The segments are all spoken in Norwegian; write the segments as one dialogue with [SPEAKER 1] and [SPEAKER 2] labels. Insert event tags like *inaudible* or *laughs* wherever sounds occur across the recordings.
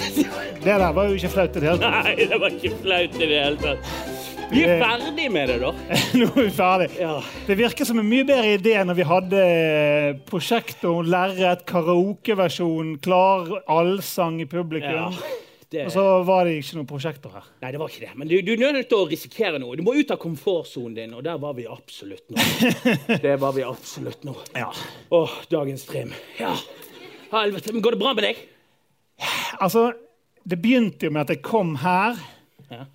[SPEAKER 1] Det der var jo ikke flaut i det hele tatt.
[SPEAKER 2] *laughs*
[SPEAKER 1] *laughs*
[SPEAKER 2] Nei, det var ikke flaut i det hele tatt. Vi
[SPEAKER 1] Eh.
[SPEAKER 2] er ferdig med det,
[SPEAKER 1] *laughs*
[SPEAKER 2] da.
[SPEAKER 1] Nå er vi ferdig.
[SPEAKER 2] Ja.
[SPEAKER 1] Det virker som en mye bedre idé enn når vi hadde eh, prosjektor, lerret, karaokeversjon, klar allsang i publikum.
[SPEAKER 2] Det,
[SPEAKER 1] Og så var det ikke noe prosjektor her.
[SPEAKER 2] nei, det var ikke det. Men du, du er nødt til å risikere noe. Du må ut av komfortsonen din, og der var vi absolutt
[SPEAKER 1] *laughs*
[SPEAKER 2] nå. Det var vi absolutt nå.
[SPEAKER 1] Ja.
[SPEAKER 2] Åh, dagens trim. Ja. Helvete. Men går det bra med deg?
[SPEAKER 1] Altså, det begynte jo med at jeg kom her.
[SPEAKER 2] Ja.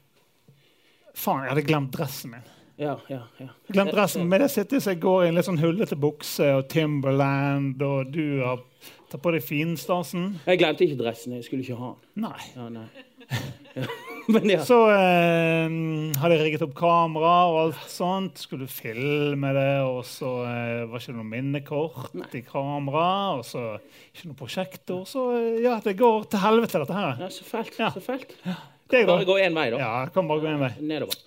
[SPEAKER 1] Faen, jeg hadde glemt dressen min.
[SPEAKER 2] Ja, ja, ja.
[SPEAKER 1] Glemt dressen min, Men jeg sitter så jeg går i en litt sånn hullete bukse og Timberland, og du har tatt på deg finstasen.
[SPEAKER 2] Jeg glemte ikke dressen. Jeg skulle ikke ha den.
[SPEAKER 1] Nei.
[SPEAKER 2] Ja, nei. *laughs* Ja. Men ja.
[SPEAKER 1] *laughs* Så eh, hadde jeg rigget opp kamera og alt sånt. Skulle filme det, og så eh, var ikke det noe minnekort i kamera. Og så ikke noe prosjektor. Så eh, ja, det går til helvete, dette her.
[SPEAKER 2] ja så fælt.
[SPEAKER 1] Ja.
[SPEAKER 2] Så fælt.
[SPEAKER 1] Det
[SPEAKER 2] Bare
[SPEAKER 1] går.
[SPEAKER 2] gå én vei, da.
[SPEAKER 1] Ja, kan bare gå en vei.
[SPEAKER 2] Nedover.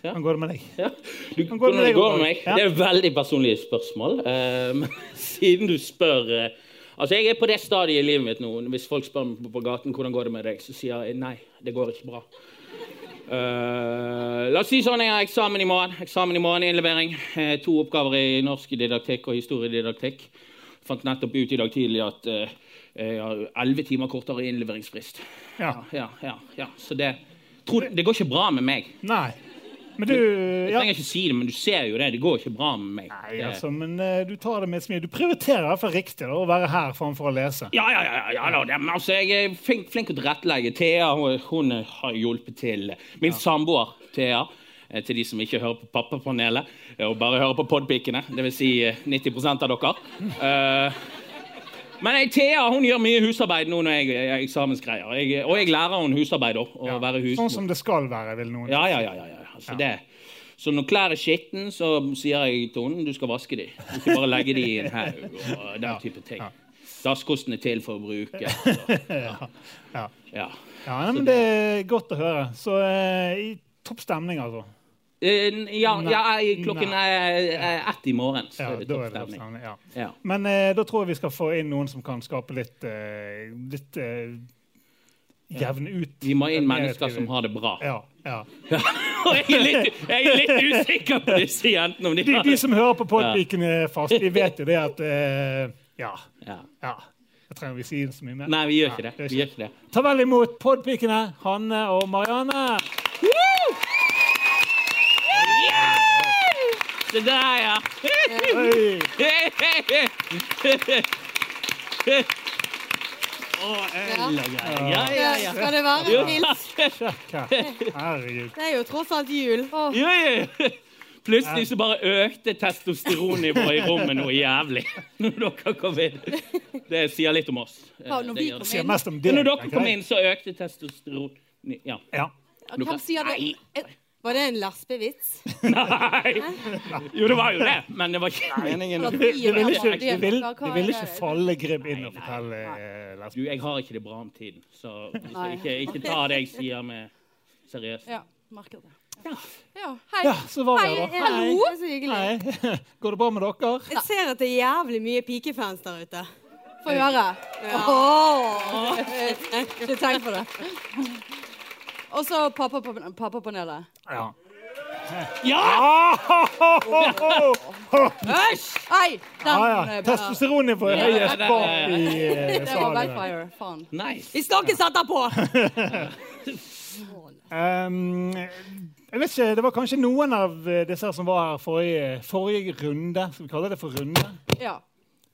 [SPEAKER 2] Ja.
[SPEAKER 1] Hvordan går det med deg?
[SPEAKER 2] Ja. Du,
[SPEAKER 1] Men går det
[SPEAKER 2] hvordan
[SPEAKER 1] med
[SPEAKER 2] det
[SPEAKER 1] deg,
[SPEAKER 2] går
[SPEAKER 1] Roar?
[SPEAKER 2] med meg?
[SPEAKER 1] Ja.
[SPEAKER 2] Det er veldig personlige spørsmål. eh, Men *laughs* siden du spør eh, Altså, Jeg er på det stadiet i livet mitt nå. Hvis folk spør meg på- på gaten hvordan går det med deg, så sier jeg nei, det går ikke bra. Eh, la oss si sånn, jeg har eksamen i morgen. Eksamen i morgen, Innlevering. Eh, to oppgaver i norsk didaktikk og historiedidaktikk. Fant nettopp ut i dag tidlig at eh, jeg har elleve timer kortere innleveringsfrist.
[SPEAKER 1] Ja.
[SPEAKER 2] Ja, ja, ja. Så det, tror, det går ikke bra med meg.
[SPEAKER 1] Nei. Men du
[SPEAKER 2] Jeg
[SPEAKER 1] ja.
[SPEAKER 2] trenger ikke si det, men du ser jo det. Det går ikke bra med meg.
[SPEAKER 1] Nei,
[SPEAKER 2] Det-
[SPEAKER 1] altså, men eh, du tar det med et smil. Du prioriterer i hvert fall riktig da, å være her framfor å lese.
[SPEAKER 2] Ja, ja, ja, ja, ja da, det- men altså, jeg er flink, flink å tilrettelegge. Thea hun, hun har hjulpet til. Min samboer Thea, eh, til de som ikke hører på Pappapanelet eh, og bare hører på podpikene, dvs. Si eh, 90 av dere. Eh, men eh, Thea hun gjør mye husarbeid nå når jeg er eksamensgreier. Jeg, og jeg lærer henne husarbeid òg. Å være husmor.
[SPEAKER 1] Sånn som det skal være, vil noen
[SPEAKER 2] Ja, ja, ja. ja, ja. Altså, Det. Så når klær er skitten, så sier jeg til henne du skal vaske dem. Du skal bare legge dem i en haug
[SPEAKER 1] *laughs*
[SPEAKER 2] og den type ting. Dasskosten er til for å bruke. altså.
[SPEAKER 1] *laughs* ja. ja.
[SPEAKER 2] Ja.
[SPEAKER 1] ja nei, men det er godt å høre. Så eh, i topp stemning, altså.
[SPEAKER 2] Eh, ja, ja jeg- klokken er er ett i morgen. Så
[SPEAKER 1] Ja,
[SPEAKER 2] er det
[SPEAKER 1] da er det
[SPEAKER 2] topp
[SPEAKER 1] topp
[SPEAKER 2] stemning.
[SPEAKER 1] stemning. Ja.
[SPEAKER 2] Ja.
[SPEAKER 1] Men eh, da tror jeg vi skal få inn noen som kan skape litt, eh, litt eh, jevne ut.
[SPEAKER 2] Vi må inn mennesker som har det bra.
[SPEAKER 1] Ja, ja.
[SPEAKER 2] *laughs* Og jeg er litt, jeg er litt usikker på disse jentene. om de
[SPEAKER 1] De,
[SPEAKER 2] har
[SPEAKER 1] de
[SPEAKER 2] det.
[SPEAKER 1] som hører på Podpiken fast, de vet jo det at eh, Ja.
[SPEAKER 2] Ja.
[SPEAKER 1] ja. Jeg trenger vi si så mye mer.
[SPEAKER 2] Nei, vi gjør ikke
[SPEAKER 1] Ja,
[SPEAKER 2] det. Vi gjør ikke det.
[SPEAKER 1] Ta vel imot podpikene Hanne og Marianne.
[SPEAKER 2] Se der, ja.
[SPEAKER 1] Oi.
[SPEAKER 2] Ja, ja, ja.
[SPEAKER 3] Skal det være en hils?
[SPEAKER 1] Sjekk
[SPEAKER 2] *laughs*
[SPEAKER 1] her. Herregud.
[SPEAKER 3] Det er jo tross alt jul. Åh,
[SPEAKER 2] Ja, ja, ja. *laughs* Plutselig så bare økte testosteronnivået i rommet noe jævlig. *laughs* Når dere kom inn. Det sier litt om oss. Eh,
[SPEAKER 3] Ja, når
[SPEAKER 2] det
[SPEAKER 3] vi
[SPEAKER 2] gjør det.
[SPEAKER 3] kom
[SPEAKER 1] Sier mest om det.
[SPEAKER 2] Når dere
[SPEAKER 1] tenker
[SPEAKER 2] kom
[SPEAKER 1] jeg.
[SPEAKER 2] inn, så økte testosteron... Ja. *laughs*
[SPEAKER 1] Ja.
[SPEAKER 3] hvem sier det? Eh, Var det en laspevits?
[SPEAKER 2] Nei! Jo, det var jo det, men det var ikke meningen.
[SPEAKER 3] Eller
[SPEAKER 1] Du,
[SPEAKER 3] fire
[SPEAKER 1] du ville
[SPEAKER 3] kammer?
[SPEAKER 1] ikke, du vil,
[SPEAKER 3] Hva- hva
[SPEAKER 1] du
[SPEAKER 3] er
[SPEAKER 1] vil
[SPEAKER 3] det?
[SPEAKER 1] ikke falle Gribb inn og fortelle eh, lesben.
[SPEAKER 2] Du, jeg har ikke det bra om tiden, så så
[SPEAKER 3] Nei.
[SPEAKER 2] ikke, ikke ta det jeg sier med seriøst.
[SPEAKER 3] Ja, merker det. Ja, hei.
[SPEAKER 1] Ja, så var vi
[SPEAKER 3] Hei,
[SPEAKER 1] her, da.
[SPEAKER 3] hallo. Det er så hyggelig.
[SPEAKER 1] Hei. *laughs* Går det bra med dere?
[SPEAKER 4] Jeg ser at det er jævlig mye pikefans der ute.
[SPEAKER 3] Få høre. Åh. Ikke tenk på det. Og så pappa på- pappapanelet.
[SPEAKER 1] Ja.
[SPEAKER 2] Ja!
[SPEAKER 3] Æsj! Hei! Den
[SPEAKER 1] Ah, ja.
[SPEAKER 3] eh,
[SPEAKER 1] Testosteronnivået er høyest bak i eh,
[SPEAKER 3] Det var
[SPEAKER 1] salen. her.
[SPEAKER 3] backfire. Faen.
[SPEAKER 2] Nice.
[SPEAKER 4] Vi snakkes etterpå!
[SPEAKER 1] Um, jeg vet ikke, Det var kanskje noen av eh, disse her som var her forrige, forrige runde. Skal vi kalle det for runde?
[SPEAKER 3] Ja.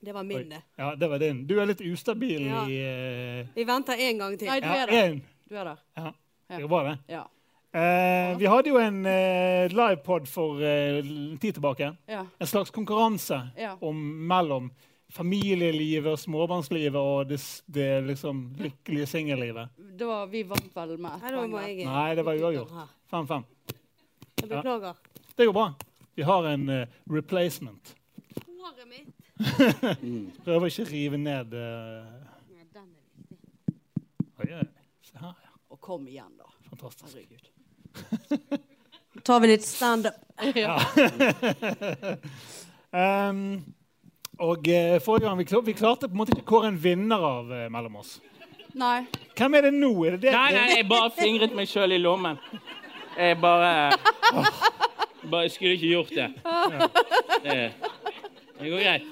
[SPEAKER 4] Det var min, det.
[SPEAKER 1] Ja, det var din. Du er litt ustabil
[SPEAKER 4] Ja.
[SPEAKER 1] i eh,
[SPEAKER 4] Vi venter en gang til.
[SPEAKER 3] Nei, du
[SPEAKER 1] Ja,
[SPEAKER 3] er der.
[SPEAKER 1] én.
[SPEAKER 3] Du er der.
[SPEAKER 1] Ja.
[SPEAKER 3] Ja.
[SPEAKER 1] Det var bra, det.
[SPEAKER 3] Ja.
[SPEAKER 1] Eh, vi hadde jo en eh, livepod for eh, en tid tilbake.
[SPEAKER 3] Ja.
[SPEAKER 1] En slags konkurranse
[SPEAKER 3] Ja.
[SPEAKER 1] om, mellom familielivet og småbarnslivet og det, s- det liksom lykkelige singellivet.
[SPEAKER 3] Det var, vi vant vel med ett
[SPEAKER 4] Nei, da
[SPEAKER 3] poeng.
[SPEAKER 4] må
[SPEAKER 3] da.
[SPEAKER 4] jeg
[SPEAKER 1] Nei, det var uavgjort. 5-5.
[SPEAKER 4] Jeg beklager.
[SPEAKER 1] Det går bra. Vi har en eh, replacement.
[SPEAKER 4] Håret mitt.
[SPEAKER 1] Prøver ikke å rive ned eh, oi, oi. Se her, ja.
[SPEAKER 3] Og kom igjen, da.
[SPEAKER 1] Fantastisk.
[SPEAKER 3] Herregud.
[SPEAKER 4] Tar vi litt standup?
[SPEAKER 1] Ehm, og eh, forrige gang vi, klar, vi klarte på en måte ikke å kåre en vinner av eh, mellom oss.
[SPEAKER 3] *laughs* Nei.
[SPEAKER 1] Hvem er det nå? Er det det?
[SPEAKER 2] Nei, nei, jeg bare fingret meg sjøl i lommen. Jeg bare Åh, Bare skulle ikke gjort det. Det, det går greit.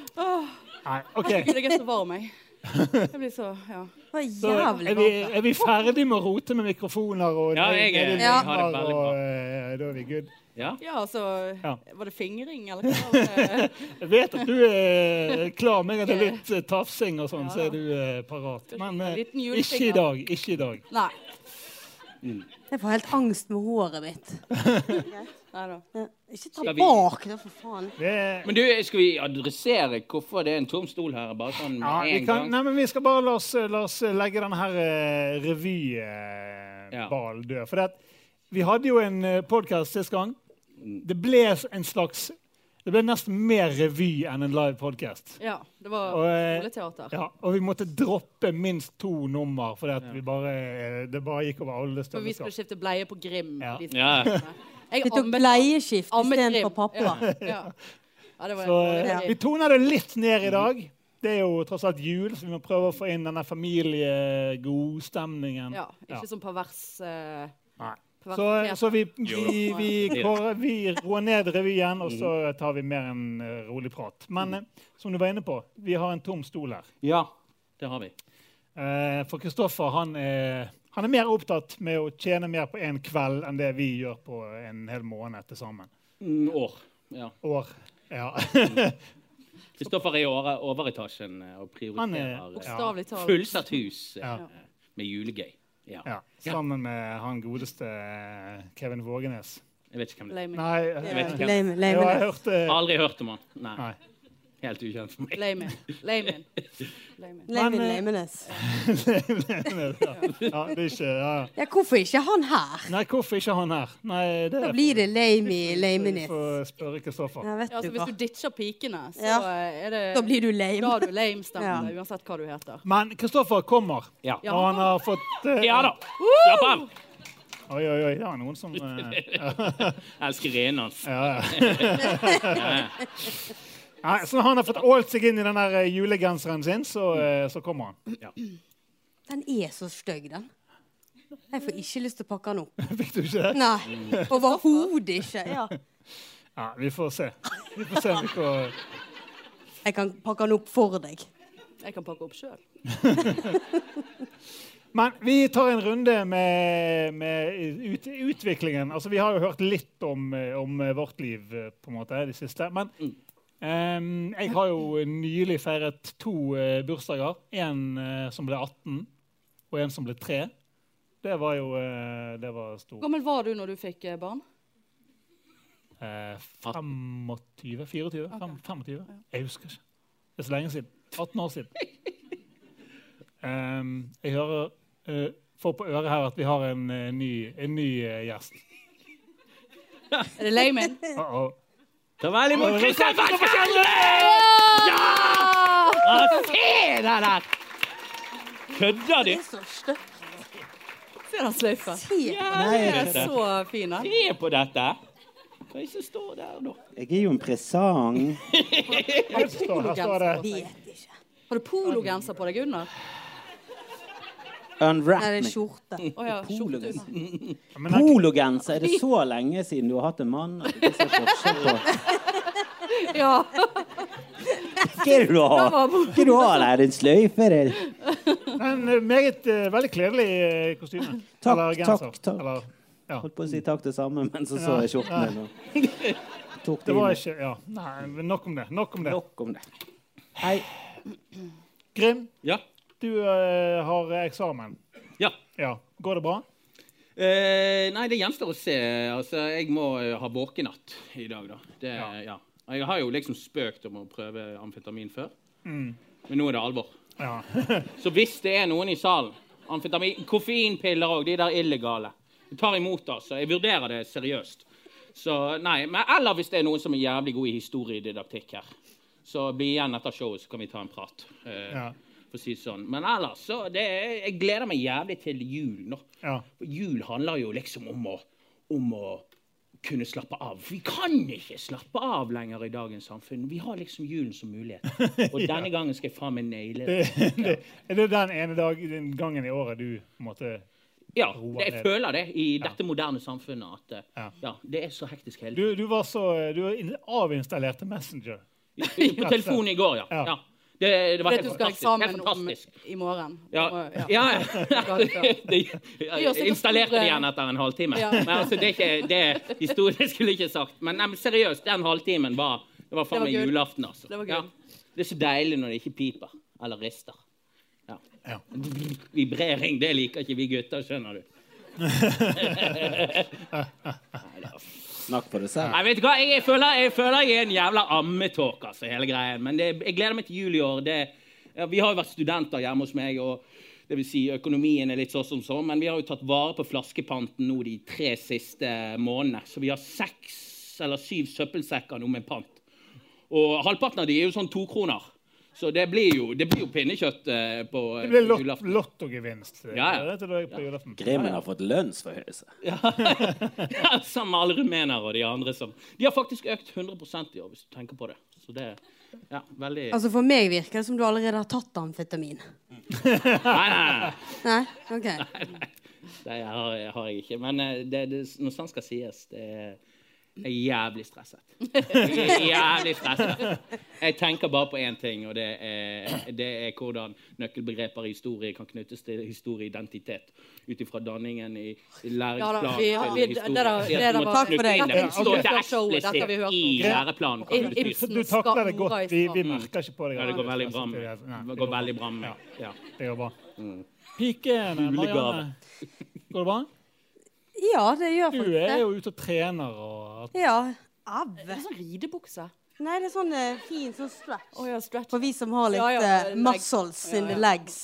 [SPEAKER 1] Nei, OK.
[SPEAKER 3] Jeg er så varm, jeg. Jeg blir så Ja.
[SPEAKER 4] Det var
[SPEAKER 1] Så
[SPEAKER 4] jævlig
[SPEAKER 1] er, vi,
[SPEAKER 4] varmt.
[SPEAKER 1] er vi ferdig med å rote med mikrofoner og
[SPEAKER 2] Ja, jeg er-
[SPEAKER 4] Ja.
[SPEAKER 1] og,
[SPEAKER 2] har det veldig bra.
[SPEAKER 1] eh, Da er vi good.
[SPEAKER 2] Ja.
[SPEAKER 3] Ja, altså
[SPEAKER 1] Ja.
[SPEAKER 3] Var det fingring, eller hva? *laughs* var det?
[SPEAKER 1] Jeg vet at du er klar, men jeg hadde litt eh, tafsing og sånn, så er du eh, parat. Men eh,
[SPEAKER 3] Liten
[SPEAKER 1] ikke i
[SPEAKER 3] julefinger.
[SPEAKER 1] dag. Ikke i dag.
[SPEAKER 3] Nei.
[SPEAKER 4] Jeg får helt angst med håret mitt.
[SPEAKER 3] Nei da.
[SPEAKER 4] Ja, Ikke ta
[SPEAKER 2] Skal vi-
[SPEAKER 4] bak det, for faen.
[SPEAKER 1] Det,
[SPEAKER 2] Men du, skal vi adressere hvorfor det er en tom stol her? Bare sånn
[SPEAKER 1] ja,
[SPEAKER 2] med
[SPEAKER 1] vi,
[SPEAKER 2] en
[SPEAKER 1] kan,
[SPEAKER 2] gang?
[SPEAKER 1] nei, men vi skal bare la oss, eh, la oss legge denne her eh, revyballen
[SPEAKER 2] Ja.
[SPEAKER 1] eh, ballen død. For det, at vi hadde jo en podkast sist gang.
[SPEAKER 2] Mm.
[SPEAKER 1] Det ble en slags Det ble nesten mer revy enn en live podkast.
[SPEAKER 3] Ja, det var
[SPEAKER 1] Og, eh,
[SPEAKER 3] skoleteater.
[SPEAKER 1] Ja, og vi måtte droppe minst to nummer, for det, bare, eh, det bare gikk over alle
[SPEAKER 3] For vi skulle
[SPEAKER 1] støvleskaft.
[SPEAKER 3] skifte bleie på Grim.
[SPEAKER 1] Ja.
[SPEAKER 3] de som-
[SPEAKER 2] Ja.
[SPEAKER 3] Jeg
[SPEAKER 4] Vi tok
[SPEAKER 3] ammet-
[SPEAKER 4] bleieskift
[SPEAKER 3] ammet Grim.
[SPEAKER 4] istedenfor pappa.
[SPEAKER 3] Ja, ja. ja, det var
[SPEAKER 1] Så eh,
[SPEAKER 4] Ja.
[SPEAKER 1] vi toner det litt
[SPEAKER 2] Mm.
[SPEAKER 1] ned i dag. Det er jo tross alt jul, så vi må prøve å få inn denne familiegodstemningen.
[SPEAKER 3] Ja, ikke sånn pervers eh,
[SPEAKER 1] Nei.
[SPEAKER 3] pervers
[SPEAKER 1] Så, eh, så vi, vi, vi,
[SPEAKER 2] Ja. Mm.
[SPEAKER 1] kårer- vi roer ned revyen, og så tar vi mer en eh, rolig prat. Men eh, som du var inne på, vi har en tom stol her.
[SPEAKER 2] ja, det har vi.
[SPEAKER 1] Eh, For Kristoffer han er, han er mer opptatt med å tjene mer på én kveld enn det vi gjør på en hel måned til sammen.
[SPEAKER 2] Mm, År. Ja.
[SPEAKER 1] År. Ja.
[SPEAKER 2] Kristoffer er i over- overetasjen eh, og
[SPEAKER 1] Han er-
[SPEAKER 2] prioriterer
[SPEAKER 3] Bokstavelig
[SPEAKER 2] eh,
[SPEAKER 3] talt.
[SPEAKER 2] fullsatt hus eh,
[SPEAKER 1] Ja.
[SPEAKER 2] med julegøy. Ja.
[SPEAKER 1] ja. Sammen med han godeste eh, Kevin Vågenes.
[SPEAKER 2] Jeg vet ikke hvem det er.
[SPEAKER 3] Lame it.
[SPEAKER 1] Nei, eh,
[SPEAKER 2] Jeg vet ikke hvem.
[SPEAKER 4] Lame-
[SPEAKER 1] jo, jeg
[SPEAKER 4] lame-
[SPEAKER 1] hørte
[SPEAKER 2] Aldri hørt om han. Nei,
[SPEAKER 1] Nei.
[SPEAKER 2] Helt ukjent for meg.
[SPEAKER 3] Lame it. Lame it. Lame it.
[SPEAKER 4] Lame-
[SPEAKER 1] Men, eh,
[SPEAKER 4] Lameness.
[SPEAKER 1] ja. *laughs* ja, det er ikke ja.
[SPEAKER 4] Ja, hvorfor ikke han her?
[SPEAKER 1] Nei, hvorfor ikke han her? Nei, det
[SPEAKER 4] Da blir det lame i
[SPEAKER 1] Vi
[SPEAKER 4] lameness.
[SPEAKER 1] får spørre Kristoffer.
[SPEAKER 4] Ja, vet
[SPEAKER 3] Ja, altså,
[SPEAKER 4] du
[SPEAKER 3] hvis du
[SPEAKER 4] hva.
[SPEAKER 3] ditcher pikene, så
[SPEAKER 4] Ja.
[SPEAKER 3] eh, er det
[SPEAKER 4] Da blir du
[SPEAKER 3] da
[SPEAKER 4] lame.
[SPEAKER 3] er du lame stemmer,
[SPEAKER 4] Ja.
[SPEAKER 3] uansett hva du heter.
[SPEAKER 1] Men Kristoffer kommer,
[SPEAKER 2] Ja.
[SPEAKER 1] og han har fått eh,
[SPEAKER 2] Ja da! Slapp av!
[SPEAKER 1] Oi, oi, oi, det var noen som eh,
[SPEAKER 2] Jeg elsker renen hans.
[SPEAKER 1] Nei, så når han har fått ålt seg inn i den der eh, julegenseren sin, så, eh, så kommer han.
[SPEAKER 4] Den er så stygg, den. Jeg får ikke lyst til å pakke den opp.
[SPEAKER 1] *laughs* Fikk du ikke
[SPEAKER 3] Mm.
[SPEAKER 1] det?
[SPEAKER 4] Nei, overhodet ikke. Ja.
[SPEAKER 1] Ja, vi får se. Vi får se om vi får
[SPEAKER 4] Jeg kan pakke den opp for deg.
[SPEAKER 3] Jeg kan pakke opp sjøl.
[SPEAKER 1] Men vi tar en runde med, med ut, utviklingen. Altså, vi har jo hørt litt om, eh, om eh, vårt liv eh, på en måte, det siste. Men ehm, jeg har jo nylig feiret to eh, bursdager. En eh, som ble 18, og en som ble 3. Det var jo eh, Det var
[SPEAKER 3] Hvor
[SPEAKER 1] stor.
[SPEAKER 3] gammel var du når du fikk eh, barn?
[SPEAKER 1] Eh, 25? 24? Fem- 25? Jeg husker ikke. Det er så lenge siden. 18 år siden. Ehm, jeg hører eh, Får på øret her at vi har en eh, ny, en ny eh, gjest.
[SPEAKER 3] Er det lame
[SPEAKER 4] *laughs*
[SPEAKER 3] in?
[SPEAKER 1] Uh -oh.
[SPEAKER 2] Ta vel imot Kristoffer Kjellre!
[SPEAKER 3] Ja!
[SPEAKER 2] Se det der! Kødder du?
[SPEAKER 4] Det er så stygg.
[SPEAKER 3] Se den sløyfen.
[SPEAKER 4] Se på den.
[SPEAKER 3] Den er så fin. den.
[SPEAKER 2] Se på dette! Hva er det som står der, da?
[SPEAKER 5] Jeg er jo en presang.
[SPEAKER 1] Her står, her står det
[SPEAKER 4] Vet ikke.
[SPEAKER 3] Har du pologenser på deg under?
[SPEAKER 4] Nei, det er
[SPEAKER 5] Unwrapping.
[SPEAKER 4] skjorte.
[SPEAKER 3] Å ja, skjorte.
[SPEAKER 1] Men den-
[SPEAKER 5] Pologenser. Er det så lenge siden du har hatt en mann? Det er så forskjell
[SPEAKER 3] *laughs*
[SPEAKER 5] på-
[SPEAKER 3] Ja.
[SPEAKER 5] Hva er det du har? Hva er det du har der? En sløyfe? Er det-
[SPEAKER 1] Men eh, meget eh, veldig kledelig eh, kostyme.
[SPEAKER 5] *laughs* Takk,
[SPEAKER 1] Eller genser.
[SPEAKER 5] takk, takk.
[SPEAKER 1] Eller, ja.
[SPEAKER 5] Holdt på å si takk det samme, men så så jeg skjorten din. og Tok
[SPEAKER 1] Det var
[SPEAKER 5] det inn.
[SPEAKER 1] ikke Ja, nei, men nok om det. Nok om det.
[SPEAKER 5] Nok om det. Hei.
[SPEAKER 1] Grim,
[SPEAKER 2] Ja.
[SPEAKER 1] du eh, har eksamen.
[SPEAKER 2] ja.
[SPEAKER 1] Ja. Går det bra?
[SPEAKER 2] Eh, nei, det gjenstår å se. Altså, jeg må eh, ha våkenatt i dag, da. Det, ja.
[SPEAKER 1] Ja.
[SPEAKER 2] Og Jeg har jo liksom spøkt om å prøve amfetamin før, men nå er det alvor.
[SPEAKER 1] Ja.
[SPEAKER 2] Så hvis det er noen i salen amfetamin, Koffeinpiller og de der illegale. Jeg tar imot, altså. Jeg vurderer det seriøst. Så nei, men Eller hvis det er noen som er jævlig god i historiedidaktikk her. Så bli igjen etter showet, så kan vi ta en prat. Eh,
[SPEAKER 1] Ja.
[SPEAKER 2] For å si det sånn. Men ellers så det, er- Jeg gleder meg jævlig til jul nå.
[SPEAKER 1] ja.
[SPEAKER 2] For jul handler jo liksom om å, om å kunne slappe av. Vi kan ikke slappe av lenger i dagens samfunn. Vi har liksom julen som
[SPEAKER 1] *laughs*
[SPEAKER 2] mulighet. Og denne gangen skal jeg faen meg naile det.
[SPEAKER 1] det, er det den ene dag, den gangen i året du på en måte
[SPEAKER 2] Ja,
[SPEAKER 1] Roa
[SPEAKER 2] det, jeg
[SPEAKER 1] ned.
[SPEAKER 2] føler det i dette moderne samfunnet at eh,
[SPEAKER 1] Ja.
[SPEAKER 2] ja, det er så hektisk hele tiden.
[SPEAKER 1] Du, du var så Du in- avinstallerte Messenger.
[SPEAKER 2] På telefonen i går, ja.
[SPEAKER 1] Ja.
[SPEAKER 2] ja. Det, det var
[SPEAKER 3] For at
[SPEAKER 2] helt
[SPEAKER 3] du skal ha
[SPEAKER 2] fantastisk. Helt
[SPEAKER 3] eksamen om eh,
[SPEAKER 2] fantastisk.
[SPEAKER 3] i morgen.
[SPEAKER 2] Ja,
[SPEAKER 3] Og-
[SPEAKER 2] ja.
[SPEAKER 3] *laughs*
[SPEAKER 2] ja. *laughs* Det,
[SPEAKER 3] gjør sikkert
[SPEAKER 2] installerte
[SPEAKER 3] store-
[SPEAKER 2] det igjen etter en halvtime.
[SPEAKER 3] Ja.
[SPEAKER 2] Men altså, det er ikke det historien skulle jeg ikke sagt. Men, nei, men seriøst, den halvtimen var det var faen
[SPEAKER 3] Det var
[SPEAKER 2] meg
[SPEAKER 3] good.
[SPEAKER 2] julaften. altså.
[SPEAKER 3] Det var good.
[SPEAKER 2] ja. det er så deilig når det ikke piper eller rister. Ja.
[SPEAKER 1] Ja.
[SPEAKER 2] Vibrering, det liker ikke vi gutter, skjønner du.
[SPEAKER 5] Snakk for deg selv.
[SPEAKER 2] Nei, vet du hva? Jeg, jeg, føler, jeg føler jeg er en jævla ammetåke, altså, hele greien. Men det, jeg gleder meg til jul i år. Det, ja, vi har jo vært studenter hjemme hos meg, og det vil si økonomien er litt sånn som sånn, men vi har jo tatt vare på flaskepanten nå de tre siste månedene. Så vi har seks eller syv søppelsekker nå med pant. Og halvparten av de er jo sånn to kroner. Så det blir jo, det blir jo pinnekjøtt eh, på eh,
[SPEAKER 1] *laughs* Det ble lot,
[SPEAKER 2] julaften.
[SPEAKER 1] lottogevinst. eh,
[SPEAKER 2] Ja, ja.
[SPEAKER 1] dette da jeg på julaften. *laughs*
[SPEAKER 5] Grimmen har fått lønnsforhøyelse.
[SPEAKER 2] *laughs* Ja, Sammen med alle rumenere og de andre som De har faktisk økt 100 i år, hvis du tenker på det. Så det ja, veldig
[SPEAKER 4] Altså For meg virker det som du allerede har tatt amfetamin.
[SPEAKER 2] Nei, nei,
[SPEAKER 4] Nei? OK.
[SPEAKER 2] nei. nei. Det har, har jeg ikke. Men eh, det, det, når sånt skal sies, det er jeg er jævlig stresset. Jeg er jævlig stresset. Jeg tenker bare på én ting, og det er, det er hvordan nøkkelbegreper i historie kan knyttes til historieidentitet. Ut ifra danningen i i læringsplanen
[SPEAKER 3] vi-
[SPEAKER 2] vi,
[SPEAKER 3] vi- det der- det der var-
[SPEAKER 4] Takk for det.
[SPEAKER 2] Står det
[SPEAKER 3] Dette er showet, dette har vi hørt
[SPEAKER 2] eksplisitt
[SPEAKER 3] om.
[SPEAKER 2] i læreplanen. kan
[SPEAKER 3] Im-
[SPEAKER 2] du si.
[SPEAKER 1] Så Du takler det godt. Vi, vi merker ikke på deg.
[SPEAKER 2] Ja, det går veldig bra med
[SPEAKER 1] Nei,
[SPEAKER 2] det går veldig bra med. Ja.
[SPEAKER 1] Det går bra. Piken, eh, Marianne.
[SPEAKER 2] Julegave.
[SPEAKER 1] Går det bra?
[SPEAKER 4] Ja, det gjør
[SPEAKER 1] Du
[SPEAKER 4] faktisk
[SPEAKER 1] er
[SPEAKER 4] det.
[SPEAKER 1] jo ute og trener og
[SPEAKER 4] Ja. Av.
[SPEAKER 3] Det er sånn ridebukse.
[SPEAKER 4] Nei, det er sånn eh, fin sånn stretch.
[SPEAKER 3] Å ja, stretch.
[SPEAKER 4] For vi som har
[SPEAKER 3] Ja, ja,
[SPEAKER 4] litt eh,
[SPEAKER 3] leg-
[SPEAKER 4] muscles in
[SPEAKER 3] Ja,
[SPEAKER 4] the
[SPEAKER 3] ja.
[SPEAKER 4] legs.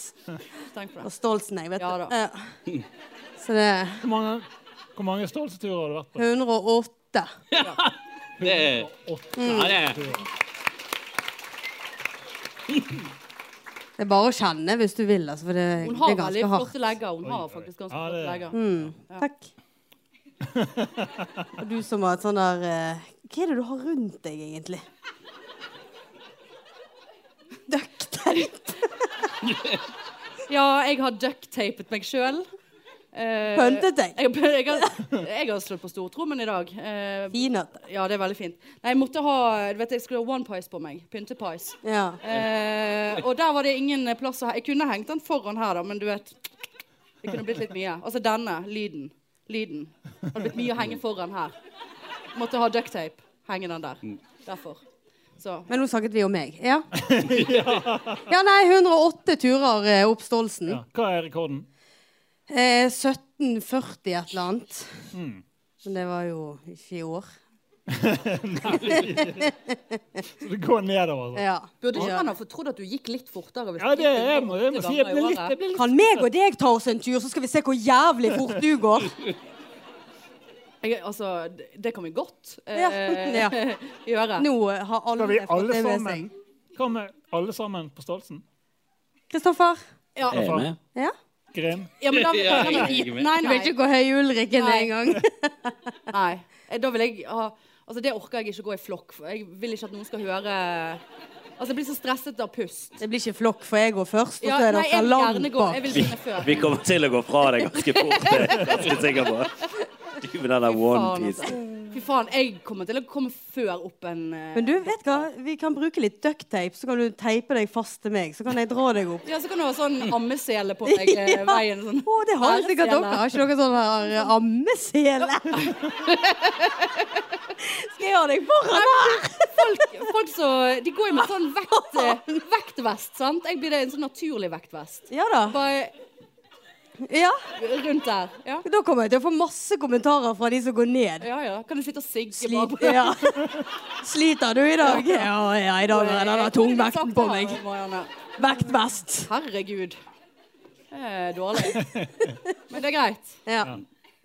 [SPEAKER 3] Tenk på
[SPEAKER 4] Og
[SPEAKER 3] det.
[SPEAKER 4] Stoltsenegg, vet du.
[SPEAKER 3] Ja da.
[SPEAKER 4] Ja. Så det er
[SPEAKER 1] Hvor mange, hvor mange stolseturer har du vært på?
[SPEAKER 4] 108.
[SPEAKER 2] Det,
[SPEAKER 3] Mm.
[SPEAKER 2] ja, det er
[SPEAKER 4] Det er bare å kjenne hvis du vil, altså. For det,
[SPEAKER 3] Hun
[SPEAKER 4] det
[SPEAKER 3] har
[SPEAKER 4] er ganske
[SPEAKER 3] veldig
[SPEAKER 4] hardt. Mm.
[SPEAKER 3] flotte legger. Hun har
[SPEAKER 1] oi.
[SPEAKER 3] faktisk ganske
[SPEAKER 1] Ja,
[SPEAKER 3] flotte
[SPEAKER 1] det-
[SPEAKER 3] legger.
[SPEAKER 4] Takk. Og du som har et sånn der eh, Hva er det du har rundt deg, egentlig? Ducktape.
[SPEAKER 3] Ja, jeg har ducktapet meg sjøl.
[SPEAKER 4] Pøntet deg.
[SPEAKER 3] Jeg, *laughs* jeg, har, jeg har slått på stortrommen i dag. Eh,
[SPEAKER 4] Finete.
[SPEAKER 3] ja, det er veldig fint. Nei, jeg måtte ha du vet, Jeg skulle ha one pies på meg. Pyntepais.
[SPEAKER 4] Ja.
[SPEAKER 3] Eh, og der var det ingen eh, plass å he- Jeg kunne hengt den foran her, da, men du vet Det kunne blitt litt mye. Altså denne. Lyden. Lyden. Det hadde blitt mye å henge foran her. Måtte ha ducktape. Henge den der. Derfor. Så.
[SPEAKER 4] Men nå snakket vi om meg. Ja. ja, nei, 108 turer eh, opp Stolsen.
[SPEAKER 1] Ja. Hva er rekorden?
[SPEAKER 4] Eh, 1740 et eller annet. Men det var jo ikke i år.
[SPEAKER 1] Så det går nedover. altså.
[SPEAKER 4] Ja.
[SPEAKER 3] Burde
[SPEAKER 4] Ja.
[SPEAKER 3] ikke han ha fått trodd at du gikk litt fortere? Hvis
[SPEAKER 1] Ja, det er, jeg må, jeg må si jeg ble litt, jeg ble litt
[SPEAKER 4] Kan meg og deg ta oss en tur, så skal vi se hvor jævlig fort du går?
[SPEAKER 3] Jeg, altså, det, det kan vi godt eh,
[SPEAKER 4] Ja, ja.
[SPEAKER 3] *laughs* gjøre.
[SPEAKER 4] Nå eh, har alle,
[SPEAKER 1] Skal vi
[SPEAKER 4] fått
[SPEAKER 1] alle
[SPEAKER 4] det med
[SPEAKER 1] sammen
[SPEAKER 4] seg.
[SPEAKER 1] Hva med alle sammen på Stolsen?
[SPEAKER 4] Kristoffer?
[SPEAKER 3] Ja, altså,
[SPEAKER 5] Er jeg med?
[SPEAKER 4] Ja?
[SPEAKER 1] Grim?
[SPEAKER 3] ja, men da,
[SPEAKER 2] Ja, jeg er ikke
[SPEAKER 3] nei,
[SPEAKER 2] med.
[SPEAKER 4] Du
[SPEAKER 3] nei,
[SPEAKER 4] vet ikke hvor høy Ulrikken er
[SPEAKER 3] Nei.
[SPEAKER 4] engang.
[SPEAKER 3] nei. Eh, Da vil jeg ha Altså, det orker jeg ikke gå i flokk for. Jeg vil ikke at noen skal høre Altså, jeg blir så stresset av pust.
[SPEAKER 4] *laughs* Det blir ikke flokk, for jeg går først, og
[SPEAKER 3] Ja,
[SPEAKER 4] så er
[SPEAKER 3] nei,
[SPEAKER 4] dere
[SPEAKER 3] jeg vil
[SPEAKER 4] langt
[SPEAKER 3] gjerne gå. Jeg
[SPEAKER 4] bak.
[SPEAKER 3] vil begynne før.
[SPEAKER 5] Vi kommer til å gå fra deg ganske fort. Det er jeg ganske sikker på. Du med den der
[SPEAKER 3] Faen, altså.
[SPEAKER 5] onepiece.
[SPEAKER 3] Fy faen, jeg kommer til å komme før opp en eh,
[SPEAKER 4] Men du, vet hva? Vi kan bruke litt ducktape, så kan du teipe deg fast til meg. Så kan jeg dra deg opp.
[SPEAKER 3] Ja, så kan du ha sånn ammesele på meg eh,
[SPEAKER 4] Mm. *laughs* Ja.
[SPEAKER 3] veien. Sånn.
[SPEAKER 4] Å, det har jo sikkert
[SPEAKER 3] Æresele.
[SPEAKER 4] dere. Har ikke dere sånn her eh, ammesele?
[SPEAKER 3] *laughs*
[SPEAKER 4] Skal jeg ha deg foran her?
[SPEAKER 3] Folk, folk så, de går jo med
[SPEAKER 4] *laughs*
[SPEAKER 3] sånn vekt, eh, vektvest, sant? Jeg blir det en sånn naturlig vektvest.
[SPEAKER 4] Ja da.
[SPEAKER 3] Bare
[SPEAKER 4] Ja.
[SPEAKER 3] rundt der. Ja,
[SPEAKER 4] Da kommer jeg til å få masse kommentarer fra de som går ned.
[SPEAKER 3] ja. ja. Kan du sitte og sigge
[SPEAKER 4] Slit,
[SPEAKER 3] bare?
[SPEAKER 4] ja. Sliter du i dag? Ja, ja i dag har jeg denne tungvekten på meg.
[SPEAKER 3] Marianne.
[SPEAKER 4] Vektvest.
[SPEAKER 3] Herregud. Det er dårlig. Men det er greit.
[SPEAKER 4] Ja.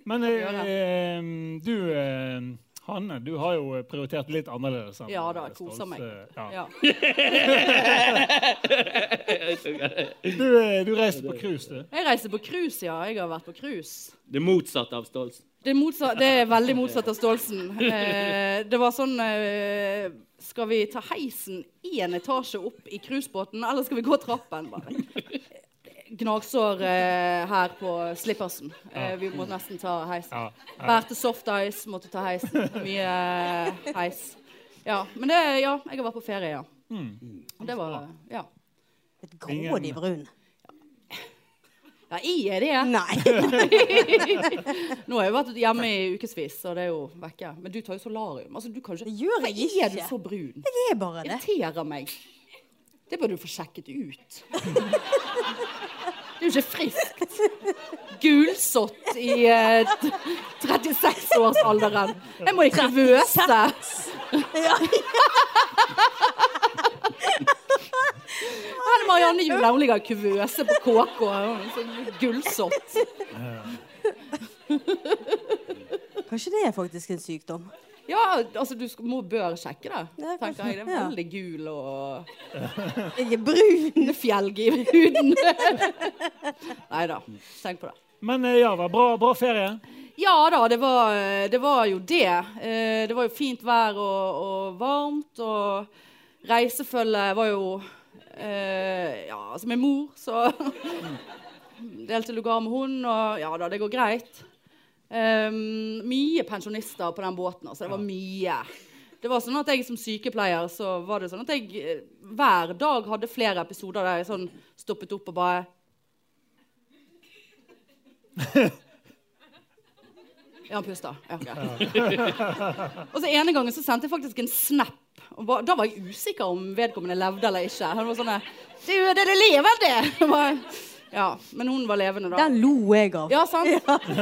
[SPEAKER 1] Men
[SPEAKER 3] gjør
[SPEAKER 1] eh, eh, du eh, Hanne, du har jo prioritert litt annerledes. enn
[SPEAKER 3] Ja
[SPEAKER 1] eh,
[SPEAKER 3] da, jeg koser meg.
[SPEAKER 1] Stolse- Ja.
[SPEAKER 3] Ja.
[SPEAKER 1] Du, eh, du reiste på cruise, du.
[SPEAKER 3] Jeg reiser på cruise, ja. Jeg har vært på cruise.
[SPEAKER 2] Det motsatte av stolthet.
[SPEAKER 3] Det er, motsatt, det er veldig motsatt av Stålsen. Eh, det var sånn eh, Skal vi ta heisen én etasje opp i cruisebåten, eller skal vi gå trappen? Bare. Gnagsår eh, her på slippersen. Eh, vi må nesten ta
[SPEAKER 1] Ja,
[SPEAKER 3] heisen.
[SPEAKER 1] ja.
[SPEAKER 3] Vær til soft ice, måtte ta heisen. Mye eh, heis. Ja, men det, ja, jeg har vært på ferie, ja. Og Det var, ja.
[SPEAKER 4] Et grådig brun.
[SPEAKER 3] ja, jeg er det.
[SPEAKER 4] *laughs* Nei.
[SPEAKER 3] *laughs* Nå har jeg vært hjemme i ukevis, så det er jo vekke. Men du tar jo solarium. Altså, du kan jo
[SPEAKER 4] Det
[SPEAKER 3] ikke...
[SPEAKER 4] gjør jeg
[SPEAKER 3] Hvorfor er du
[SPEAKER 4] ikke.
[SPEAKER 3] så brun?
[SPEAKER 4] Det er bare det.
[SPEAKER 3] Irriterer meg. Det bør du få sjekket ut. Det er jo ikke friskt. Gulsott i eh, 36-årsalderen. Jeg må i kuvøse.
[SPEAKER 4] Ja.
[SPEAKER 3] Her er Marianne Juel, hun ligger i kuvøse på KK. Hun er sånn Gulsott.
[SPEAKER 4] Kanskje det er faktisk en sykdom.
[SPEAKER 3] Ja, altså du sk- må bør sjekke det,
[SPEAKER 4] Ja,
[SPEAKER 3] tenker jeg. Det er
[SPEAKER 4] ja.
[SPEAKER 3] veldig gul og
[SPEAKER 4] Jeg er brun.
[SPEAKER 3] fjellgiv i huden. Nei da, tenk på det.
[SPEAKER 1] Men eh, ja, det var bra, bra ferie.
[SPEAKER 3] Ja da, det var, det var jo det. Eh, Det var jo fint vær og, og varmt, og reisefølget var jo eh, Ja, altså med mor, så *laughs* Delte lugar med hun, og ja da, det går greit. Ehm, mye pensjonister på den båten, altså. Det var mye. Det var sånn at jeg Som sykepleier så var det sånn at jeg eh, hver dag hadde flere episoder der jeg sånn stoppet opp og bare Ja, han puster. Ja, ok. *laughs* og så ene gangen så sendte jeg faktisk en snap. Og ba, da var jeg usikker om vedkommende levde eller ikke. Han var sånn der, Du, er dere levende? *laughs* Jeg bare, ja, men hun var levende, da.
[SPEAKER 4] Den lo jeg av.
[SPEAKER 3] Ja, sant?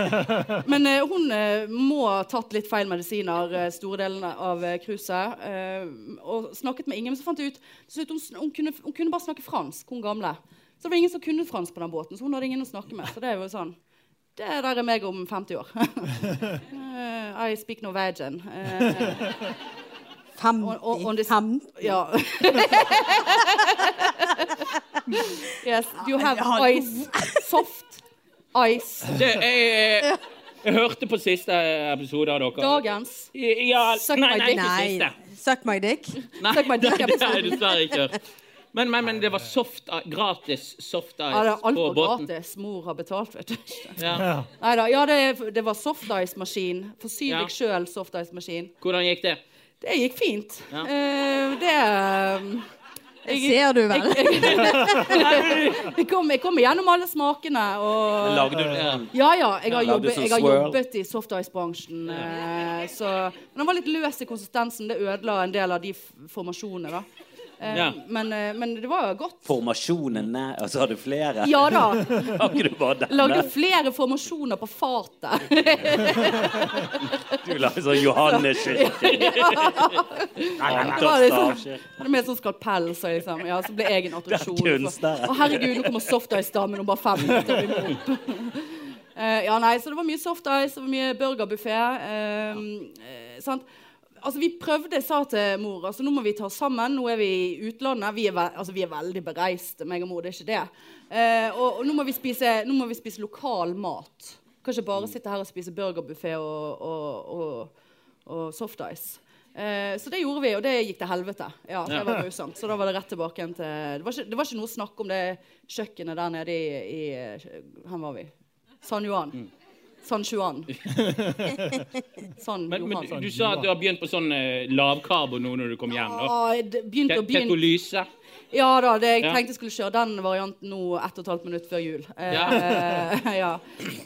[SPEAKER 3] *laughs* Men eh, hun eh, må ha tatt litt feil medisiner eh, store delene av eh, cruiset. eh, og snakket med ingen, men så fant jeg ut til slutt, hun, sn- hun, kunne, hun kunne bare snakke fransk, hun gamle. Så det var ingen som kunne fransk på den båten, så hun hadde ingen å snakke med. Så det er jo sånn Det der er meg om 50 år. *laughs* Eh, I speak Norwegian. eh,
[SPEAKER 4] Fem
[SPEAKER 3] og- og- og det-
[SPEAKER 4] Fem.
[SPEAKER 3] ja. *laughs* yes, you have
[SPEAKER 4] Ja, men jeg
[SPEAKER 3] ice. Soft ice.
[SPEAKER 2] Det, jeg, jeg hørte på siste episode av dere.
[SPEAKER 3] Dagens.
[SPEAKER 2] Ja,
[SPEAKER 3] Suck
[SPEAKER 2] nei,
[SPEAKER 3] my
[SPEAKER 2] nei,
[SPEAKER 3] dick.
[SPEAKER 2] ikke
[SPEAKER 4] Nei.
[SPEAKER 2] siste.
[SPEAKER 4] Suck my dick.
[SPEAKER 2] Nei,
[SPEAKER 3] Suck my
[SPEAKER 2] det,
[SPEAKER 3] dick,
[SPEAKER 2] det har jeg
[SPEAKER 3] episoden.
[SPEAKER 2] dessverre ikke hørt. Men, men, men det var soft, eh, gratis soft ice
[SPEAKER 3] Ja, det er alt
[SPEAKER 2] på
[SPEAKER 3] for
[SPEAKER 2] båten.
[SPEAKER 3] gratis. Mor har betalt, vet du.
[SPEAKER 2] Ja.
[SPEAKER 3] Neida, Ja, det, det var softice-maskin. Forsyn
[SPEAKER 2] Ja.
[SPEAKER 3] deg sjøl softice-maskin.
[SPEAKER 2] Hvordan gikk det?
[SPEAKER 3] Det gikk fint.
[SPEAKER 2] Ja.
[SPEAKER 3] Eh, det eh,
[SPEAKER 4] Ser du vel?
[SPEAKER 3] jeg kom, jeg kom gjennom alle smakene og
[SPEAKER 2] Lagde du det?
[SPEAKER 3] Ja ja, jeg har
[SPEAKER 5] Ja, lagde
[SPEAKER 3] jobbet,
[SPEAKER 5] sånn
[SPEAKER 3] jeg har
[SPEAKER 5] swirl.
[SPEAKER 3] jobbet i softice-bransjen. eh, så Men den var litt løs i konsistensen. Det ødela en del av de f- formasjonene, da. Eh,
[SPEAKER 2] Ja.
[SPEAKER 3] men, eh, men det var godt.
[SPEAKER 5] Formasjonene Altså, har du flere?
[SPEAKER 3] Ja da.
[SPEAKER 5] Har ikke du bare denne?
[SPEAKER 3] Lagde flere formasjoner på fatet.
[SPEAKER 5] Du lager sånn Johannes-skilt.
[SPEAKER 3] Det var liksom, hadde med sånn skalpell, så, jeg liksom, ja, så ble jeg en attraksjon.
[SPEAKER 5] Det er kunstner.
[SPEAKER 3] Så- Å, herregud, nå kommer softice-damen om bare fem minutter. og vi må
[SPEAKER 5] *laughs*
[SPEAKER 3] opp. Eh, ja, nei, så det var mye softice og mye burgerbuffé. eh, eh, sant? Altså, vi prøvde, jeg sa til mor, altså, nå må vi ta oss sammen. Nå er vi i utlandet. Vi er, ve altså, vi er veldig bereiste, meg og mor. Det er ikke det. Eh, og, og nå, må vi spise, nå må vi spise lokal mat. Kan ikke bare sitte her og spise burgerbuffé og, og, og, og softice. Eh, så det gjorde vi, og det gikk til helvete. Ja, det var grusomt. Så da var det rett tilbake igjen til Det var ikke, det var ikke noe snakk om det kjøkkenet der nede i, i Hvor var vi? San Juan. San Juan. San
[SPEAKER 2] Men, men du,
[SPEAKER 3] Johan.
[SPEAKER 2] du sa at du har begynt på sånn eh, lavkarbo nå når du kom hjem. da.
[SPEAKER 3] Ah, det begynte å begynne
[SPEAKER 2] Ketolyse.
[SPEAKER 3] Ja da, det, jeg
[SPEAKER 2] Ja.
[SPEAKER 3] tenkte jeg skulle kjøre den varianten nå ett og et halvt minutt før jul. Eh, *laughs* ja.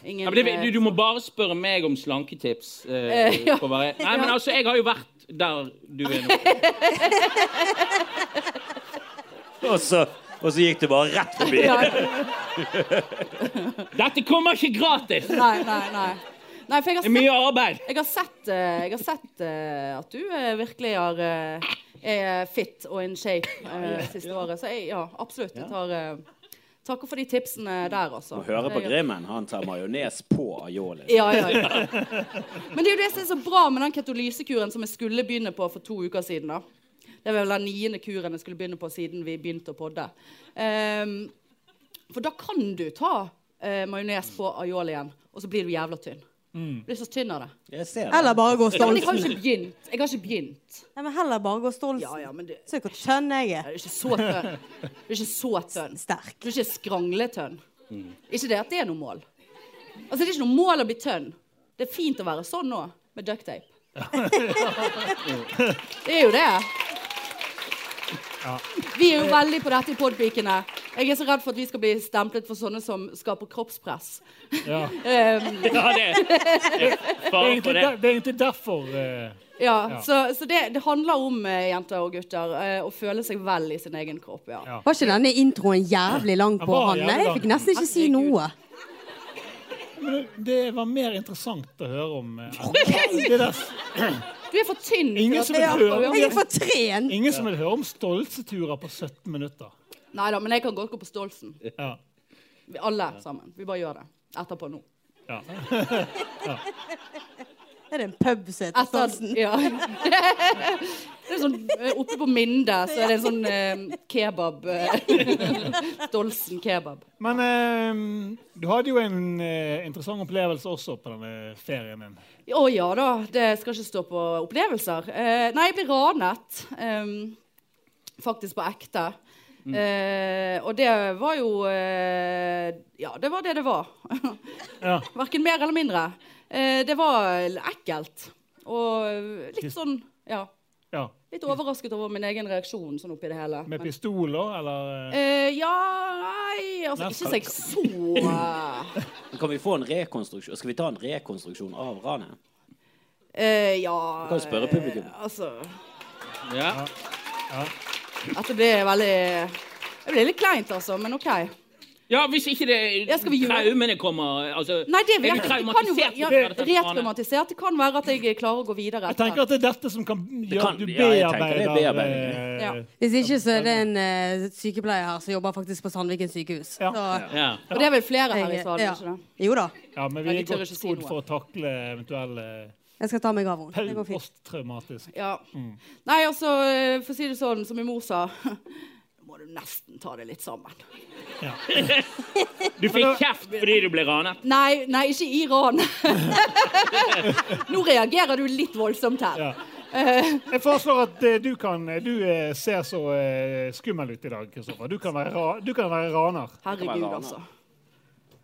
[SPEAKER 3] Ingen,
[SPEAKER 2] Ja, men det,
[SPEAKER 3] eh,
[SPEAKER 2] du, du må bare spørre meg om slanketips. eh,
[SPEAKER 3] Eh, ja.
[SPEAKER 2] på hva jeg- Nei, men altså, jeg har jo vært der du er nå.
[SPEAKER 5] Og så, og så gikk du bare rett forbi.
[SPEAKER 3] *laughs* ja,
[SPEAKER 2] Dette kommer ikke gratis! Det
[SPEAKER 3] Nei, nei, nei. Nei, for jeg har
[SPEAKER 2] er mye arbeid.
[SPEAKER 3] Jeg har sett, eh, jeg har sett eh, at du eh, virkelig har, eh, er fit og in shape eh, siste året. Så jeg, ja, absolutt. Jeg tar, eh, Takker for de tipsene der, altså.
[SPEAKER 5] Må høre på
[SPEAKER 3] Det er-
[SPEAKER 5] Grimmen. Han tar majones på aiolien.
[SPEAKER 3] Ja, ja, ja. Men det er jo det som er så bra med den ketolysekuren som jeg skulle begynne på for to uker siden. da. Det var vel den niende kuren jeg skulle begynne på siden vi begynte å podde. Ehm, for da kan du ta uh, majones på aioli igjen, og så blir du jævla tynn. Du blir så tynn av det.
[SPEAKER 5] Jeg ser det.
[SPEAKER 4] Eller bare gå
[SPEAKER 3] Ja, men jeg har jo
[SPEAKER 4] Stolsen.
[SPEAKER 3] ikke begynt. Jeg har ikke begynt.
[SPEAKER 4] Nei, men heller bare gå Stolsen.
[SPEAKER 3] Ja, ja, men du, du
[SPEAKER 4] Se hvor tønn jeg er.
[SPEAKER 3] er ikke så tønn. Du er ikke så tønn.
[SPEAKER 4] Sterk.
[SPEAKER 3] Du er ikke skrangletønn. Ikke det at det er noe mål. Altså, det er ikke noe mål å bli tønn. Det er fint å være sånn nå, med duct *laughs* tape. det er jo det. Vi er jo veldig på dette i podpikene. Jeg er så redd for at vi skal bli stemplet for sånne som skaper kroppspress.
[SPEAKER 1] Ja.
[SPEAKER 3] Um,
[SPEAKER 2] Ja, det jeg Bare
[SPEAKER 1] Egentlig
[SPEAKER 2] for det.
[SPEAKER 1] der, det er egentlig derfor eh,
[SPEAKER 3] ja,
[SPEAKER 1] Ja.
[SPEAKER 3] Så, så det, det handler om, eh, jenter og gutter, eh, å føle seg vel i sin egen kropp. ja.
[SPEAKER 4] Var ikke denne introen jævlig lang på
[SPEAKER 1] var
[SPEAKER 4] han? Nei, jeg
[SPEAKER 1] jævlig
[SPEAKER 4] fikk
[SPEAKER 1] lang.
[SPEAKER 4] nesten ikke si
[SPEAKER 3] Herregud.
[SPEAKER 4] noe.
[SPEAKER 1] Men det var mer interessant å høre om. eh, *laughs* Det der,
[SPEAKER 3] Du er for tynn. til
[SPEAKER 1] Ingen
[SPEAKER 3] at-
[SPEAKER 1] som vil høre.
[SPEAKER 4] Jeg er for tren.
[SPEAKER 1] ingen som vil høre om stolseturer på 17 minutter.
[SPEAKER 3] Nei da, men jeg kan godt gå på Stolsen.
[SPEAKER 1] Ja.
[SPEAKER 3] Vi alle sammen. Vi bare gjør det. Etterpå nå.
[SPEAKER 1] Ja.
[SPEAKER 4] Er det en pub som heter
[SPEAKER 3] Etter,
[SPEAKER 4] Stolsen?
[SPEAKER 3] *laughs* ja. Det er sånn, eh, oppe på Minde så er det en sånn eh, kebab. eh, *laughs* Stolsen kebab.
[SPEAKER 1] Men eh, du hadde jo en eh, interessant opplevelse også på denne ferien din.
[SPEAKER 3] Å ja da, det skal ikke stå på opplevelser. Eh, nei, jeg ble ranet. em, faktisk på ekte. Eh, og det var jo eh, Ja, det var det det var.
[SPEAKER 1] Ja.
[SPEAKER 3] Verken mer eller mindre. Eh, det var ekkelt. Og litt sånn Ja.
[SPEAKER 1] Ja.
[SPEAKER 3] Litt overrasket over min egen reaksjon sånn oppi det hele.
[SPEAKER 1] Med
[SPEAKER 3] Men,
[SPEAKER 1] pistoler, eller? eh,
[SPEAKER 3] Eh, ja Nei, altså ikke så jeg så eh,
[SPEAKER 5] Men Kan vi få en rekonstruksjon? Skal vi ta en rekonstruksjon av ranet?
[SPEAKER 3] eh, Ja
[SPEAKER 5] Du kan jo spørre publikum.
[SPEAKER 3] eh, Altså
[SPEAKER 2] Ja.
[SPEAKER 3] At det ble veldig Det ble litt kleint, altså, men OK.
[SPEAKER 2] ja, hvis ikke det
[SPEAKER 3] Ja, skal vi gjøre-
[SPEAKER 2] traumene kommer altså,
[SPEAKER 3] Nei, det vet
[SPEAKER 2] Er
[SPEAKER 3] jeg
[SPEAKER 2] du
[SPEAKER 3] ikke. Det kan jo
[SPEAKER 2] traumatisert?
[SPEAKER 3] være- ja,
[SPEAKER 2] etter dette ranet?
[SPEAKER 3] retraumatisert. Det kan være at jeg klarer å gå videre.
[SPEAKER 1] Jeg tenker at det er dette som kan gjøre
[SPEAKER 5] kan-
[SPEAKER 1] at du
[SPEAKER 5] ja, jeg tenker det er
[SPEAKER 1] bearbeider
[SPEAKER 5] bearbeiding.
[SPEAKER 1] eh,
[SPEAKER 3] Ja.
[SPEAKER 4] Hvis ikke, så er det en eh, sykepleier her som jobber faktisk på Sandviken sykehus.
[SPEAKER 1] Ja.
[SPEAKER 4] Så-
[SPEAKER 2] Ja.
[SPEAKER 3] Og det er vel flere her i
[SPEAKER 4] Jeg-
[SPEAKER 3] salen,
[SPEAKER 4] ja.
[SPEAKER 3] ikke det?
[SPEAKER 4] Jo da.
[SPEAKER 1] ja, men
[SPEAKER 3] Nei,
[SPEAKER 1] vi
[SPEAKER 3] de
[SPEAKER 1] er
[SPEAKER 3] tør
[SPEAKER 1] godt
[SPEAKER 3] ikke si
[SPEAKER 1] skodd
[SPEAKER 3] noe.
[SPEAKER 1] for å takle eventuelle
[SPEAKER 4] Jeg skal ta meg av henne. Det går fint.
[SPEAKER 1] posttraumatisk
[SPEAKER 3] Ja. Nei, altså, eh, for å si det sånn, som min mor sa *laughs* Nå må du nesten ta det litt sammen.
[SPEAKER 2] Du fikk kjeft fordi du ble ranet.
[SPEAKER 3] Nei, nei, ikke i *laughs* Iran. Nå reagerer du litt voldsomt her.
[SPEAKER 1] Ja. Jeg foreslår at eh, du kan Du eh, ser så eh, skummel ut i dag, Kristoffer. Du kan være, ra du kan være raner.
[SPEAKER 5] Det kan
[SPEAKER 3] Herregud,
[SPEAKER 5] være
[SPEAKER 3] altså.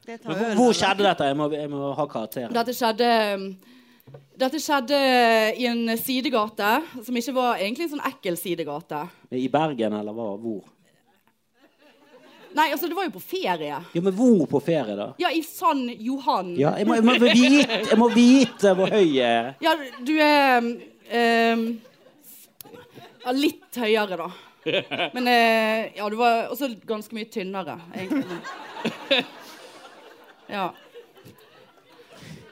[SPEAKER 4] Det tar
[SPEAKER 5] Hvor,
[SPEAKER 4] øl,
[SPEAKER 5] hvor
[SPEAKER 4] eller?
[SPEAKER 5] skjedde dette? Jeg må, jeg må ha karakter.
[SPEAKER 3] Dette skjedde dette skjedde i en sidegate, som ikke var egentlig en sånn ekkel sidegate.
[SPEAKER 5] I Bergen, eller hva? Hvor?
[SPEAKER 3] Nei, altså, det var jo på ferie.
[SPEAKER 5] Ja, men hvor på ferie, da?
[SPEAKER 3] Ja, i San Johan.
[SPEAKER 5] Ja, jeg må, jeg må vite, jeg må vite hvor høy jeg er.
[SPEAKER 3] Ja, du er ehm, ja, Litt høyere, da. Men eh, ja, du var også ganske mye tynnere, egentlig. Ja.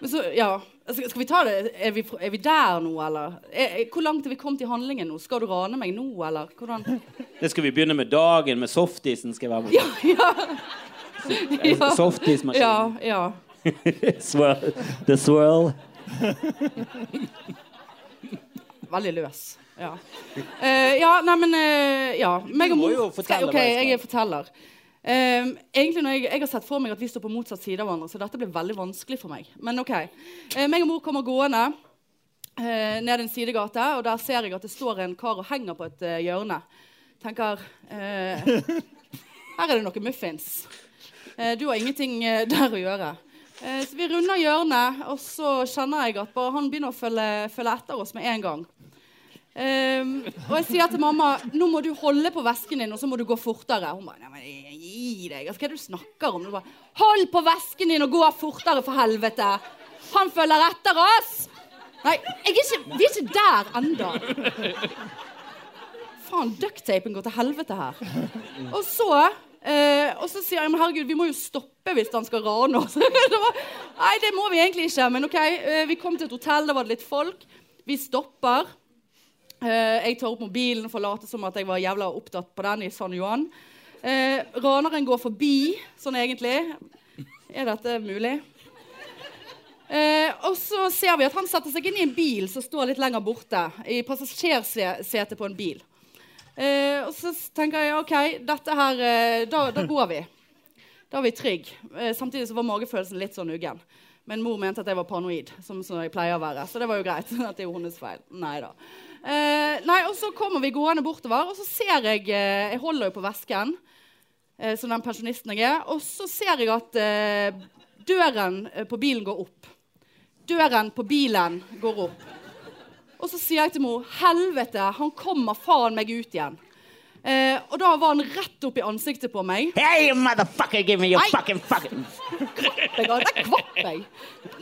[SPEAKER 3] Men så, ja Altså, Skal vi ta det? Er vi, er vi der nå, eller? Er, er- hvor langt er vi kommet i handlingen nå? Skal du rane meg nå, eller? Hvordan?
[SPEAKER 5] Det skal vi begynne med dagen, med softisen skal jeg være med.
[SPEAKER 3] Ja, ja. ja.
[SPEAKER 5] Softismaskin.
[SPEAKER 3] Ja, ja.
[SPEAKER 5] *laughs* Swirl. The swirl.
[SPEAKER 3] Veldig løs. Ja. Eh, ja, nei, men eh, Ja. Meg og
[SPEAKER 5] må
[SPEAKER 3] mor
[SPEAKER 5] jo fortelle
[SPEAKER 3] OK,
[SPEAKER 5] hva jeg skal.
[SPEAKER 3] jeg er forteller. Ehm, egentlig når jeg, jeg har sett for meg at vi står på motsatt side av hverandre, så dette blir veldig vanskelig for meg. Men OK. Eh, meg og mor kommer gående eh, ned en sidegate, og der ser jeg at det står en kar og henger på et eh, hjørne. Tenker eh, Her er det noe muffins. Eh, du har ingenting eh, der å gjøre. Eh, så vi runder hjørnet, og så kjenner jeg at bare han begynner å følge, følge etter oss med en gang. Ehm, og jeg sier til mamma nå må du holde på vesken din, og så må du gå fortere. Hun bare nei, men gi deg, altså, hva er det du snakker om? Du bare, Hold på vesken din og gå fortere, for helvete! Han følger etter oss! Nei, jeg er ikke, vi er ikke der ennå. Faen, ducktapen går til helvete her. Og så eh, og så sier jeg men herregud, vi må jo stoppe hvis han skal rane oss. *laughs* Det var- Nei, det må vi egentlig ikke. Men OK, eh, vi kom til et hotell, der var det litt folk. Vi stopper. Eh, jeg tar opp mobilen for å late som at jeg var jævla opptatt på den i San Juan. Eh, raneren går forbi, sånn egentlig. Er dette mulig? Eh, og så ser vi at han setter seg inn i en bil som står litt lenger borte. I passasjersetet på en bil. Eh, og så tenker jeg OK, dette her eh, Da, da går vi. Da er vi trygge. Eh, samtidig så var magefølelsen litt sånn uggen. Men mor mente at jeg var paranoid, som, som jeg pleier å være. Så det var jo greit. *laughs* at det er jo hennes feil. Neida. Eh, nei, og så kommer vi gående bortover, og så ser jeg eh, Jeg holder jo på vesken, eh, som den pensjonisten jeg er. Og så ser jeg at eh, døren eh, på bilen går opp. Døren på bilen går opp. Og så sier jeg til mor Helvete, han kommer faen meg ut igjen. Eh, og da var han rett opp i ansiktet på meg.
[SPEAKER 5] Hey, you motherfucker, give me your
[SPEAKER 3] Nei.
[SPEAKER 5] fucking fucking
[SPEAKER 3] Jeg hadde- Der kvapp jeg.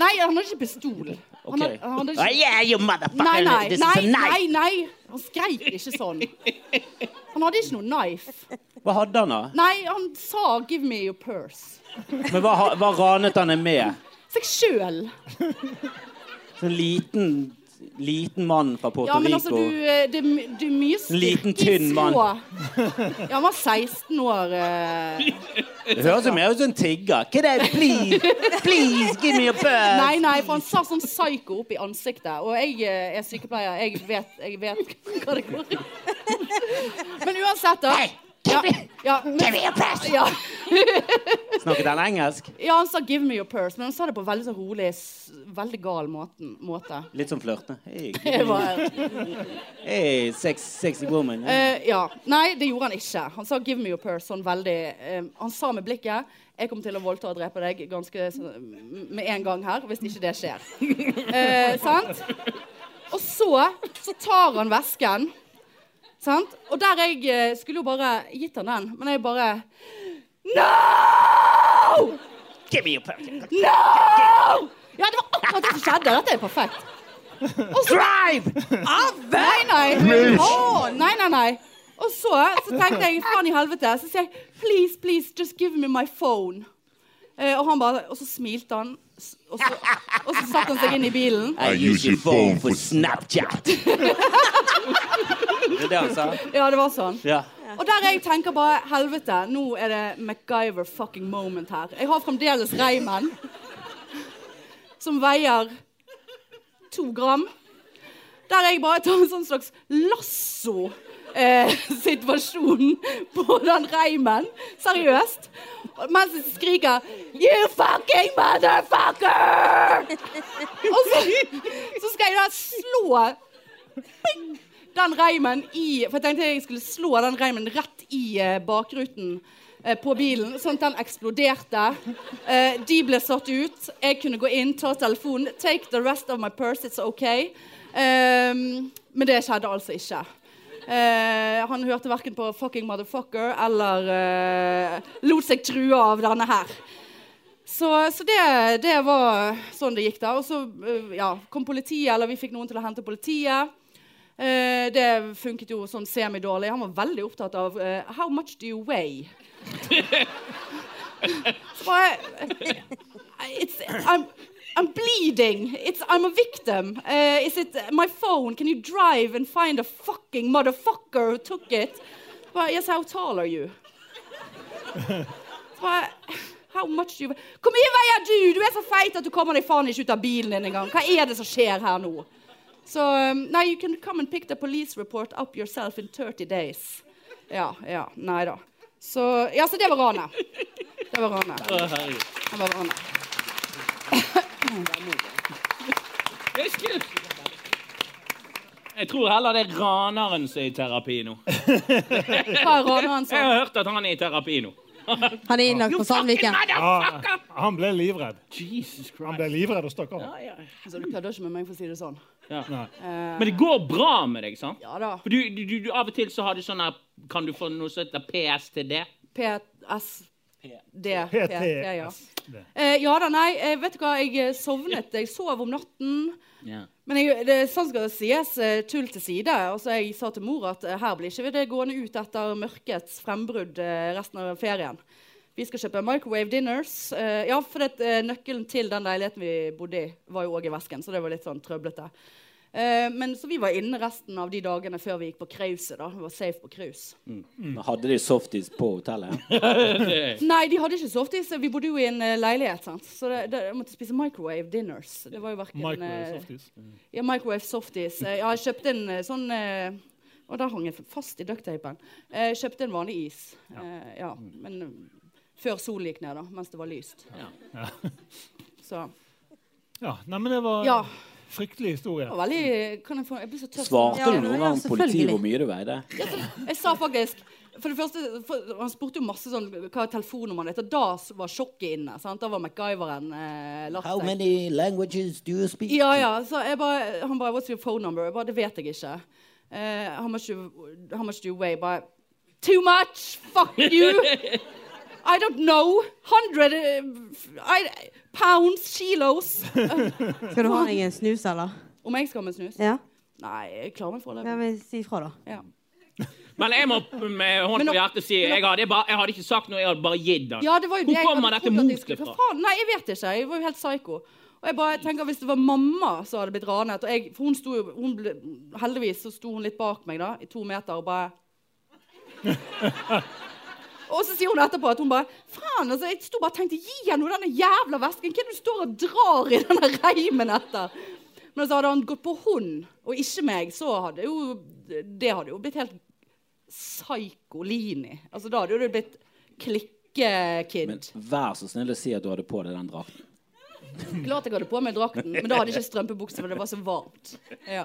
[SPEAKER 3] Nei, han hadde ikke pistol. Han hadde, han hadde
[SPEAKER 5] oh,
[SPEAKER 3] ikke...
[SPEAKER 5] Yeah, you motherfucker,
[SPEAKER 3] Nei, nei,
[SPEAKER 5] this
[SPEAKER 3] nei,
[SPEAKER 5] is a knife.
[SPEAKER 3] nei, nei. Han skreik ikke sånn. Han hadde ikke noe knife.
[SPEAKER 5] Hva hadde han, da?
[SPEAKER 3] Nei, han sa 'give me your purse'.
[SPEAKER 5] Men hva, ha- hva ranet han med?
[SPEAKER 3] Seg sjøl.
[SPEAKER 5] En liten, liten mann fra Puerto
[SPEAKER 3] Ja, men altså,
[SPEAKER 5] Rico.
[SPEAKER 3] du, eh, det, er my- det er mye styrke
[SPEAKER 5] liten,
[SPEAKER 3] i
[SPEAKER 5] tynn mann.
[SPEAKER 3] små- Ja, han var 16 år. eh.
[SPEAKER 5] Det høres jo mer ut som en tigger. Hva er det? Please, please, give me your purse.
[SPEAKER 3] Nei, nei, for han sa sånn psyko opp i ansiktet. Og jeg eh, er sykepleier. Jeg vet, jeg vet *laughs* hva det går i. Men uansett, da. Ja, ja,
[SPEAKER 5] Give
[SPEAKER 3] men,
[SPEAKER 5] me your purse.
[SPEAKER 3] ja.
[SPEAKER 5] Snakket han engelsk?
[SPEAKER 3] Ja, han sa 'give me your purse', men han sa det på veldig sånn rolig, s- veldig gal måten, måte.
[SPEAKER 5] Litt som flørtende. Hey, give
[SPEAKER 3] Det
[SPEAKER 5] me-
[SPEAKER 3] var,
[SPEAKER 5] hey, sex, sexy woman.
[SPEAKER 3] eh, ja. Nei, det gjorde han ikke. Han sa 'give me your purse' sånn veldig eh, Han sa med blikket 'jeg kommer til å voldta og drepe deg ganske så- m- med en gang her', hvis ikke det skjer.
[SPEAKER 5] *laughs*
[SPEAKER 3] Eh, sant? Og så, så tar han vesken. Sant? Og der jeg eh, skulle jo bare gitt han den, men jeg bare No!
[SPEAKER 5] Give me your purse.
[SPEAKER 3] No! Ja, det var akkurat det som skjedde. Dette er perfekt. Og så
[SPEAKER 5] Drive!
[SPEAKER 3] Nei, nei. Åh, nei, nei, nei. Og så, så tenkte jeg faen i helvete. Så sier jeg please, please, just give me my phone. Eh, og han bare, og så smilte han. s- Og så, og så satte han seg inn i bilen.
[SPEAKER 5] I use your phone for Snapchat. det er *laughs* det han sa?
[SPEAKER 3] Ja, det var sånn.
[SPEAKER 5] Ja.
[SPEAKER 3] Og der jeg tenker bare Helvete, nå er det MacGyver fucking moment her. Jeg har fremdeles reimen. Som veier to gram. Der jeg bare tar en sånn slags lasso-situasjon på den reimen. Seriøst. Og Mens jeg skriker 'You fucking motherfucker!' Og så, så skal jeg da slå den reimen i For jeg tenkte jeg skulle slå den reimen rett i eh, bakruten eh, på bilen, sånn at den eksploderte. Eh, de ble satt ut. Jeg kunne gå inn, ta telefonen. Take the rest of my purse, it's okay. Ehm, men det skjedde altså ikke. Eh, han hørte verken på 'fucking motherfucker' eller eh, lot seg true av denne her. Så, så det, det var sånn det gikk, da. Og så eh, ja, kom politiet, eller vi fikk noen til å hente politiet. Eh, det funket jo sånn semidårlig. Han var veldig opptatt av eh, How much do you weigh? Så bare eh, It's I'm, I'm bleeding. It's, I'm a victim. Eh, is it my phone? Can you drive and find a fucking motherfucker who took it? Bare, yes, how tall are you? Så bare, How much do you weigh? Hvor mye veier du? Du er så feit at du kommer deg faen ikke ut av bilen din engang. Hva er det som skjer her nå? Så um, Nei, you can come and pick the police report up yourself in 30 days. Ja, ja. Nei da. Så Ja, så det var ranet. Det var ranet. Det var ranet.
[SPEAKER 2] Jeg skulle- Jeg tror heller det er raneren som er i terapi nå.
[SPEAKER 3] Hva er ranet hans?
[SPEAKER 2] Jeg har hørt at han er i terapi nå.
[SPEAKER 4] Han er innlagt på Sandviken.
[SPEAKER 1] Ja, Ah, han ble livredd.
[SPEAKER 2] Ah. Jesus
[SPEAKER 1] Han
[SPEAKER 2] Christ.
[SPEAKER 1] ble livredd og stakk av.
[SPEAKER 3] Altså, du kødder ikke med meg, for å si det sånn.
[SPEAKER 2] Men det går bra med deg, sant?
[SPEAKER 3] Ja da.
[SPEAKER 2] For du, du, du, du, av og til så har du sånn her Kan du få noe som heter PSTD?
[SPEAKER 3] PSD. PT, ja.
[SPEAKER 1] PTS.
[SPEAKER 3] Eh, ja da, nei, eh, vet du hva, jeg eh, sovnet. Jeg sov om natten.
[SPEAKER 2] Ja.
[SPEAKER 3] Men jeg, det, sånn skal det sies, eh, tull til side. Altså, jeg sa til mor at eh, her blir ikke vi det gående ut etter mørkets frembrudd eh, resten av ferien. Vi skal kjøpe microwave dinners. Eh, ja, for det, eh, nøkkelen til den leiligheten vi bodde i, var jo òg i vesken, så det var litt sånn trøblete. Eh, men så vi var inne resten av de dagene før vi gikk på krauset. da. Vi var safe på kraus.
[SPEAKER 5] Hadde de softis på hotellet?
[SPEAKER 3] Nei, de hadde ikke softis. Vi bodde jo i en eh, leilighet, sant? så det, det, jeg måtte spise microwave dinners. Det var jo hverken,
[SPEAKER 1] Microwave
[SPEAKER 3] eh,
[SPEAKER 1] softis.
[SPEAKER 3] Ja, Microwave softies. Eh, Ja, jeg kjøpte en eh, sånn eh, Og der hang jeg fast i ducktapen. Eh, kjøpte en vanlig is. Eh, ja, men eh, før solen gikk ned, da. Mens det var lyst. Så
[SPEAKER 1] Ja, nei, men det var
[SPEAKER 3] Ja.
[SPEAKER 1] fryktelig historie.
[SPEAKER 3] det var veldig Kan jeg få Jeg blir så tørst.
[SPEAKER 5] Svarte
[SPEAKER 4] Ja,
[SPEAKER 5] du noen
[SPEAKER 4] ja,
[SPEAKER 5] gang politiet
[SPEAKER 4] selvfølgelig.
[SPEAKER 5] hvor mye du veide?
[SPEAKER 3] Jeg sa faktisk for det første, for, Han spurte jo masse sånn hva er telefonnummeret ditt, og da s- var sjokket inne. sant? Da var MacGyveren eh, lagt
[SPEAKER 5] How
[SPEAKER 3] seg.
[SPEAKER 5] many languages do you speak?
[SPEAKER 3] Ja, ja. Så jeg bare, han bare What's your phone number? Jeg bare, Det vet jeg ikke. Eh, how, much you, how much do you weigh? Bare Too much! Fuck you! I don't know. 100 eh, I, pounds, kilos.
[SPEAKER 4] Skal du ha deg en snus, eller?
[SPEAKER 3] Om jeg skal ha meg snus?
[SPEAKER 4] Ja.
[SPEAKER 3] Nei, jeg klarer meg
[SPEAKER 4] ja
[SPEAKER 3] foreløpig.
[SPEAKER 4] men si ifra, da.
[SPEAKER 3] Ja.
[SPEAKER 2] Men jeg
[SPEAKER 3] *laughs*
[SPEAKER 2] må med hånd
[SPEAKER 3] Men
[SPEAKER 2] på
[SPEAKER 3] nå-
[SPEAKER 2] hjertet si
[SPEAKER 3] men nå-
[SPEAKER 2] jeg hadde, bare, jeg hadde ikke sagt noe, jeg hadde bare gitt den.
[SPEAKER 3] ja, det var jo det jeg
[SPEAKER 2] Hvor kommer
[SPEAKER 3] hadde
[SPEAKER 2] dette
[SPEAKER 3] trodd at jeg
[SPEAKER 2] motet
[SPEAKER 3] skulle-
[SPEAKER 2] fra?
[SPEAKER 3] Hva faen? Nei, jeg vet ikke. Jeg var jo helt psyko. Og jeg bare tenker, Hvis det var mamma som hadde blitt ranet og jeg, for hun sto, jo- hun ble, Heldigvis så sto hun litt bak meg, da, i to meter, og bare Og så sier hun etterpå at hun bare Faen, altså, jeg sto bare og tenkte Gi henne den jævla vesken! Hva er det du står og drar i denne reimen etter? Men så hadde han gått på hun, og ikke meg, så hadde jo Det hadde jo blitt helt psykolini. Altså, da hadde jo det blitt klikke-kid.
[SPEAKER 5] Men vær så snill å si at du hadde på deg den drakten.
[SPEAKER 3] Klart jeg hadde på meg drakten, men da hadde jeg ikke strømpebukse, for det var så varmt. Ja,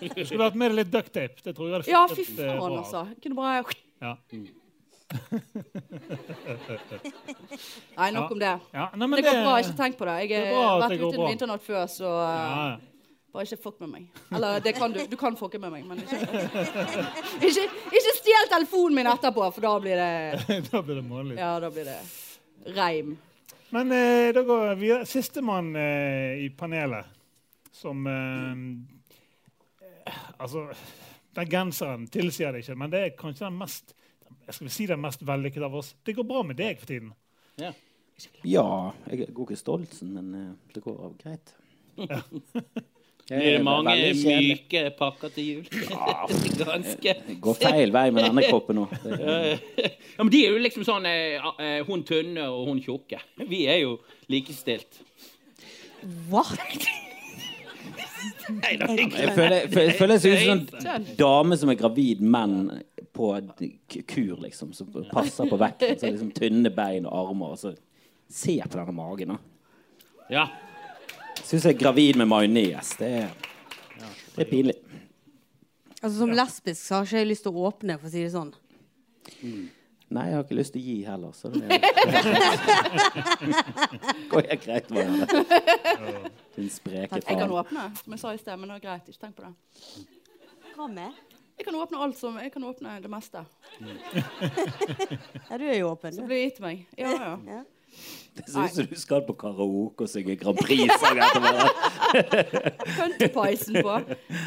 [SPEAKER 1] Du skulle hatt med deg litt ducktape. Det tror jeg hadde
[SPEAKER 3] ja fy
[SPEAKER 1] flyttet, eh,
[SPEAKER 3] faen,
[SPEAKER 1] bra.
[SPEAKER 3] altså. Jeg Kunne bare
[SPEAKER 1] Ja.
[SPEAKER 3] Nei, nok om det.
[SPEAKER 1] Ja, nei, men
[SPEAKER 3] Det går bra, ikke tenk på det. Jeg
[SPEAKER 1] det er
[SPEAKER 3] har
[SPEAKER 1] bra at
[SPEAKER 3] vært
[SPEAKER 1] det går
[SPEAKER 3] ute
[SPEAKER 1] bra.
[SPEAKER 3] på internett før, så eh,
[SPEAKER 1] Ja, *laughs*
[SPEAKER 3] bare ikke fuck med meg. Eller det kan du. Du kan fucke med meg, men ikke Ikke, ikke stjel telefonen min etterpå, for da blir det
[SPEAKER 1] da blir det månedlig.
[SPEAKER 3] Ja, da blir det reim.
[SPEAKER 1] Men eh, da går vi videre. Sistemann eh, i panelet som eh, eh, Altså, den genseren tilsier det ikke, men det er kanskje den mest jeg skal vel si den mest vellykkede av oss. Det går bra med deg for tiden.
[SPEAKER 5] Ja, jeg går ikke stolt, men eh, det går greit. *laughs* Jeg
[SPEAKER 2] Blir det mange
[SPEAKER 5] veldig kjedelig.
[SPEAKER 2] myke pakker til
[SPEAKER 5] *laughs*
[SPEAKER 2] jul? Ganske.
[SPEAKER 5] Det Går feil vei med denne kroppen nå. Det-
[SPEAKER 2] *laughs* Ja, men de er jo liksom sånn eh, eh, hun tynne og hun tjukke. *laughs* Vi er jo likestilt.
[SPEAKER 4] What?
[SPEAKER 5] Jeg føler, jeg føler, jeg føler jeg ser ut som en
[SPEAKER 3] Tønn.
[SPEAKER 5] dame som er gravid, men på d- k- kur, liksom. Som passer på vekten. Så liksom tynne bein og armer. Og så Se på denne magen, da.
[SPEAKER 2] Ja.
[SPEAKER 5] Syns jeg er gravid med majones. Det, er- det er pinlig.
[SPEAKER 4] Altså, Som lesbisk så har ikke jeg lyst til å åpne, for å si det sånn.
[SPEAKER 5] Nei, jeg har ikke lyst til å gi heller, så det går helt greit med det. Din spreke
[SPEAKER 3] Jeg kan
[SPEAKER 5] faen.
[SPEAKER 3] åpne, som jeg sa i sted, men det er greit. Ikke tenk på det.
[SPEAKER 4] Hva med?
[SPEAKER 3] Jeg kan åpne alt som Jeg kan åpne det meste.
[SPEAKER 4] Ja, du er jo åpen.
[SPEAKER 3] Det
[SPEAKER 4] du.
[SPEAKER 3] blir gitt meg. Ja, ja.
[SPEAKER 5] Det syns du skal på karaoke og synge Grand Prix-sang etterpå.
[SPEAKER 3] Puntypisen på.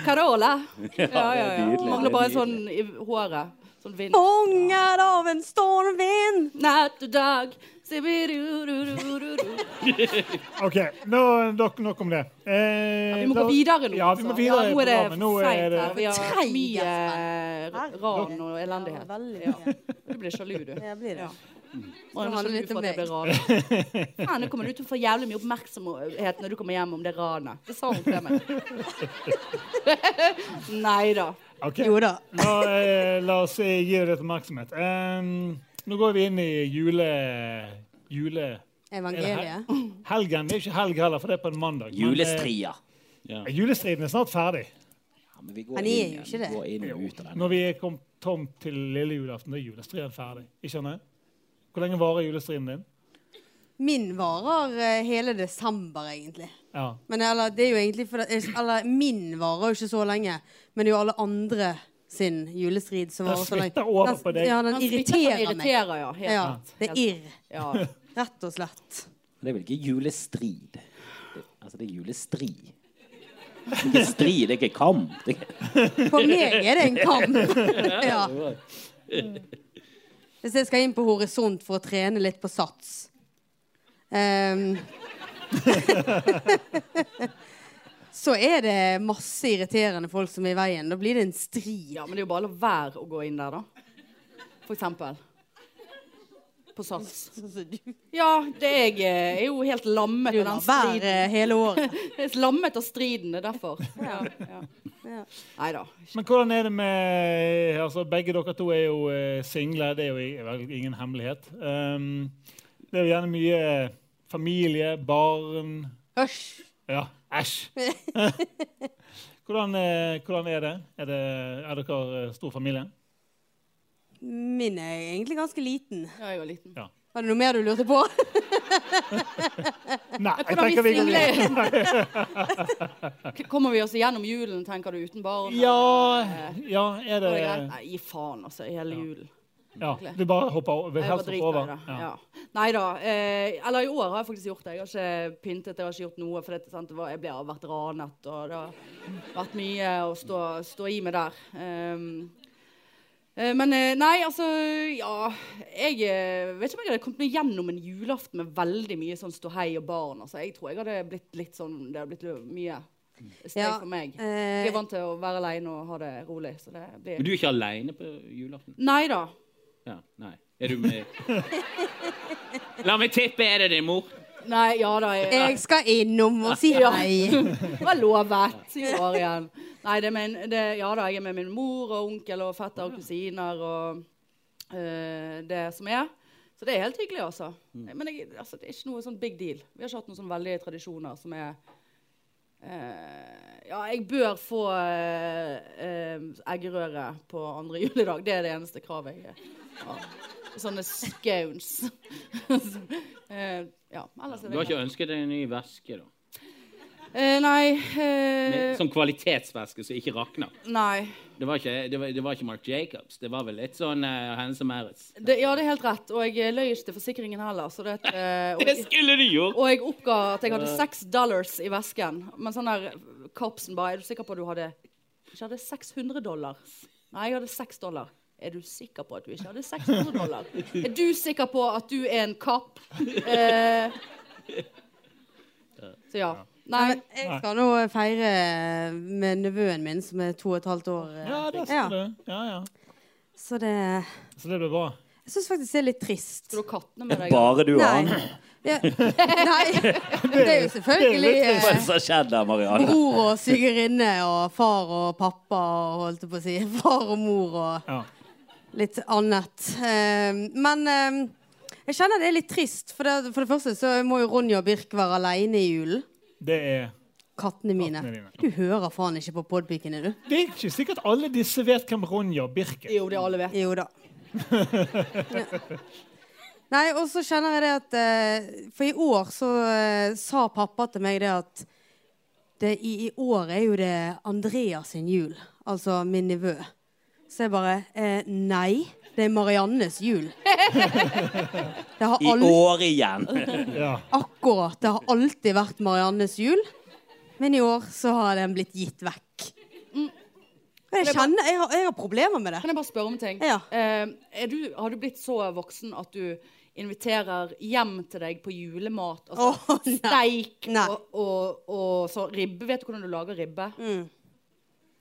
[SPEAKER 3] Carola. Ja, ja, ja.
[SPEAKER 5] nydelig, det
[SPEAKER 3] Mangler
[SPEAKER 5] er
[SPEAKER 3] bare
[SPEAKER 5] nydelig.
[SPEAKER 3] sånn i håret. Sånn vind.
[SPEAKER 4] Fanget av en stormvind.
[SPEAKER 3] Natt og dag. Sibirururururu.
[SPEAKER 1] OK, nå, nok, nok om det. Eh,
[SPEAKER 3] Vi må
[SPEAKER 1] da-
[SPEAKER 3] gå videre nå.
[SPEAKER 1] Ja, vi må
[SPEAKER 3] altså.
[SPEAKER 1] videre. i
[SPEAKER 3] Ja, nå er det
[SPEAKER 1] programmet. Nå
[SPEAKER 3] for
[SPEAKER 1] er
[SPEAKER 3] seint her.
[SPEAKER 1] det
[SPEAKER 3] Vi har
[SPEAKER 4] Treig,
[SPEAKER 3] hatt mye
[SPEAKER 4] Jesper.
[SPEAKER 3] ran og
[SPEAKER 4] Ja,
[SPEAKER 3] elendighet.
[SPEAKER 4] veldig.
[SPEAKER 3] Du blir
[SPEAKER 1] *laughs*
[SPEAKER 3] sjalu, du.
[SPEAKER 4] Jeg blir det.
[SPEAKER 3] Og jeg
[SPEAKER 4] handler
[SPEAKER 3] er sjalu
[SPEAKER 4] litt om
[SPEAKER 3] for at jeg ble ranet. Faen, nå kommer du til å få jævlig mye oppmerksomhet når du kommer hjem om det ranet. Det sa hun til meg. *laughs* Nei da.
[SPEAKER 1] OK.
[SPEAKER 4] Jo da.
[SPEAKER 1] La, eh, la oss eh, gi det litt oppmerksomhet. Em, nå går vi inn i jule... jule...
[SPEAKER 4] Evangeliet.
[SPEAKER 1] Helgen. Det er ikke helg heller, for det er på en mandag. men, eh,
[SPEAKER 5] Julestria.
[SPEAKER 1] Ja, Julestriden er snart ferdig.
[SPEAKER 5] Ja, men vi går
[SPEAKER 4] Men de er
[SPEAKER 5] inn
[SPEAKER 4] jo
[SPEAKER 5] igjen.
[SPEAKER 4] ikke det.
[SPEAKER 5] Går inn og ut av den.
[SPEAKER 1] Når vi er kommet tomt til lille julaften, da er julestriden ferdig. Ikke sant? Hvor lenge varer julestriden din?
[SPEAKER 4] Min varer eh, hele desember, egentlig.
[SPEAKER 1] Ja.
[SPEAKER 4] Men eller, det er jo egentlig for eller, Min varer jo ikke så lenge, men det er jo alle andre sin julestrid som
[SPEAKER 1] Den
[SPEAKER 4] varer så lenge.
[SPEAKER 1] smitter over
[SPEAKER 4] Den-
[SPEAKER 1] på deg.
[SPEAKER 4] Ja, den
[SPEAKER 3] Han smitter, han
[SPEAKER 4] irriterer meg.
[SPEAKER 3] irriterer, ja. Helt.
[SPEAKER 4] Ja, det er
[SPEAKER 3] Helt.
[SPEAKER 4] irr,
[SPEAKER 3] Ja.
[SPEAKER 4] rett og
[SPEAKER 1] *laughs*
[SPEAKER 4] slett.
[SPEAKER 5] Men det er vel ikke julestrid? Det, altså, det er julestri. Det er ikke strid, det er ikke kamp. Det er ikke...
[SPEAKER 4] For meg er det en kamp. *laughs* ja. Hvis jeg skal inn på Horisont for å trene litt på sats ehm, *laughs* så er det masse irriterende folk som er i veien. Da blir det en stri.
[SPEAKER 3] Ja, men det er jo bare å la være å gå inn der, da. For eksempel. På
[SPEAKER 1] *laughs*
[SPEAKER 3] SAS. Ja, det jeg eh, er jo helt lammet av den
[SPEAKER 4] Hver
[SPEAKER 3] striden.
[SPEAKER 4] eh, hele året.
[SPEAKER 3] *laughs* Jeg er lammet av striden, det er derfor. Ja, ja. Nei da.
[SPEAKER 1] Men hvordan er det med altså Begge dere to er jo eh, single, det er jo i- vel ingen hemmelighet. Um, det er jo gjerne mye familie, barn
[SPEAKER 4] Hysj.
[SPEAKER 1] Ja, æsj! *laughs* hvordan, eh, hvordan er det? Er, det, er dere eh, stor familie?
[SPEAKER 4] Min er egentlig ganske liten.
[SPEAKER 3] Ja, jeg var liten.
[SPEAKER 4] Var det noe mer du lurte på?
[SPEAKER 1] Nei, jeg
[SPEAKER 3] Hvordan vi
[SPEAKER 1] tenker vi går videre.
[SPEAKER 3] singler *laughs* Kommer vi oss igjennom julen, tenker du, uten barn?
[SPEAKER 1] Ja, ja, er
[SPEAKER 3] Går
[SPEAKER 1] det
[SPEAKER 3] det greit? Nei, gi faen, altså. Hele julen.
[SPEAKER 1] ja, Du bare hopper over? Vil
[SPEAKER 3] Jeg var
[SPEAKER 1] helst hoppe
[SPEAKER 3] dritlei,
[SPEAKER 1] over?
[SPEAKER 3] da.
[SPEAKER 1] Ja.
[SPEAKER 3] Ja. Nei da. Eh, eller i år har jeg faktisk gjort det. Jeg har ikke pyntet, jeg har ikke gjort noe. For det, sant, det var, jeg ble, har vært ranet, og det har vært mye å stå, stå i med der. Ehm, eh, men eh, nei, altså Ja. Jeg eh, vet ikke om jeg hadde kommet meg gjennom en julaften med veldig mye sånn ståhei og barn. Altså. Jeg tror jeg hadde blitt litt sånn Det hadde blitt mye støy
[SPEAKER 4] Ja,
[SPEAKER 3] for meg.
[SPEAKER 4] eh,
[SPEAKER 3] jeg er vant til å være aleine og ha det rolig. Så det
[SPEAKER 2] Men
[SPEAKER 3] blir
[SPEAKER 2] du er ikke aleine på julaften?
[SPEAKER 3] Nei da.
[SPEAKER 2] Ja, nei. Er du
[SPEAKER 3] *laughs*
[SPEAKER 2] med La meg tippe, er det din mor?
[SPEAKER 3] Nei, ja da. Jeg,
[SPEAKER 4] Jeg skal innom og si hei.
[SPEAKER 3] Det var lovet i år igjen. Nei, det er min, det, ja da, jeg er med min mor og onkel og fetter og kusiner og eh, det som er. Så det er helt hyggelig, altså.
[SPEAKER 2] Mm.
[SPEAKER 3] Men jeg, altså, det er ikke noe sånn big deal. Vi har ikke hatt noen sånn veldige tradisjoner som er eh, Ja, jeg bør få eh, eh, eggerøre på andre juledag. Det er det eneste kravet jeg har. Sånne scones. *laughs* Eh, ja, ellers er
[SPEAKER 2] Du
[SPEAKER 3] det
[SPEAKER 2] har ikke ønsket deg en ny veske, da?
[SPEAKER 3] Eh, Nei. eh,
[SPEAKER 2] Med, som kvalitetsveske som ikke rakner?
[SPEAKER 3] Nei.
[SPEAKER 2] Det var ikke, det var, det var ikke Mark Jacobs. Det var vel litt sånn uh, Hennes og Maritz.
[SPEAKER 3] Det, ja, det er helt rett. Og jeg løy ikke til forsikringen heller. Så det, eh, og,
[SPEAKER 2] Det skulle du gjort!
[SPEAKER 3] og jeg oppga at jeg hadde seks dollars i vesken. Men sånn der kapsen bare Er du sikker på at du hadde ikke hadde 600 dollar? Nei, jeg hadde seks dollar. Er du sikker på at du ikke hadde 600 dollar? Er du sikker på at du er en kapp? Eh, så ja. Nei.
[SPEAKER 4] Men jeg skal nå feire med nevøen min som er to og et halvt år. eh,
[SPEAKER 1] ja, det
[SPEAKER 4] Ja.
[SPEAKER 1] skal du. Ja, ja.
[SPEAKER 4] Så det Jeg
[SPEAKER 1] Så det blir bra.
[SPEAKER 4] syns faktisk det er litt trist.
[SPEAKER 3] Skal du ha kattene med deg?
[SPEAKER 5] Bare du og han.
[SPEAKER 4] Nei. Ja. *laughs* Nei. Det er jo selvfølgelig
[SPEAKER 5] Hva er
[SPEAKER 4] eh,
[SPEAKER 5] det som har skjedd der, Marianne?
[SPEAKER 4] bror og svigerinne og far og pappa og holdt jeg på å si. *laughs* Far og mor og
[SPEAKER 1] Ja.
[SPEAKER 4] litt annet. Eh, Men eh, jeg kjenner det er litt trist. For det, for det første så må jo Ronja og Birk være aleine i julen.
[SPEAKER 1] Det er
[SPEAKER 4] Kattene mine.
[SPEAKER 1] Kattene dine.
[SPEAKER 4] Du hører faen ikke på podpikene, du.
[SPEAKER 1] Det er ikke sikkert alle disse vet hvem Ronja Birk er.
[SPEAKER 3] Jo, det alle vet.
[SPEAKER 4] Jo
[SPEAKER 1] *laughs*
[SPEAKER 4] da. Ja. Nei, og så kjenner jeg det at eh, For i år så eh, sa pappa til meg det at det, i, I år er jo det Andreas sin jul. Altså min nevø. Så jeg bare eh, Nei, det er Mariannes *laughs* jul. Det har
[SPEAKER 5] I
[SPEAKER 4] aldri
[SPEAKER 5] år igjen.
[SPEAKER 1] Ja.
[SPEAKER 4] Akkurat. Det har alltid vært Mariannes jul. Men i år så har den blitt gitt vekk.
[SPEAKER 3] Mm.
[SPEAKER 4] Og Jeg kjenner, jeg har, jeg har problemer med det.
[SPEAKER 3] Kan jeg bare spørre om en ting?
[SPEAKER 4] Ja.
[SPEAKER 3] Eh, er du, har du blitt så voksen at du inviterer hjem til deg på julemat? Altså
[SPEAKER 4] Åh, nei.
[SPEAKER 3] steik
[SPEAKER 4] Nei.
[SPEAKER 3] og, og, og så ribbe. Vet du hvordan du lager ribbe?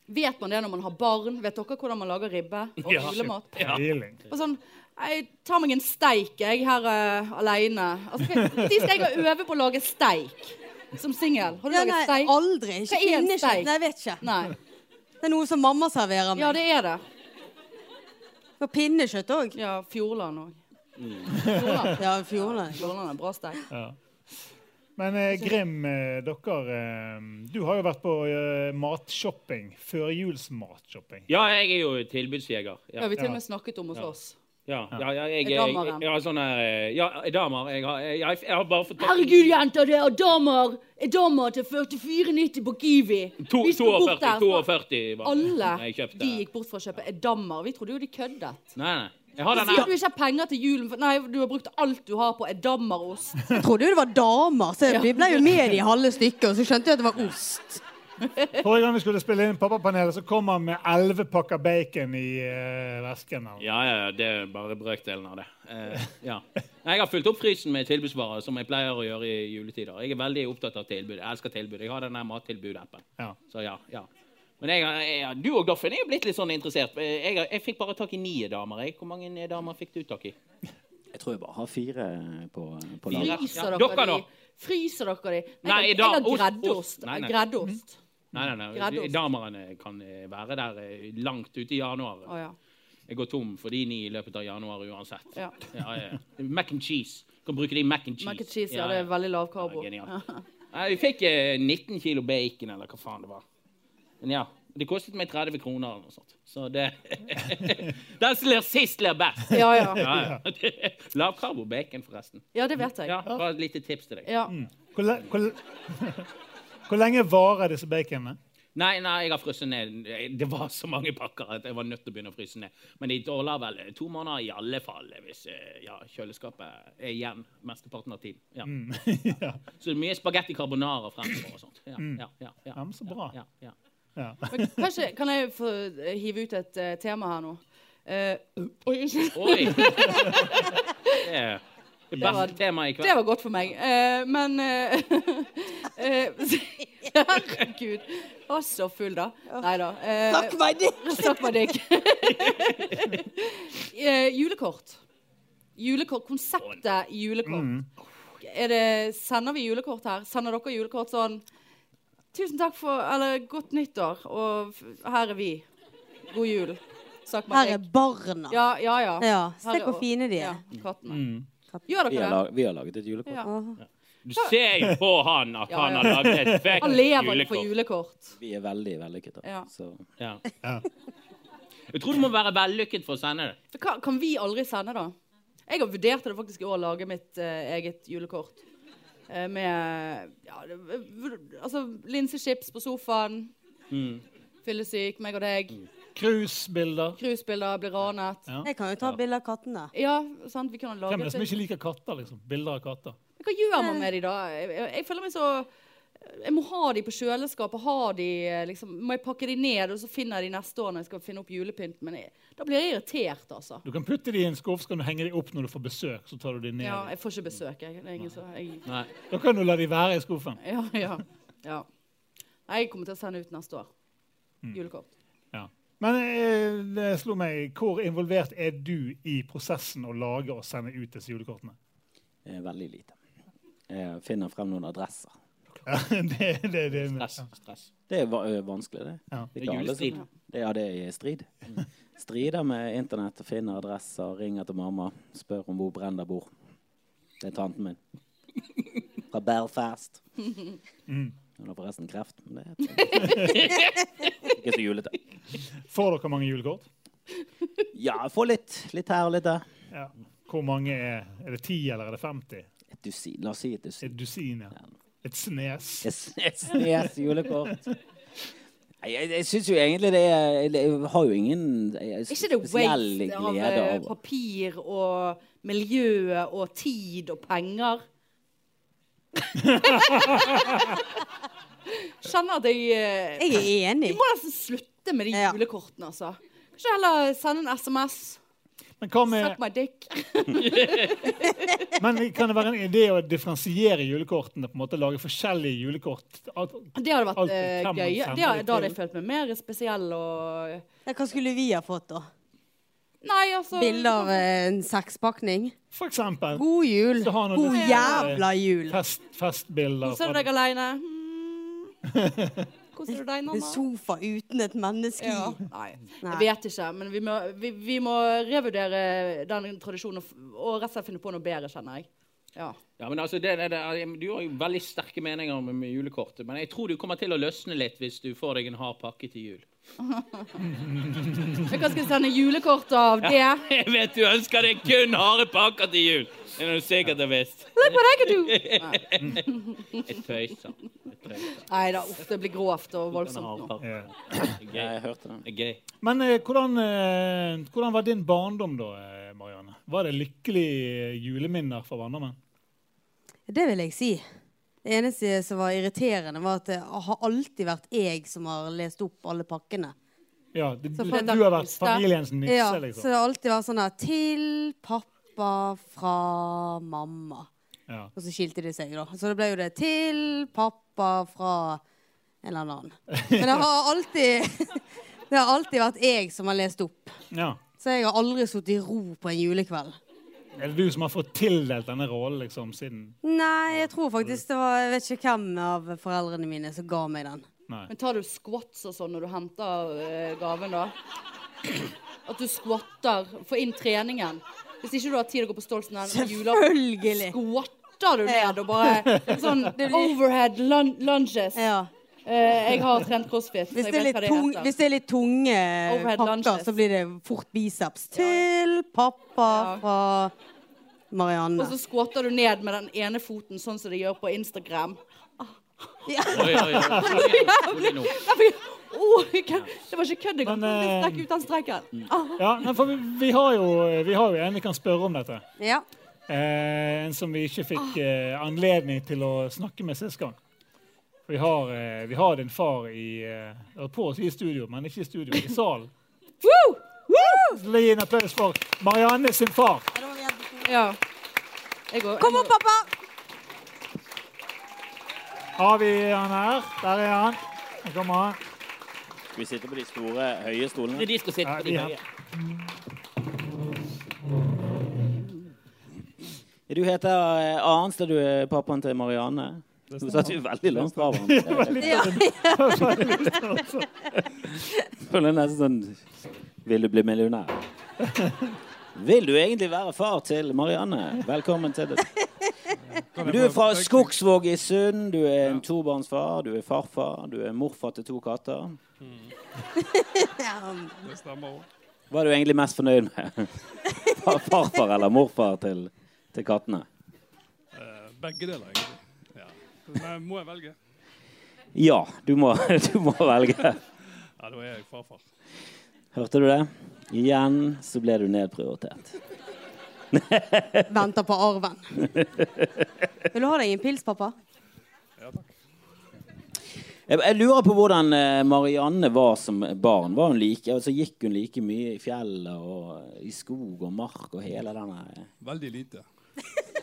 [SPEAKER 3] Vet man det når man har barn? Vet dere hvordan man lager ribbe og
[SPEAKER 2] Ja.
[SPEAKER 3] julemat?
[SPEAKER 1] Peiling.
[SPEAKER 3] Og sånn, jeg tar meg en steik, jeg, her uh, aleine. Altså, hva- de skal jeg øve på å lage steik som singel? Har du
[SPEAKER 4] Ja, nei,
[SPEAKER 3] laget steik?
[SPEAKER 4] aldri. Ikke
[SPEAKER 3] Hva er en
[SPEAKER 4] finner ikke.
[SPEAKER 3] steik?
[SPEAKER 4] Nei, jeg vet ikke.
[SPEAKER 3] Nei.
[SPEAKER 4] Det er noe som mamma serverer meg.
[SPEAKER 3] Ja, det er det.
[SPEAKER 4] Og pinnekjøtt òg.
[SPEAKER 3] Ja, Fjordland òg.
[SPEAKER 4] Ja, fjordland.
[SPEAKER 3] Fjordland er bra steik.
[SPEAKER 1] Men eh, Grim, eh, dere eh, Du har jo vært på eh, matshopping. Førjulsmatshopping.
[SPEAKER 2] Ja, jeg er jo tilbudsjeger.
[SPEAKER 3] Ja,
[SPEAKER 2] Ja,
[SPEAKER 3] vi til og med snakket om hos oss.
[SPEAKER 2] ja, ja, ja jeg, jeg,
[SPEAKER 3] Damer,
[SPEAKER 2] jeg,
[SPEAKER 3] ja.
[SPEAKER 2] jeg har sånne eh, Ja, damer. Jeg har, jeg, jeg, jeg har bare fått
[SPEAKER 3] Herregud, jenter, det er damer! Er damer til 44,90 på Kiwi!
[SPEAKER 2] To-
[SPEAKER 3] Vi skulle bort
[SPEAKER 2] 42,
[SPEAKER 3] der,
[SPEAKER 2] 42 var det.
[SPEAKER 3] Alle
[SPEAKER 2] jeg kjøpte.
[SPEAKER 3] de gikk bort for å kjøpe er dammer. Vi trodde jo de køddet.
[SPEAKER 2] Nei, nei. Jeg har den
[SPEAKER 3] Sier
[SPEAKER 2] her.
[SPEAKER 3] du ikke har penger til julen? for- Nei, du har brukt alt du har på edammerost.
[SPEAKER 4] Jeg trodde jo det var damer, så jeg ble jo med i halve stykket, og så skjønte jeg at det var ost.
[SPEAKER 1] Forrige gang vi skulle spille inn Pappapanelet, så kom han med elleve pakker bacon i eh, vesken. han.
[SPEAKER 2] Ja, ja, ja, det er bare brøkdelen av det. Eh, ja. Nei, Jeg har fulgt opp frysen med tilbudsvarer, som jeg pleier å gjøre i juletider. Jeg er veldig opptatt av tilbud. Jeg elsker tilbud. Jeg har den der mattilbudappen.
[SPEAKER 1] Ja.
[SPEAKER 2] Så ja, ja. Men jeg, har- jeg, du og Doffen er jo blitt litt sånn interessert. Eh, Jeg, har- jeg fikk bare tak i ni damer. Jeg. Hvor mange eh, damer fikk du tak i?
[SPEAKER 5] Jeg tror jeg bare har fire på, på
[SPEAKER 2] Fire?
[SPEAKER 5] laget.
[SPEAKER 3] Fryser
[SPEAKER 2] Ja,
[SPEAKER 3] dere
[SPEAKER 2] dere da?
[SPEAKER 3] de? Fryser dere de? Jeg
[SPEAKER 2] Nei,
[SPEAKER 3] har-
[SPEAKER 2] i dag,
[SPEAKER 3] Jeg har
[SPEAKER 2] ost,
[SPEAKER 3] greddost.
[SPEAKER 2] ost. Nei, Mm. nei.
[SPEAKER 3] Greddost.
[SPEAKER 2] Nei, nei, nei.
[SPEAKER 3] Greddost.
[SPEAKER 2] Damerne kan eh, være der eh, langt ute i januar.
[SPEAKER 3] Å ja.
[SPEAKER 2] Jeg går tom for de ni i løpet av januar uansett.
[SPEAKER 3] Ja.
[SPEAKER 2] Ja, ja. Mac and cheese. Du kan bruke de mac and cheese.
[SPEAKER 3] Mac and cheese, ja. Det er veldig lav karbo.
[SPEAKER 2] Ja, genialt.
[SPEAKER 3] Ja.
[SPEAKER 2] Nei, vi fikk eh, 19 kilo bacon, eller hva faen det var. Men ja, det kostet meg 30 kroner eller noe sånt. Så det *laughs* Den som ler sist, ler best.
[SPEAKER 3] *laughs* Ja, ja.
[SPEAKER 2] Ja, ja. *laughs* Lavkarbo-bacon, forresten.
[SPEAKER 3] ja, det vet
[SPEAKER 2] Ja, Mm.
[SPEAKER 3] jeg.
[SPEAKER 2] Bare et lite tips til deg.
[SPEAKER 3] Ja.
[SPEAKER 1] Hvor, le *laughs* hvor, hvor lenge varer disse baconene? *laughs*
[SPEAKER 2] Nei, nei, jeg har frosset ned. Det var så mange pakker at jeg var nødt til å begynne å fryse ned. Men det holder vel to måneder i alle fall hvis eh, ja, kjøleskapet er igjen mesteparten av tiden. Ja.
[SPEAKER 1] Mm. ja.
[SPEAKER 2] Så det er mye spagetti carbonara fremfor og sånt. Ja, ja, ja,
[SPEAKER 1] Mm. Ja, men så bra.
[SPEAKER 2] Ja, ja, ja.
[SPEAKER 1] Ja.
[SPEAKER 3] Men kanskje kan jeg få eh, hive ut et eh, tema her nå? Eh, oi, unnskyld.
[SPEAKER 2] Oi! *laughs* Det er det
[SPEAKER 3] var-
[SPEAKER 2] beste temaet i
[SPEAKER 3] Det
[SPEAKER 2] kveld.
[SPEAKER 3] var godt for meg. Eh, men eh, *laughs* eh, *laughs* Herregud. Jeg var så full, da. Nei da. Eh,
[SPEAKER 4] Fuck my dick!
[SPEAKER 3] Snakk med deg. *laughs* eh, julekort. Julekort. Konseptet julekort. Er det, sender vi julekort her? Sender dere julekort sånn Tusen takk for Eller godt nyttår, og f- her er vi. God jul. Snakk med
[SPEAKER 4] Her er
[SPEAKER 3] deg.
[SPEAKER 4] barna.
[SPEAKER 3] Ja, ja, ja.
[SPEAKER 4] Ja,
[SPEAKER 3] Her
[SPEAKER 4] Se
[SPEAKER 3] er-
[SPEAKER 4] hvor fine de er.
[SPEAKER 3] Ja, kattene.
[SPEAKER 1] Mm.
[SPEAKER 3] Gjør
[SPEAKER 5] Vi har,
[SPEAKER 3] dere det?
[SPEAKER 5] lag, vi har laget et julekort.
[SPEAKER 3] Ja.
[SPEAKER 4] Åh.
[SPEAKER 2] Du ser jo på han at
[SPEAKER 3] Ja,
[SPEAKER 2] han
[SPEAKER 3] ja.
[SPEAKER 2] har laget et fett
[SPEAKER 3] Han lever for
[SPEAKER 2] julekort.
[SPEAKER 3] julekort.
[SPEAKER 5] Vi er veldig vellykket. da.
[SPEAKER 3] Ja.
[SPEAKER 5] Så
[SPEAKER 2] Ja.
[SPEAKER 1] Ja.
[SPEAKER 2] Jeg tror du må være vellykket for å sende det.
[SPEAKER 3] For hva kan vi aldri sende, da? Jeg har vurdert det faktisk i år å lage mitt eh, eget julekort. Eh, med ja, det, v- altså linsechips på sofaen.
[SPEAKER 1] Mm.
[SPEAKER 3] Fyllesyk, meg og deg.
[SPEAKER 1] Cruisebilder.
[SPEAKER 3] Cruisebilder blir ranet.
[SPEAKER 1] Mm. Ja.
[SPEAKER 4] Jeg kan jo ta bilde av kattene.
[SPEAKER 3] Ja, sant, vi kan lage
[SPEAKER 1] Hvem er det som
[SPEAKER 3] et
[SPEAKER 1] ikke liker katter? liksom? Bilder av katter.
[SPEAKER 3] Hva gjør man med de da? Jeg, jeg, jeg føler meg så Jeg må ha de på kjøleskapet. Ha de, eh, liksom, må jeg pakke de ned, og så finner jeg de neste år når jeg skal finne opp julepynt. Men jeg, da blir jeg irritert, altså.
[SPEAKER 1] Du kan putte de i en skuff, så kan du henge de opp når du får besøk. så tar du de ned.
[SPEAKER 3] Ja, jeg får ikke besøk, jeg. Det er ingen som jeg,
[SPEAKER 2] Nei.
[SPEAKER 1] Da kan du la de være i skuffen.
[SPEAKER 3] Ja, ja. ja. Nei, jeg kommer til å sende ut neste år. Julekort.
[SPEAKER 1] Ja. Men eh, det slo meg, hvor involvert er du i prosessen å lage og sende ut disse julekortene? *laughs*
[SPEAKER 5] eh, veldig lite. Jeg finner frem noen adresser.
[SPEAKER 1] Ja, det, det, det,
[SPEAKER 2] Stress.
[SPEAKER 1] ja.
[SPEAKER 2] stress.
[SPEAKER 5] Det er va ø, vanskelig, det.
[SPEAKER 1] Ja.
[SPEAKER 5] Det
[SPEAKER 2] Det er
[SPEAKER 5] ikke alle som-
[SPEAKER 2] julestrid.
[SPEAKER 5] Det, ja, det er strid. Strider med internett, finner adresser, ringer til mamma, spør om hvor Brenda bor. Det er tanten min. Fra Belfast. Hun har forresten kreft, men det er ikke så julete.
[SPEAKER 1] Får dere mange julekort?
[SPEAKER 5] Ja, jeg får litt. Litt her og litt der.
[SPEAKER 1] Ja. Hvor mange er Er det ti, eller er det 50?
[SPEAKER 5] Et dusin. La oss si et
[SPEAKER 1] Et
[SPEAKER 5] dusin.
[SPEAKER 1] dusin, ja. Et snes.
[SPEAKER 5] Et s-
[SPEAKER 3] *laughs*
[SPEAKER 5] Et snes julekort. Nei, Jeg, jeg syns jo egentlig det er Jeg har jo ingen eh,
[SPEAKER 3] Ikke det
[SPEAKER 5] spesiell
[SPEAKER 3] waste av
[SPEAKER 5] glede
[SPEAKER 3] eh,
[SPEAKER 5] av
[SPEAKER 3] papir og miljøet og tid og penger? *laughs* Skjønner at jeg eh,
[SPEAKER 4] Jeg er enig.
[SPEAKER 3] Du må nesten slutte med de
[SPEAKER 4] Ja.
[SPEAKER 3] julekortene, altså. Kanskje heller sende en SMS.
[SPEAKER 1] Men, hva
[SPEAKER 3] Suck
[SPEAKER 1] med,
[SPEAKER 3] my dick.
[SPEAKER 1] men kan det være en idé å differensiere julekortene? på en måte Lage forskjellige julekort? At-
[SPEAKER 3] Det hadde vært
[SPEAKER 1] Alt
[SPEAKER 3] eh,
[SPEAKER 1] kan man
[SPEAKER 3] gøy.
[SPEAKER 1] sende
[SPEAKER 3] Det hadde,
[SPEAKER 1] det
[SPEAKER 3] da hadde jeg
[SPEAKER 1] til.
[SPEAKER 3] følt meg mer spesiell og
[SPEAKER 4] Ja, Hva skulle vi ha fått, da?
[SPEAKER 3] Nei, altså
[SPEAKER 4] Bilde av eh, en sekspakning?
[SPEAKER 1] For eksempel
[SPEAKER 4] God jul!
[SPEAKER 1] Så har han
[SPEAKER 4] God
[SPEAKER 1] noe-
[SPEAKER 4] jævla jul!
[SPEAKER 1] fest, festbilder.
[SPEAKER 3] Koser du
[SPEAKER 1] fra-
[SPEAKER 3] deg aleine? Hmm. Koser du deg,
[SPEAKER 4] En
[SPEAKER 3] Nanna?
[SPEAKER 4] sofa uten et menneske
[SPEAKER 3] Ja.
[SPEAKER 4] i.
[SPEAKER 3] Nei,
[SPEAKER 4] Nei.
[SPEAKER 3] jeg vet ikke. Men vi må, vi, vi må revurdere den tradisjonen og, f- og rett og slett finne på noe bedre, kjenner jeg. Ja.
[SPEAKER 2] Ja, men altså, det, det, det, Du har jo veldig sterke meninger om med julekortet, men jeg tror du kommer til å løsne litt hvis du får deg en hard pakke til jul. *laughs*
[SPEAKER 3] Men hva skal jeg sende julekort av
[SPEAKER 1] *laughs*
[SPEAKER 3] det?
[SPEAKER 2] Jeg vet du ønsker deg kun harde pakker til jul! Det er noe sikkert og visst.
[SPEAKER 3] Look what I can do!
[SPEAKER 2] Jeg tøyser. Jeg tøyser.
[SPEAKER 3] Nei da, uff, det blir grovt og voldsomt nå.
[SPEAKER 2] Det
[SPEAKER 1] Ja.
[SPEAKER 2] er
[SPEAKER 5] Ja,
[SPEAKER 2] gøy.
[SPEAKER 5] jeg hørte den.
[SPEAKER 2] Det er gøy.
[SPEAKER 1] Men eh, hvordan, eh, hvordan var din barndom da, eh, Marianne? Var det lykkelige juleminner fra barndommen?
[SPEAKER 4] Det vil jeg si. Det eneste som var irriterende, var at det har alltid vært jeg som har lest opp alle pakkene.
[SPEAKER 1] Ja, du, du,
[SPEAKER 4] Så for-
[SPEAKER 1] du har vært familiens nisse,
[SPEAKER 4] Ja, så
[SPEAKER 1] liksom.
[SPEAKER 4] det har alltid vært sånn her Til pappa fra mamma.
[SPEAKER 1] Ja.
[SPEAKER 4] Og så skilte de seg, da. Så det ble jo det til pappa fra en eller annen. Men det har alltid *laughs* Det har alltid vært jeg som har lest opp.
[SPEAKER 1] ja.
[SPEAKER 4] Så jeg har aldri sittet i ro på en julekveld.
[SPEAKER 1] Er det du som har fått tildelt denne rollen, liksom, siden
[SPEAKER 4] Nei, jeg tror faktisk det var Jeg vet ikke hvem av foreldrene mine som ga meg den.
[SPEAKER 1] Nei.
[SPEAKER 3] Men tar du squats og sånn når du henter eh, gaven, da? At du squatter, får inn treningen. Hvis ikke du har tid å gå på Stoltsen eller jula,
[SPEAKER 4] Selvfølgelig.
[SPEAKER 3] squatter du ned og bare *laughs* sånn overhead lun lunges.
[SPEAKER 4] Ja.
[SPEAKER 3] Eh, jeg har trent crossfit, så
[SPEAKER 4] Hvis
[SPEAKER 3] jeg
[SPEAKER 4] det, er
[SPEAKER 3] vet hva
[SPEAKER 4] litt
[SPEAKER 3] det
[SPEAKER 4] tung,
[SPEAKER 3] heter.
[SPEAKER 4] hvis det er litt tunge
[SPEAKER 3] Overhead
[SPEAKER 4] pakker,
[SPEAKER 3] lunges.
[SPEAKER 4] så blir det fort biceps. Til pappa
[SPEAKER 3] Ja.
[SPEAKER 4] fra
[SPEAKER 3] Og
[SPEAKER 4] Marianne.
[SPEAKER 3] så squatter du ned med den ene foten, sånn som de gjør på *laughs* Instagram.
[SPEAKER 2] Oi, oi, oi. Kom igjen, kom igjen nå.
[SPEAKER 3] Åh, jeg kan- det var ikke kødd engang.
[SPEAKER 1] Men,
[SPEAKER 3] Jeg
[SPEAKER 1] eh,
[SPEAKER 3] strekk ut den streken. Ah.
[SPEAKER 1] Ja, nei, for vi, vi, har jo, vi har jo en vi kan spørre om dette.
[SPEAKER 4] Ja.
[SPEAKER 1] Eh, en som vi ikke fikk eh, anledning til å snakke med sist gang. Vi har, eh, vi har din far i, eh, eller på oss i studio, men ikke i studio, i salen.
[SPEAKER 3] Woo! Woo!
[SPEAKER 1] Så Gi en applaus for Marianne sin far.
[SPEAKER 3] Ja. Jeg går.
[SPEAKER 4] Kom opp, pappa!
[SPEAKER 1] Har vi han her? Der er han. Her kommer han.
[SPEAKER 5] Skal vi sitte på de store, høye
[SPEAKER 2] Det
[SPEAKER 5] stolene?
[SPEAKER 2] er de som sitter
[SPEAKER 1] Ja,
[SPEAKER 2] på
[SPEAKER 1] de
[SPEAKER 2] de
[SPEAKER 1] her.
[SPEAKER 2] høye.
[SPEAKER 5] Du heter eh, Arnstad, du er pappaen til Marianne. Nå satt vi veldig langt fra hverandre.
[SPEAKER 4] Ja.
[SPEAKER 5] Jeg Føler nesten sånn Vil du bli millionær? Vil du egentlig være far til Marianne? Velkommen til det. Men Du er fra Skogsvåg i Sund. Du er en tobarnsfar, du er farfar, du er morfar til to katter.
[SPEAKER 6] Det stemmer også.
[SPEAKER 5] Hva er du egentlig mest fornøyd med? Far- Farfar eller morfar til, til kattene?
[SPEAKER 6] Eh, Begge deler, egentlig. Ja. Men må jeg velge?
[SPEAKER 5] Ja, du må, *laughs* du må velge.
[SPEAKER 6] Ja, da er jeg farfar.
[SPEAKER 5] Hørte du det? Igjen så ble du nedprioritert.
[SPEAKER 4] Venter på arven. Vil du ha deg en pils, pappa?
[SPEAKER 6] Ja, takk.
[SPEAKER 5] Jeg, jeg lurer på hvordan eh, Marianne var som barn. Var hun like, altså Gikk hun like mye i fjellet og i skog og mark og hele denne eh.
[SPEAKER 6] Veldig lite.
[SPEAKER 5] *laughs*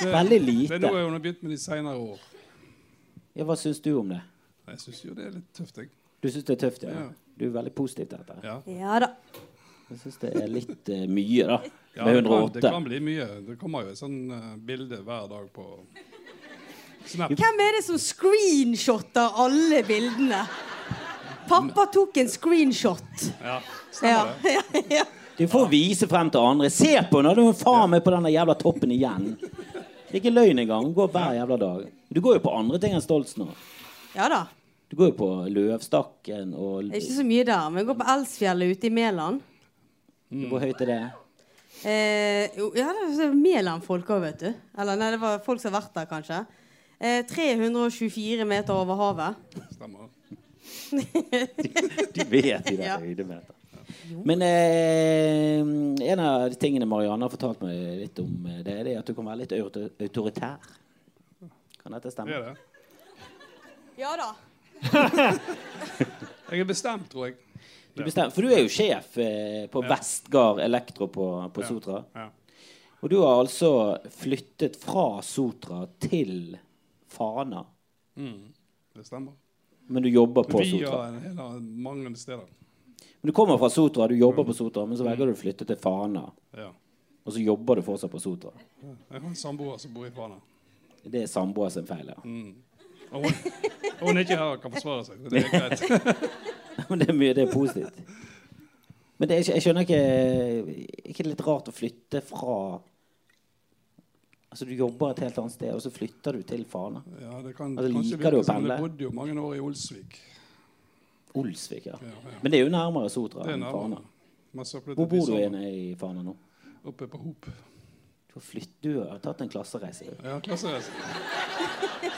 [SPEAKER 5] Veldig
[SPEAKER 6] Det er nå
[SPEAKER 5] lite.
[SPEAKER 6] hun har begynt med de senere år.
[SPEAKER 5] Ja, hva syns du om det?
[SPEAKER 6] Jeg syns jo det er litt tøft, jeg.
[SPEAKER 5] Du syns det er tøft, ja?
[SPEAKER 6] Ja.
[SPEAKER 5] Du er veldig positiv til dette.
[SPEAKER 6] Ja.
[SPEAKER 4] Ja da.
[SPEAKER 5] Jeg syns det er litt eh, mye, da.
[SPEAKER 6] Ja,
[SPEAKER 5] Med
[SPEAKER 6] det kan- Det
[SPEAKER 5] 108.
[SPEAKER 6] kan bli mye. Det kommer jo et sånn eh, bilde hver dag på Snap.
[SPEAKER 4] Hvem er det som screenshotter alle bildene? Pappa tok en screenshot.
[SPEAKER 6] Ja,
[SPEAKER 4] Ja. *laughs*
[SPEAKER 6] stemmer det.
[SPEAKER 4] ja, ja.
[SPEAKER 5] Du får vise frem til andre. Se på henne! Du er faen meg på den jævla toppen igjen. Det er ikke løgn engang. Hun går hver jævla dag. Du går jo på andre ting enn Stoltz nå.
[SPEAKER 4] ja da.
[SPEAKER 5] Du går jo på Løvstakken og
[SPEAKER 4] Det er ikke så mye der. Men jeg går på Elsfjellet ute i Mæland.
[SPEAKER 5] Hvor høyt er det?
[SPEAKER 4] Eh, jo, ja, det er Mæland-folk òg, vet du. Eller nei, det var folk som har vært der, kanskje. Eh, 324 meter over havet.
[SPEAKER 6] stemmer det.
[SPEAKER 5] De vet de der
[SPEAKER 4] Ja.
[SPEAKER 5] høydemeter. Men eh, en av de tingene Marianne har fortalt meg litt om, eh, det er det at du kan være litt auto- autoritær. Kan dette
[SPEAKER 6] Det
[SPEAKER 5] stemme?
[SPEAKER 6] er det.
[SPEAKER 4] Ja da.
[SPEAKER 6] Jeg er bestemt, tror jeg.
[SPEAKER 5] Du bestemmer, for du er jo sjef eh, på Vestgard Elektro på, på Sotra.
[SPEAKER 6] Ja.
[SPEAKER 5] Og du har altså flyttet fra Sotra til Fana.
[SPEAKER 6] Det stemmer.
[SPEAKER 5] Men du jobber på
[SPEAKER 6] Mm. Vi
[SPEAKER 5] Sotra.
[SPEAKER 6] har en hel annen- mange steder.
[SPEAKER 5] Men du kommer fra Sotra, du jobber
[SPEAKER 6] Mm.
[SPEAKER 5] på Sotra, men så velger du å flytte til Fana.
[SPEAKER 6] Ja.
[SPEAKER 5] Og så jobber du fortsatt på Sotra.
[SPEAKER 6] Jeg har en samboer som bor i Fana.
[SPEAKER 5] Det er samboer sin feil, ja.
[SPEAKER 6] Og hun, og hun er ikke her og kan forsvare seg. Det er greit.
[SPEAKER 5] *laughs* Men det er mye, det er positivt. Men det er, ikke- jeg skjønner ikke Ikke det litt rart å flytte fra Altså, du jobber et helt annet sted, og så flytter du til Fana.
[SPEAKER 6] Ja, det kan,
[SPEAKER 5] Altså,
[SPEAKER 6] kanskje
[SPEAKER 5] liker du å
[SPEAKER 6] virke som
[SPEAKER 5] pendle?
[SPEAKER 6] Jeg bodde jo mange år i Olsvik.
[SPEAKER 5] Olsvik, ja.
[SPEAKER 6] Ja, ja.
[SPEAKER 5] Men det er jo nærmere Sotra
[SPEAKER 6] Det sånn. er
[SPEAKER 5] enn
[SPEAKER 6] nærmere.
[SPEAKER 5] Fana.
[SPEAKER 6] Man så flyttet
[SPEAKER 5] Hvor
[SPEAKER 6] vi
[SPEAKER 5] bor du
[SPEAKER 6] sammen
[SPEAKER 5] igjen i Fana nå?
[SPEAKER 6] sånn Oppe på Hop.
[SPEAKER 5] Du har, flytt, du har tatt en klassereise. du.
[SPEAKER 6] Ja, klassereise.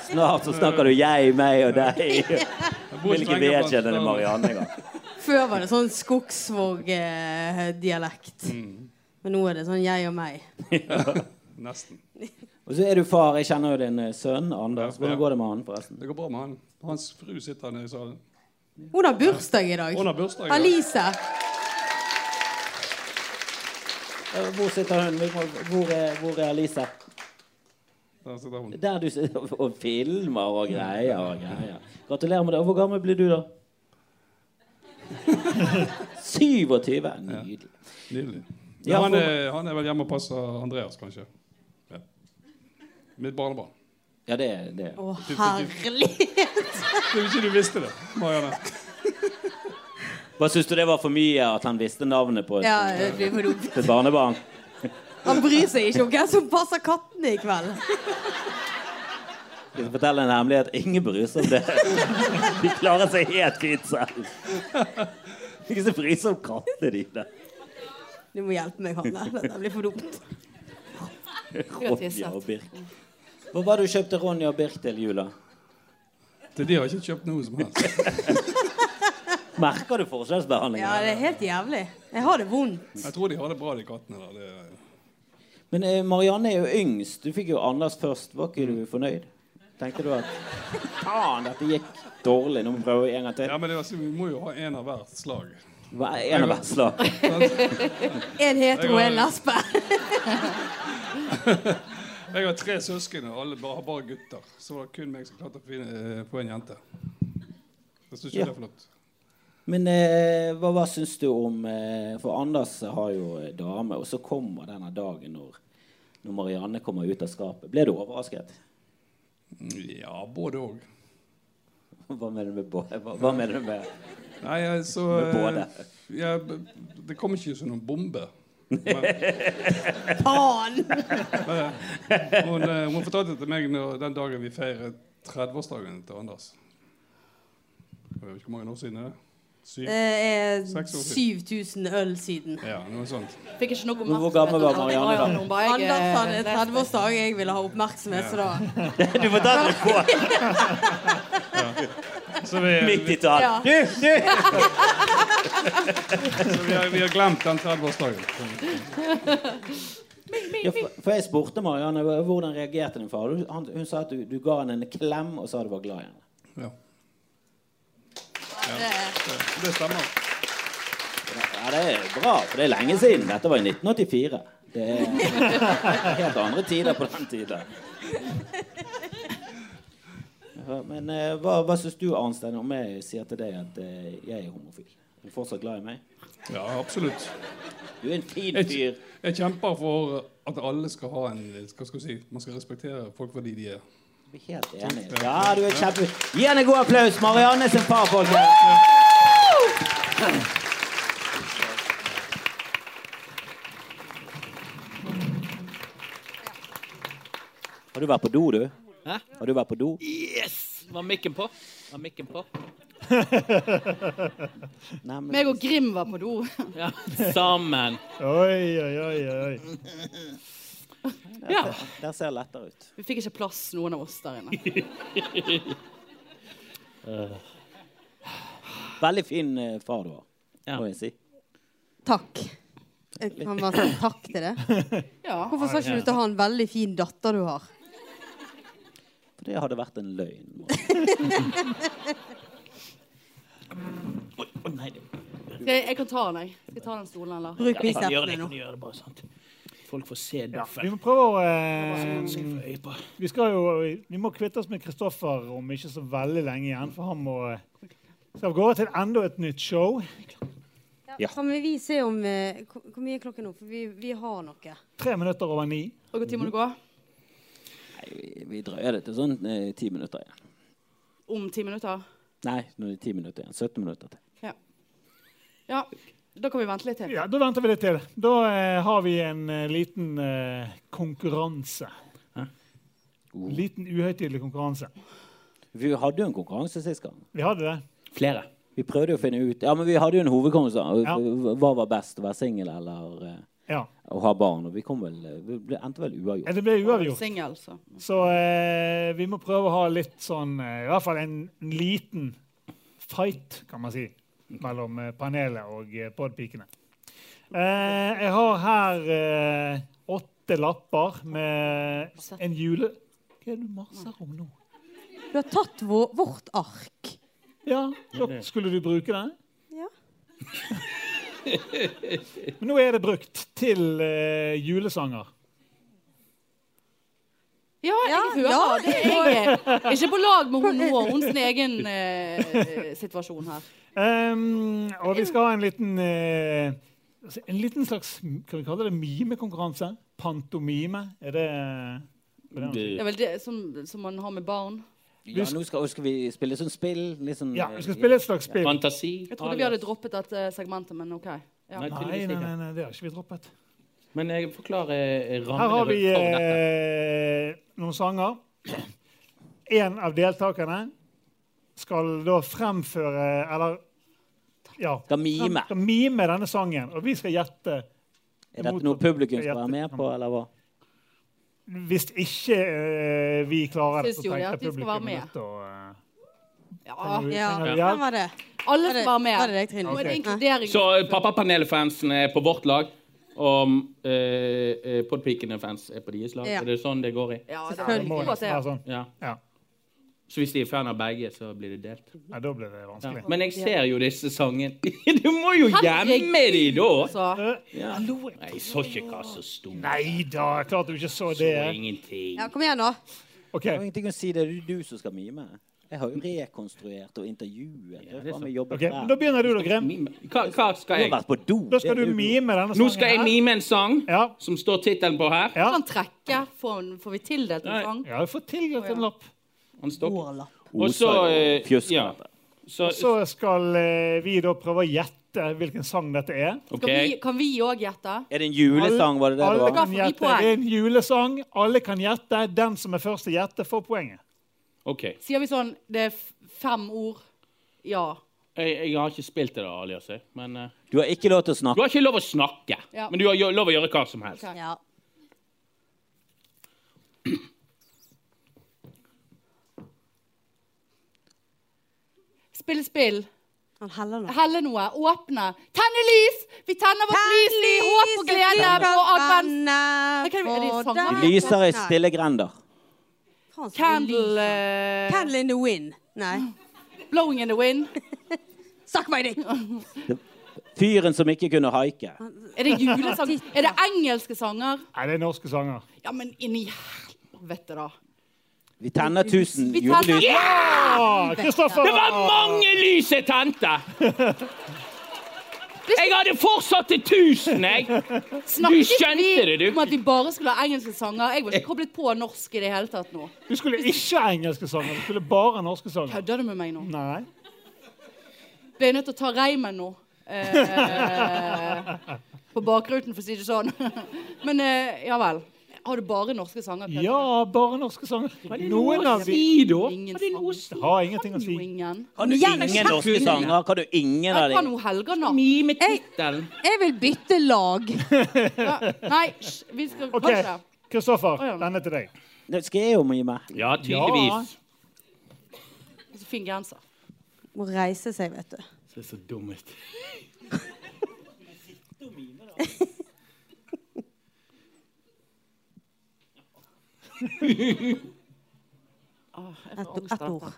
[SPEAKER 5] Snart så snakker du jeg, meg og deg.
[SPEAKER 6] *laughs* Jeg bor i
[SPEAKER 5] Vil ikke
[SPEAKER 6] Strengebrann,
[SPEAKER 5] vedkjenne
[SPEAKER 6] der-
[SPEAKER 5] deg Marianne engang.
[SPEAKER 4] Før var det sånn
[SPEAKER 6] Mm. *laughs*
[SPEAKER 4] Skogsvåg-dialekt. Men nå er det sånn jeg og meg.
[SPEAKER 6] Nesten.
[SPEAKER 5] *laughs* Og så er du far. Jeg kjenner jo din eh, sønn Anders.
[SPEAKER 6] Ja.
[SPEAKER 5] Hvordan går det med han, forresten?
[SPEAKER 6] Det går bra med han. Hans fru sitter nede i salen.
[SPEAKER 4] Hun har bursdag i dag.
[SPEAKER 6] Hun har bursdag i dag.
[SPEAKER 4] Alice.
[SPEAKER 5] Eh, Hvor sitter hun? Vi må- Hvor er, hvor er Alice?
[SPEAKER 6] Der sitter hun.
[SPEAKER 5] Der du sitter og- og filmer og greier og greier. Gratulerer med det. Og Hvor gammel blir du,
[SPEAKER 6] *laughs*
[SPEAKER 5] da? 27. Nydelig.
[SPEAKER 6] Nydelig.
[SPEAKER 5] Ja,
[SPEAKER 6] han,
[SPEAKER 5] for-
[SPEAKER 6] er, han er vel hjemme og passer Andreas, kanskje. Ja. Mitt barnebarn.
[SPEAKER 5] Ja, det er det.
[SPEAKER 4] Å, herlighet!
[SPEAKER 6] Hvis ikke du visste det, Marianne.
[SPEAKER 5] Hva syns du det var for mye at han visste navnet på
[SPEAKER 4] *laughs*
[SPEAKER 5] et,
[SPEAKER 4] Ja, det blir for dumt.
[SPEAKER 5] et barnebarn?
[SPEAKER 4] Han bryr seg ikke om hvem som passer kattene i kveld.
[SPEAKER 5] Skal jeg fortelle en hemmelighet? Ingen bryr seg om det. De klarer seg helt fint selv. Ingen som bryr seg om kattene dine.
[SPEAKER 4] Du må hjelpe meg, Hanne. Dette blir for dumt.
[SPEAKER 5] Ronja og Birk. Hva var det du kjøpte Ronja og Birk til jula?
[SPEAKER 6] Til de har ikke kjøpt noe som helst.
[SPEAKER 5] Merker du forskjellsbehandlingen?
[SPEAKER 4] Ja, det er helt jævlig. Jeg har det vondt.
[SPEAKER 6] Jeg tror de har det bra, de kattene. der. Det,
[SPEAKER 5] Men eh, Marianne er jo yngst. Du fikk jo Anders først. Var ikke du fornøyd? Tenkte du at faen, dette gikk dårlig, nå må vi prøve en gang til?
[SPEAKER 6] ja, men det, er altså, vi må jo ha en av hvert slag.
[SPEAKER 5] Hva er En av hvert slag.
[SPEAKER 4] En hetero og en lesbe.
[SPEAKER 6] Jeg har tre søsken, og alle bare, har bare gutter. Så var det kun meg som klarte å finne, eh, få en jente. Syns du
[SPEAKER 5] Ja.
[SPEAKER 6] ikke det er flott?
[SPEAKER 5] Men eh, hva, hva syns du om eh, For Anders har jo eh, dame, og så kommer denne dagen når, når Marianne kommer ut av skapet. Ble du overrasket?
[SPEAKER 6] Ja, både òg.
[SPEAKER 5] Hva mener du med bo- hva, hva mener du med
[SPEAKER 6] Nei, jeg så
[SPEAKER 5] *laughs* Med både.
[SPEAKER 6] eh, ja, b- Det kom ikke som noen bombe.
[SPEAKER 4] *laughs* Faen!
[SPEAKER 6] Hun, eh, hun fortalte til meg når, den dagen vi feiret 30-årsdagen til Anders. Jeg vet ikke hvor mange år siden er det Syv?
[SPEAKER 5] Eh.
[SPEAKER 4] Det er
[SPEAKER 6] Seks år
[SPEAKER 4] 7000 øl siden.
[SPEAKER 6] Ja, noe sånt.
[SPEAKER 3] Fikk ikke noe
[SPEAKER 5] Men hvor gammel var Marianne da?
[SPEAKER 3] Hun bare, jeg,
[SPEAKER 4] Anders hadde
[SPEAKER 3] eh,
[SPEAKER 4] 30-årsdag. Jeg ville ha oppmerksomhet, så da
[SPEAKER 5] Du fortalte det på
[SPEAKER 6] Så vi,
[SPEAKER 5] *laughs*
[SPEAKER 6] vi,
[SPEAKER 5] 90-tall!
[SPEAKER 4] Ja.
[SPEAKER 6] så vi, har, vi har glemt den 30-årsdagen.
[SPEAKER 5] Ja, for, for jeg spurte Marianne hva- hvordan reagerte din far. Du- Han, hun sa at du, du ga han en klem og sa du var glad i henne.
[SPEAKER 6] Ja. Det, det stemmer.
[SPEAKER 5] Ja, det er bra, for det er lenge siden. Dette var i 1984. Det er helt andre tider på den tiden. Ja, Men eh, hva, hva syns du, Arnstein, om jeg sier til deg at eh, jeg er homofil? Er du fortsatt glad i meg?
[SPEAKER 6] Ja, absolutt.
[SPEAKER 5] Du er en fin
[SPEAKER 6] Jeg,
[SPEAKER 5] fyr.
[SPEAKER 6] jeg kjemper for at alle skal ha en hva skal jeg si, Man skal respektere folk for de de er.
[SPEAKER 5] Vi er Helt enig. Ja, du er kjempe... Gi henne en god applaus! Marianne sin far, folkens! Har du vært på do, du?
[SPEAKER 2] Hæ?
[SPEAKER 5] Har du vært på do?
[SPEAKER 2] Yes! Var mikken på? Var mikken på?
[SPEAKER 5] Nei, men-
[SPEAKER 3] Meg og Grim var på do.
[SPEAKER 2] Ja, sammen.
[SPEAKER 1] *laughs* Oi, oi, oi, oi.
[SPEAKER 2] Ja.
[SPEAKER 5] Der ser det lettere ut.
[SPEAKER 3] Vi fikk ikke plass, noen av oss der inne.
[SPEAKER 5] Veldig fin eh, far du har,
[SPEAKER 2] Ja.
[SPEAKER 5] må jeg si.
[SPEAKER 4] Takk. Jeg kan bare si takk til det.
[SPEAKER 3] Ja.
[SPEAKER 4] Hvorfor sa ikke du til han 'veldig fin datter du har'?
[SPEAKER 5] For det hadde vært en løgn.
[SPEAKER 2] Oi, oi, nei, det-
[SPEAKER 3] Skal jeg, jeg kan ta den, jeg. Skal jeg ta den stolen, eller?
[SPEAKER 4] Bruk
[SPEAKER 2] jeg kan gjøre det,
[SPEAKER 4] bisetene
[SPEAKER 2] jeg
[SPEAKER 4] nå.
[SPEAKER 2] kan gjøre det bare sant. Folk får se
[SPEAKER 1] Vi
[SPEAKER 2] duffen.
[SPEAKER 1] må prøve å eh,
[SPEAKER 2] Skal jeg få øye på?
[SPEAKER 1] Vi skal jo Vi må kvitte oss med Kristoffer om ikke så veldig lenge igjen, for han må eh, skal av gårde til enda et nytt show.
[SPEAKER 5] Ja.
[SPEAKER 4] Kan vi- vi se om eh, Hvor hvor mye er klokken nå? For vi, vi har noe.
[SPEAKER 1] Tre minutter over ni.
[SPEAKER 3] Og Hvor tid må du gå?
[SPEAKER 5] Nei, vi, vi drøyer det til sånn eh, ti minutter igjen.
[SPEAKER 3] Om ti minutter?
[SPEAKER 5] Nei, nå er det ti minutter igjen. 17 minutter til.
[SPEAKER 3] Ja. ja. Da kan vi vente litt til.
[SPEAKER 1] Ja, Da venter vi litt til. Da eh, har vi en eh, liten eh, konkurranse. Liten uhøytidelig konkurranse.
[SPEAKER 5] Vi hadde jo en konkurranse sist gang.
[SPEAKER 1] Vi hadde det.
[SPEAKER 2] Flere.
[SPEAKER 5] Vi prøvde jo å finne ut Ja, men vi hadde jo en hovedkonkurranse.
[SPEAKER 1] Ja.
[SPEAKER 5] Hva var best, å være singel eller eh,
[SPEAKER 1] Ja.
[SPEAKER 5] å ha barn? Og vi kom vel eh, Vi ble- endte vel uavgjort.
[SPEAKER 1] Eh, Det ble uavgjort.
[SPEAKER 3] Singel, så.
[SPEAKER 1] Så eh, vi må prøve å ha litt sånn eh, I hvert fall en liten fight, kan man si, mellom eh, panelet og eh, podpikene. Eh, jeg har her eh, åtte lapper med en jule... Hva er det du maser om nå?
[SPEAKER 4] Du har tatt vår, vårt ark.
[SPEAKER 1] Ja, så skulle du bruke den?
[SPEAKER 4] Ja.
[SPEAKER 1] *laughs* Men nå er det brukt til eh, julesanger.
[SPEAKER 3] Ja, jeg
[SPEAKER 4] Ja,
[SPEAKER 3] hører
[SPEAKER 4] ja.
[SPEAKER 3] det. Jeg er ikke på lag med hun nå og hennes egen eh, situasjon her.
[SPEAKER 1] Ehm, og vi skal ha en liten eh, altså, En liten slags kan vi kalle det mimekonkurranse? Pantomime? Er det, er det
[SPEAKER 3] Det er vel det som, som man har med barn.
[SPEAKER 5] Ja, nå skal, skal vi spille sånn spill. Litt sånn,
[SPEAKER 1] Ja, vi skal spille et slags spill.
[SPEAKER 2] Fantasi.
[SPEAKER 3] Jeg trodde vi hadde droppet dette segmentet, men OK. Ja.
[SPEAKER 2] Nei,
[SPEAKER 1] Nei,
[SPEAKER 2] tydeligvis
[SPEAKER 1] nei,
[SPEAKER 2] ikke.
[SPEAKER 1] nei, nei, det har ikke vi droppet.
[SPEAKER 2] Men jeg forklarer eh, rammene
[SPEAKER 1] Her har vi
[SPEAKER 2] for dette.
[SPEAKER 1] eh, noen sanger. En av deltakerne skal da fremføre Eller ja,
[SPEAKER 5] Skal mime.
[SPEAKER 1] skal mime denne sangen, og vi skal gjette.
[SPEAKER 5] Er dette noe publikum skal være med på, eller hva?
[SPEAKER 1] Hvis ikke eh, vi klarer det,
[SPEAKER 3] Syns
[SPEAKER 1] så
[SPEAKER 3] jo det
[SPEAKER 1] tenker
[SPEAKER 3] at de skal være
[SPEAKER 1] publikum
[SPEAKER 3] med.
[SPEAKER 1] nødt til å eh,
[SPEAKER 3] ja.
[SPEAKER 4] Ja,
[SPEAKER 1] trenger
[SPEAKER 4] hvem
[SPEAKER 1] hjelp.
[SPEAKER 4] var det?
[SPEAKER 3] Alle
[SPEAKER 4] Var det,
[SPEAKER 3] som var
[SPEAKER 4] var det
[SPEAKER 3] med.
[SPEAKER 4] deg, Trine?
[SPEAKER 3] Nå er det
[SPEAKER 4] Nei.
[SPEAKER 3] inkludering.
[SPEAKER 2] Så eh, pappapanelfansen er på vårt lag. Og eh, eh, Podpikene-fans er på deres lag.
[SPEAKER 4] Ja.
[SPEAKER 2] Er det sånn det går i?
[SPEAKER 3] Ja, det
[SPEAKER 1] Det må
[SPEAKER 3] er
[SPEAKER 4] Selvfølgelig.
[SPEAKER 3] godt å
[SPEAKER 1] nesten
[SPEAKER 3] se.
[SPEAKER 1] være sånn.
[SPEAKER 2] Ja.
[SPEAKER 1] Ja.
[SPEAKER 2] Så hvis de er fan av begge, så blir det delt.
[SPEAKER 1] Nei, da ble det
[SPEAKER 2] Ja.
[SPEAKER 1] vanskelig.
[SPEAKER 2] Men jeg ser jo disse sangene. *laughs* Du må jo gjemme de da!
[SPEAKER 3] Så,
[SPEAKER 2] Nei, jeg så ikke hva som sto.
[SPEAKER 1] Nei da, klart du ikke så
[SPEAKER 2] Så
[SPEAKER 1] det.
[SPEAKER 2] ingenting.
[SPEAKER 4] Ja, kom igjen, nå.
[SPEAKER 1] OK.
[SPEAKER 5] Jeg har ingenting å si. Det er du som skal mime. Jeg har jo rekonstruert og
[SPEAKER 2] Ja,
[SPEAKER 5] intervjuet. Du
[SPEAKER 2] det er
[SPEAKER 5] faen
[SPEAKER 2] sant.
[SPEAKER 5] meg jobbet
[SPEAKER 1] ok, men Da
[SPEAKER 5] der.
[SPEAKER 1] begynner du, da, Grim.
[SPEAKER 2] Hva, hva
[SPEAKER 5] Du
[SPEAKER 2] skal
[SPEAKER 5] har
[SPEAKER 2] jeg?
[SPEAKER 5] vært på do.
[SPEAKER 1] Da skal
[SPEAKER 5] Det er
[SPEAKER 1] du
[SPEAKER 5] jo-
[SPEAKER 1] mime denne sangen.
[SPEAKER 2] Nå skal jeg
[SPEAKER 1] her.
[SPEAKER 2] mime en sang
[SPEAKER 1] Ja.
[SPEAKER 2] som står tittelen på her.
[SPEAKER 1] Ja.
[SPEAKER 3] kan trekke. Får, får vi tildelt
[SPEAKER 2] Nei.
[SPEAKER 3] en sang?
[SPEAKER 1] ja, få tildelt en lapp.
[SPEAKER 2] Han står Og
[SPEAKER 5] Osa
[SPEAKER 2] så eh,
[SPEAKER 5] fjusk.
[SPEAKER 2] ja. Så,
[SPEAKER 1] Så skal eh, vi da prøve å gjette hvilken sang dette er.
[SPEAKER 2] OK.
[SPEAKER 3] Skal vi, kan vi òg gjette?
[SPEAKER 5] Er det en julesang, var det det
[SPEAKER 1] Alle
[SPEAKER 5] det var?
[SPEAKER 1] kan
[SPEAKER 3] får vi
[SPEAKER 1] gjette.
[SPEAKER 3] poeng.
[SPEAKER 1] Det er en julesang. Alle kan gjette. Den som er først til å gjette, får poenget.
[SPEAKER 2] ok.
[SPEAKER 3] Sier vi sånn Det er f- fem ord. Ja.
[SPEAKER 2] Jeg, jeg har ikke spilt det, da, Alias. jeg, Men eh,
[SPEAKER 5] Du har ikke lov til å
[SPEAKER 2] Du
[SPEAKER 5] snakke.
[SPEAKER 2] har ikke lov å snakke,
[SPEAKER 3] Ja.
[SPEAKER 2] men du har jo- lov å gjøre hva som helst.
[SPEAKER 3] Ok.
[SPEAKER 4] Ja.
[SPEAKER 3] Spill spill.
[SPEAKER 4] Han heller nå.
[SPEAKER 3] Helle noe. Åpne. Tenne lys! Vi tenner vårt lys i håp og glede på advent.
[SPEAKER 4] advent.
[SPEAKER 3] Det kan- er det sanger?
[SPEAKER 5] De lyser i stille grender.
[SPEAKER 3] Candle eh,
[SPEAKER 4] Candle in the wind. Nei.
[SPEAKER 3] Blowing in the wind.
[SPEAKER 4] Suck my dick!
[SPEAKER 3] *laughs*
[SPEAKER 5] Fyren som ikke kunne haike.
[SPEAKER 3] Er det julesang? Er det engelske sanger?
[SPEAKER 1] Nei, det er norske sanger.
[SPEAKER 3] Ja, men inni helvete, da.
[SPEAKER 5] Vi tenner tusen
[SPEAKER 3] Vi tenner-
[SPEAKER 5] julelys.
[SPEAKER 1] Ah, Kristoffer!
[SPEAKER 2] Det var mange lys jeg tente! Jeg hadde fortsatt til tusen, jeg.
[SPEAKER 3] Snakket
[SPEAKER 2] skjønte
[SPEAKER 3] vi
[SPEAKER 2] det, du.
[SPEAKER 3] om at vi bare skulle ha engelske sanger? Jeg var ikke koblet på norsk i det hele tatt nå.
[SPEAKER 1] Du skulle ikke engelske sanger. Du skulle bare norske sanger.
[SPEAKER 3] Kødder du med meg nå?
[SPEAKER 1] Nei.
[SPEAKER 3] Ble jeg nødt til å ta reimen nå? Eh, på bakruten, for å si det sånn. Men eh, ja vel. Har du bare norske sanger? Kødder
[SPEAKER 1] Ja, bare norske sanger. Noen av de
[SPEAKER 2] Si, da.
[SPEAKER 3] du? Ingen
[SPEAKER 2] Har det noe å
[SPEAKER 3] sanger.
[SPEAKER 2] si?
[SPEAKER 1] har ingenting å
[SPEAKER 3] Kan
[SPEAKER 1] si.
[SPEAKER 3] jo ingen.
[SPEAKER 5] Kan du ingen norske sanger? Kan du ingen av
[SPEAKER 3] Jeg kan
[SPEAKER 5] dem?
[SPEAKER 3] jo Helga nå.
[SPEAKER 2] Mime tittelen.
[SPEAKER 4] Jeg vil bytte lag.
[SPEAKER 3] Ja. Nei, hysj. Vi skal
[SPEAKER 1] OK,
[SPEAKER 3] kanskje
[SPEAKER 1] Kristoffer,
[SPEAKER 3] Å, ja.
[SPEAKER 1] denne er til deg.
[SPEAKER 5] Det skal jeg jo mime.
[SPEAKER 2] Ja, tydeligvis.
[SPEAKER 3] Så Altså, Fin genser. *laughs*
[SPEAKER 4] Må reise seg, vet du.
[SPEAKER 2] Det er så dumt.
[SPEAKER 4] Ett et ord.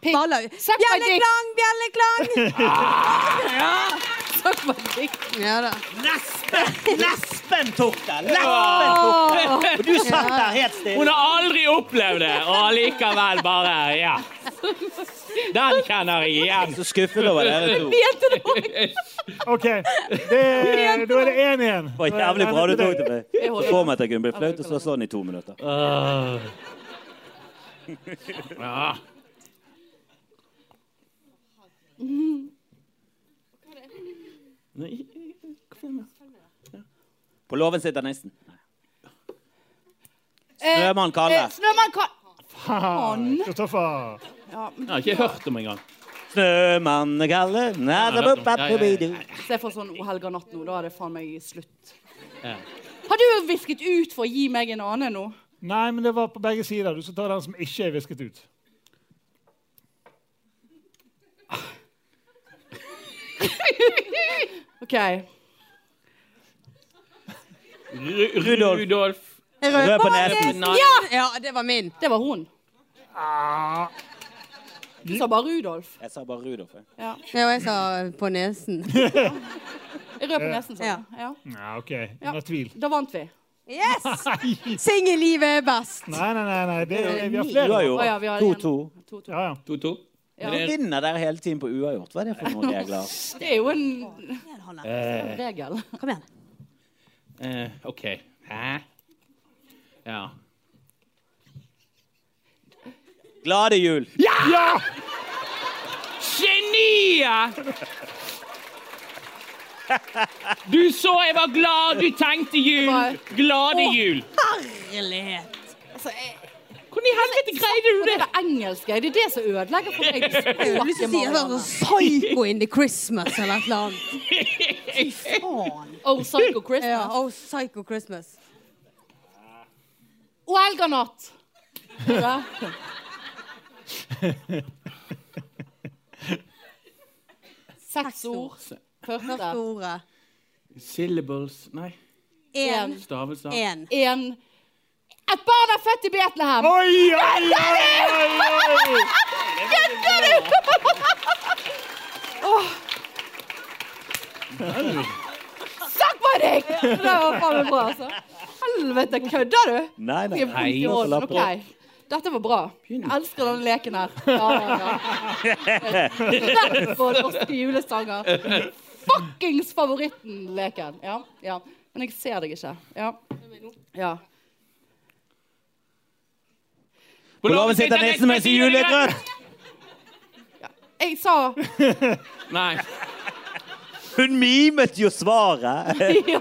[SPEAKER 3] Pink.
[SPEAKER 4] Baller.
[SPEAKER 3] Suck my dick.
[SPEAKER 4] Bjelleklang,
[SPEAKER 5] *laughs*
[SPEAKER 4] bjelleklang!
[SPEAKER 3] Takk for ditt.
[SPEAKER 4] Ja da.
[SPEAKER 5] Nespen! Nespen tok det! Nespen tok det! *laughs* Og du satt der helt
[SPEAKER 2] Hun
[SPEAKER 5] stille.
[SPEAKER 2] har aldri opplevd det, og allikevel bare Ja. Den kjenner jeg igjen.
[SPEAKER 5] Så skuffet over dere to. Det
[SPEAKER 3] Jente, det var
[SPEAKER 1] OK.
[SPEAKER 3] *laughs*
[SPEAKER 1] Det, da er det én igjen.
[SPEAKER 5] var jævlig bra du tok det med. Så kom jeg til at jeg kunne bli flaut, og så sånn i to minutter.
[SPEAKER 2] Ah. Ja. Nei, kom igjen, da.
[SPEAKER 5] På låven sitter nissen.
[SPEAKER 3] Eh,
[SPEAKER 5] Snømann Kalle.
[SPEAKER 3] eh, Snømann Kalle.
[SPEAKER 1] Kristoffer.
[SPEAKER 2] Jeg har ikke hørt om engang.
[SPEAKER 5] Snømann Kalle nadabubabubidu.
[SPEAKER 3] Se for sånn O helga natt nå. Da er det faen meg slutt.
[SPEAKER 2] Ja.
[SPEAKER 3] Har du visket ut for å gi meg en annen nå?
[SPEAKER 1] Nei, men det var på begge sider. Du skal ta den som ikke er visket ut.
[SPEAKER 3] OK.
[SPEAKER 2] Ru Rudolf. Rudolf.
[SPEAKER 5] Rød på
[SPEAKER 4] Rødbakke!
[SPEAKER 5] nesen.
[SPEAKER 4] Ja! ja, det var min.
[SPEAKER 3] Det var hun. Du sa bare Rudolf.
[SPEAKER 5] Jeg sa bare Rudolf. jeg.
[SPEAKER 3] Ja.
[SPEAKER 4] Ja, og jeg sa eh, på nesen.
[SPEAKER 5] *laughs*
[SPEAKER 3] Jeg rød på nesen, sa du. Ja.
[SPEAKER 1] Ja, OK. Under tvil.
[SPEAKER 3] Da vant vi.
[SPEAKER 4] Yes! Singellivet er best.
[SPEAKER 1] Nei, nei, nei. nei. Det, er- vi har
[SPEAKER 5] Du har
[SPEAKER 1] flere.
[SPEAKER 5] jo
[SPEAKER 3] Å ja, vi har en.
[SPEAKER 5] 2-2.
[SPEAKER 3] To, to.
[SPEAKER 1] Ja, ja.
[SPEAKER 2] 2-2.
[SPEAKER 3] Ja.
[SPEAKER 5] Du vinner der hele tiden på uavgjort. Hva er det for noen regler?
[SPEAKER 3] Det er jo en regel.
[SPEAKER 4] Kom igjen.
[SPEAKER 2] Eh, OK. Hæ? Ja.
[SPEAKER 5] Glade jul!
[SPEAKER 1] Ja!
[SPEAKER 2] Geniet! Du så jeg var glad, du tenkte jul.
[SPEAKER 3] Nei.
[SPEAKER 2] Glade jul.
[SPEAKER 4] Herlighet.
[SPEAKER 3] Altså, jeg,
[SPEAKER 2] Hvordan i helvete greide du
[SPEAKER 3] det
[SPEAKER 2] det?
[SPEAKER 3] er det engelske. Det er det som ødelegger for meg.
[SPEAKER 4] Jeg har lyst til å si at det var sånn Psycho in the Christmas eller et
[SPEAKER 3] *laughs*
[SPEAKER 4] eller annet. Fy faen.
[SPEAKER 3] Oh, Psycho
[SPEAKER 4] Ja,
[SPEAKER 3] Christmas.
[SPEAKER 4] oh, Psycho Christmas.
[SPEAKER 3] Og Elganatt. Ja. Seks ord. Første.
[SPEAKER 4] Første ordet.
[SPEAKER 2] Syllables Nei.
[SPEAKER 4] En,
[SPEAKER 2] Stavelser.
[SPEAKER 4] en.
[SPEAKER 3] En. Et barn er født i Betlehem.
[SPEAKER 1] Oi, oi, oi, oi, oi!
[SPEAKER 3] Takk for deg! Det var faen meg bra, altså. Helvete, kødder du?
[SPEAKER 5] Nei, nei.
[SPEAKER 3] Jeg er
[SPEAKER 2] Nei,
[SPEAKER 3] i
[SPEAKER 5] la
[SPEAKER 3] orden.
[SPEAKER 5] på.
[SPEAKER 3] OK. Dette var bra. Jeg elsker denne leken her. Ja, ja, ja. Rett på norske julesanger. Fuckings favoritten-leken. Ja, ja. Men jeg ser deg ikke. Ja. ja.
[SPEAKER 5] På låven sitter nissen med sin julegrøt!
[SPEAKER 3] Jeg sa
[SPEAKER 2] Nei.
[SPEAKER 5] Hun mimet jo svaret.
[SPEAKER 3] ja!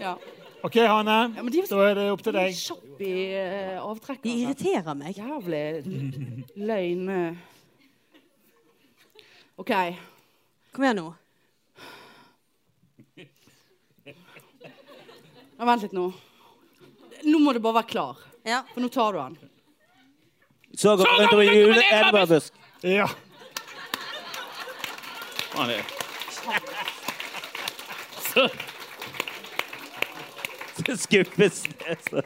[SPEAKER 3] Ja,
[SPEAKER 1] OK, Hanne.
[SPEAKER 3] ja men de er
[SPEAKER 1] Da
[SPEAKER 3] så
[SPEAKER 1] er det opp til deg.
[SPEAKER 3] kjappe i eh,
[SPEAKER 4] De
[SPEAKER 3] avtrekkene.
[SPEAKER 4] irriterer meg.
[SPEAKER 3] Jævlig løgn. eh. OK.
[SPEAKER 4] Kom igjen nå.
[SPEAKER 3] Ja, vent litt nå. Nå må du bare være klar,
[SPEAKER 4] Ja.
[SPEAKER 3] for nå tar du den.
[SPEAKER 5] Så går rundt om i jule- enebærbusk.
[SPEAKER 1] Ja.
[SPEAKER 2] Faen, det- Så,
[SPEAKER 5] *laughs* Skuffes. ned.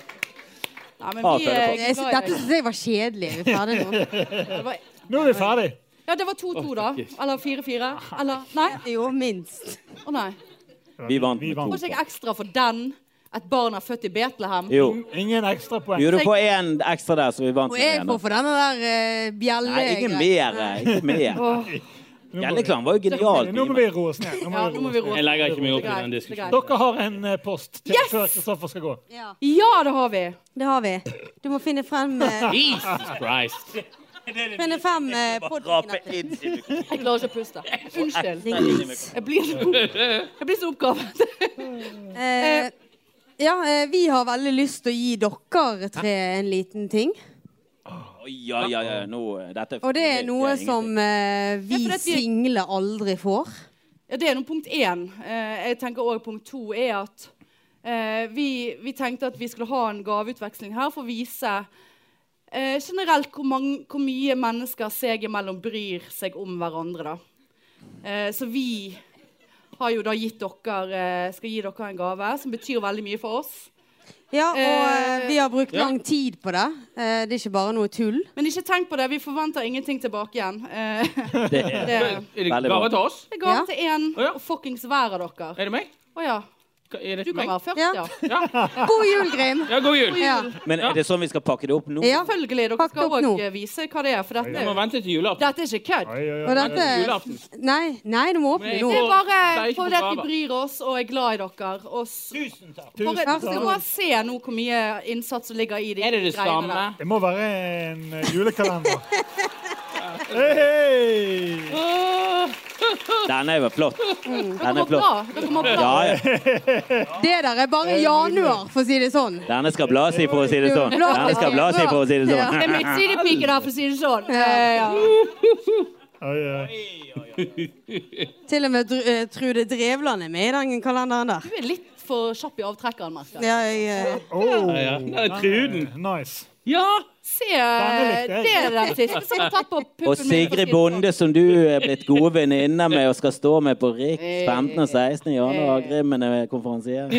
[SPEAKER 3] Nei, men
[SPEAKER 5] Ah,
[SPEAKER 3] vi
[SPEAKER 5] det er
[SPEAKER 3] er
[SPEAKER 5] godt.
[SPEAKER 4] Jeg, sy-
[SPEAKER 3] glad
[SPEAKER 4] dette
[SPEAKER 3] i deg.
[SPEAKER 4] synes jeg var kjedelig. Er vi *laughs* ferdig nå?
[SPEAKER 3] Det var-
[SPEAKER 1] Nå er vi ferdig.
[SPEAKER 3] Ja, det var 2-2, da.
[SPEAKER 2] fuck yes.
[SPEAKER 3] Eller 4-4. Eller Nei.
[SPEAKER 4] Jo, minst.
[SPEAKER 3] Å nei.
[SPEAKER 5] Vi vant med
[SPEAKER 3] Får
[SPEAKER 5] to.
[SPEAKER 3] ikke jeg ekstra for den? Et barn er født i Betlehem?
[SPEAKER 5] Jo.
[SPEAKER 1] Ingen ekstrapoeng.
[SPEAKER 5] Jo, du får én ekstra der, så vi vant
[SPEAKER 4] Og
[SPEAKER 5] med
[SPEAKER 4] jeg
[SPEAKER 5] én.
[SPEAKER 4] får
[SPEAKER 5] da.
[SPEAKER 4] for denne der eh, bjelle...
[SPEAKER 5] Nei, ingen
[SPEAKER 4] greit.
[SPEAKER 5] mer. eh, Ikke mer.
[SPEAKER 3] Åh,
[SPEAKER 1] Nå må vi-
[SPEAKER 5] Gjelleklang var jo genial.
[SPEAKER 1] Nå må vi roe oss ned. Nå
[SPEAKER 3] ja,
[SPEAKER 1] må
[SPEAKER 3] nå må
[SPEAKER 1] vi
[SPEAKER 3] vi
[SPEAKER 1] roe oss
[SPEAKER 3] roe
[SPEAKER 2] jeg legger ikke meg opp
[SPEAKER 3] Det
[SPEAKER 2] i
[SPEAKER 3] er
[SPEAKER 2] den
[SPEAKER 3] greit, det er
[SPEAKER 2] diskusjonen.
[SPEAKER 1] ned. Dere har en eh, post til
[SPEAKER 3] Yes!
[SPEAKER 1] før Kristoffer skal gå.
[SPEAKER 4] Ja,
[SPEAKER 3] Ja, det har vi!
[SPEAKER 4] det har vi. Du må finne frem,
[SPEAKER 5] *laughs*
[SPEAKER 4] eh,
[SPEAKER 2] Jesus Christ.
[SPEAKER 4] finne frem eh,
[SPEAKER 5] Rape
[SPEAKER 4] podkastene.
[SPEAKER 5] inn i mikrofonen.
[SPEAKER 3] Jeg klarer ikke å puste. Unnskyld.
[SPEAKER 5] Inn i mikrofonen.
[SPEAKER 3] Jeg blir så, jeg blir så oppgavet.
[SPEAKER 4] Eh, ja, eh, vi har veldig lyst til å gi dere tre en liten ting.
[SPEAKER 5] Oi, ja, ja, ja. Nå, eh, dette
[SPEAKER 4] Og det er noe som eh, vi
[SPEAKER 3] Ja, for at vi-
[SPEAKER 4] single aldri får.
[SPEAKER 3] Ja, det er nå punkt én. Eh, jeg tenker også punkt to er at eh, vi, vi tenkte at vi skulle ha en gaveutveksling her for å vise eh, generelt hvor, mange, hvor mye mennesker seg imellom bryr seg om hverandre. Da. Eh, så vi har jo da gitt dere, eh, skal gi dere en gave som betyr veldig mye for oss.
[SPEAKER 4] Ja, og eh,
[SPEAKER 3] Eh,
[SPEAKER 4] vi har brukt lang tid på det. Eh, det er ikke bare noe tull.
[SPEAKER 3] Men ikke tenk på det, vi forventer ingenting tilbake igjen. Eh, *laughs*
[SPEAKER 5] Det er
[SPEAKER 3] det
[SPEAKER 2] Er det
[SPEAKER 5] Veldig bra.
[SPEAKER 2] gave til oss?
[SPEAKER 3] jeg går
[SPEAKER 4] Ja.
[SPEAKER 3] til én
[SPEAKER 2] Å, ja.
[SPEAKER 3] og fuckings hver av dere.
[SPEAKER 2] Er det meg?
[SPEAKER 3] Å ja.
[SPEAKER 2] Er det
[SPEAKER 3] Du
[SPEAKER 2] til meg?
[SPEAKER 3] kan være først,
[SPEAKER 4] Ja.
[SPEAKER 3] ja.
[SPEAKER 4] *laughs* God jul, Grim!
[SPEAKER 2] Ja, god jul.
[SPEAKER 4] Ja.
[SPEAKER 5] Men er det sånn vi skal pakke det opp nå?
[SPEAKER 4] ja.
[SPEAKER 3] Selvfølgelig. Dere
[SPEAKER 4] Pakk
[SPEAKER 3] skal
[SPEAKER 4] opp nå.
[SPEAKER 3] òg vise hva det er. For dette,
[SPEAKER 2] Vi må
[SPEAKER 3] er-
[SPEAKER 2] vente til julaften.
[SPEAKER 3] dette er ikke kødd.
[SPEAKER 1] Oi, oi,
[SPEAKER 4] Og
[SPEAKER 1] oi.
[SPEAKER 4] dette
[SPEAKER 2] Julaften.
[SPEAKER 4] Nei, nei, du må åpne
[SPEAKER 2] Nei.
[SPEAKER 4] nå.
[SPEAKER 3] Det er
[SPEAKER 2] Det er
[SPEAKER 3] bare
[SPEAKER 2] ikke
[SPEAKER 3] fordi at vi
[SPEAKER 2] bra.
[SPEAKER 3] bryr oss og er glad i dere. Og s-
[SPEAKER 1] Tusen
[SPEAKER 3] bare,
[SPEAKER 1] takk.
[SPEAKER 3] dere må se nå hvor mye innsats som ligger i de
[SPEAKER 2] Er det det
[SPEAKER 3] greiene
[SPEAKER 2] samme?
[SPEAKER 1] Det må være en eh,
[SPEAKER 3] *laughs*
[SPEAKER 1] julekalender. Hei!
[SPEAKER 5] Denne er jo flott.
[SPEAKER 3] der.
[SPEAKER 5] Den
[SPEAKER 3] Dere
[SPEAKER 5] er
[SPEAKER 3] må
[SPEAKER 5] flott.
[SPEAKER 3] bra. Dere må bra.
[SPEAKER 5] Ja, ja.
[SPEAKER 4] Det der er bare januar, for å si det sånn.
[SPEAKER 5] Denne skal blas i, for å si det sånn. Denne skal blas i, for å si det
[SPEAKER 3] Det er
[SPEAKER 5] sånn.
[SPEAKER 3] midtsidepike der, for å si det sånn. Eh, ja.
[SPEAKER 1] Oi, oi.
[SPEAKER 4] Til og med Dr- eh, Trude Drevland er med i den kalenderen der.
[SPEAKER 3] Du er litt for kjapp i avtrekkeren, merker jeg.
[SPEAKER 4] Ja, jeg, eh,
[SPEAKER 1] Oh,
[SPEAKER 2] Ja, ja. Nei, Truden.
[SPEAKER 1] nice.
[SPEAKER 2] Ja! *laughs*
[SPEAKER 3] Se eh,
[SPEAKER 1] Banne litt,
[SPEAKER 3] det
[SPEAKER 1] jeg.
[SPEAKER 3] er den siste som har tatt på puppen min, for å
[SPEAKER 5] Og
[SPEAKER 3] si
[SPEAKER 5] Sigrid
[SPEAKER 3] det sånn.
[SPEAKER 5] Bonde, som du er blitt gode venninner med og skal stå med på RIK 15. og 16. i januar. Grimmene konferansier.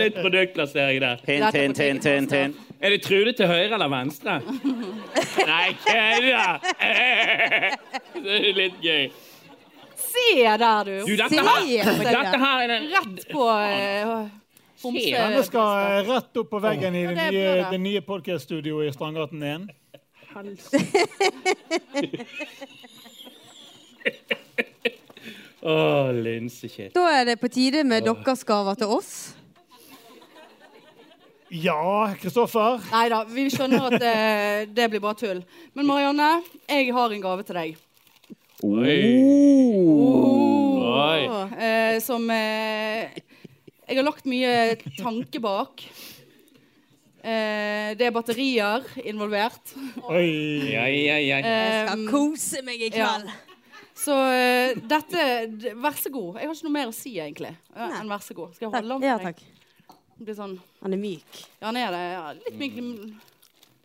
[SPEAKER 2] Litt produktplassering der.
[SPEAKER 5] Hint, hint, hint, hint, hint.
[SPEAKER 2] Er det Trude til høyre eller venstre? Nei, kødda! Det er litt gøy.
[SPEAKER 3] Se der, du.
[SPEAKER 2] Du, dette her,
[SPEAKER 4] Se på
[SPEAKER 2] dette
[SPEAKER 4] det.
[SPEAKER 2] her er den
[SPEAKER 3] Rett på eh, homse-
[SPEAKER 1] Denne skal eh, rett opp på veggen i det
[SPEAKER 3] Ja, det er
[SPEAKER 1] nye,
[SPEAKER 3] bra, det.
[SPEAKER 1] det nye podcaststudioet i Strandgaten 1.
[SPEAKER 2] Å, linsekjell.
[SPEAKER 4] Da er det på tide med deres gaver til oss.
[SPEAKER 1] Ja, Kristoffer.
[SPEAKER 3] Nei da, vi skjønner at eh, det blir bare tull. Men Marianne, jeg har en gave til deg.
[SPEAKER 2] Oi.
[SPEAKER 3] Eh, som eh, Jeg har lagt mye tanke bak. Eh, det er batterier involvert.
[SPEAKER 1] Oi.
[SPEAKER 2] Ja, ja, ja.
[SPEAKER 3] Eh,
[SPEAKER 4] Skal kose meg i kveld.
[SPEAKER 3] så eh, dette d- Vær så god. Jeg har ikke noe mer å si, egentlig. eh, enn vær så god. Skal jeg holde den
[SPEAKER 4] Takk.
[SPEAKER 3] for
[SPEAKER 4] Ja,
[SPEAKER 3] deg?
[SPEAKER 4] takk.
[SPEAKER 3] Det Blir sånn,
[SPEAKER 4] Han er myk.
[SPEAKER 3] ja, han er det. Ja, litt myk. litt-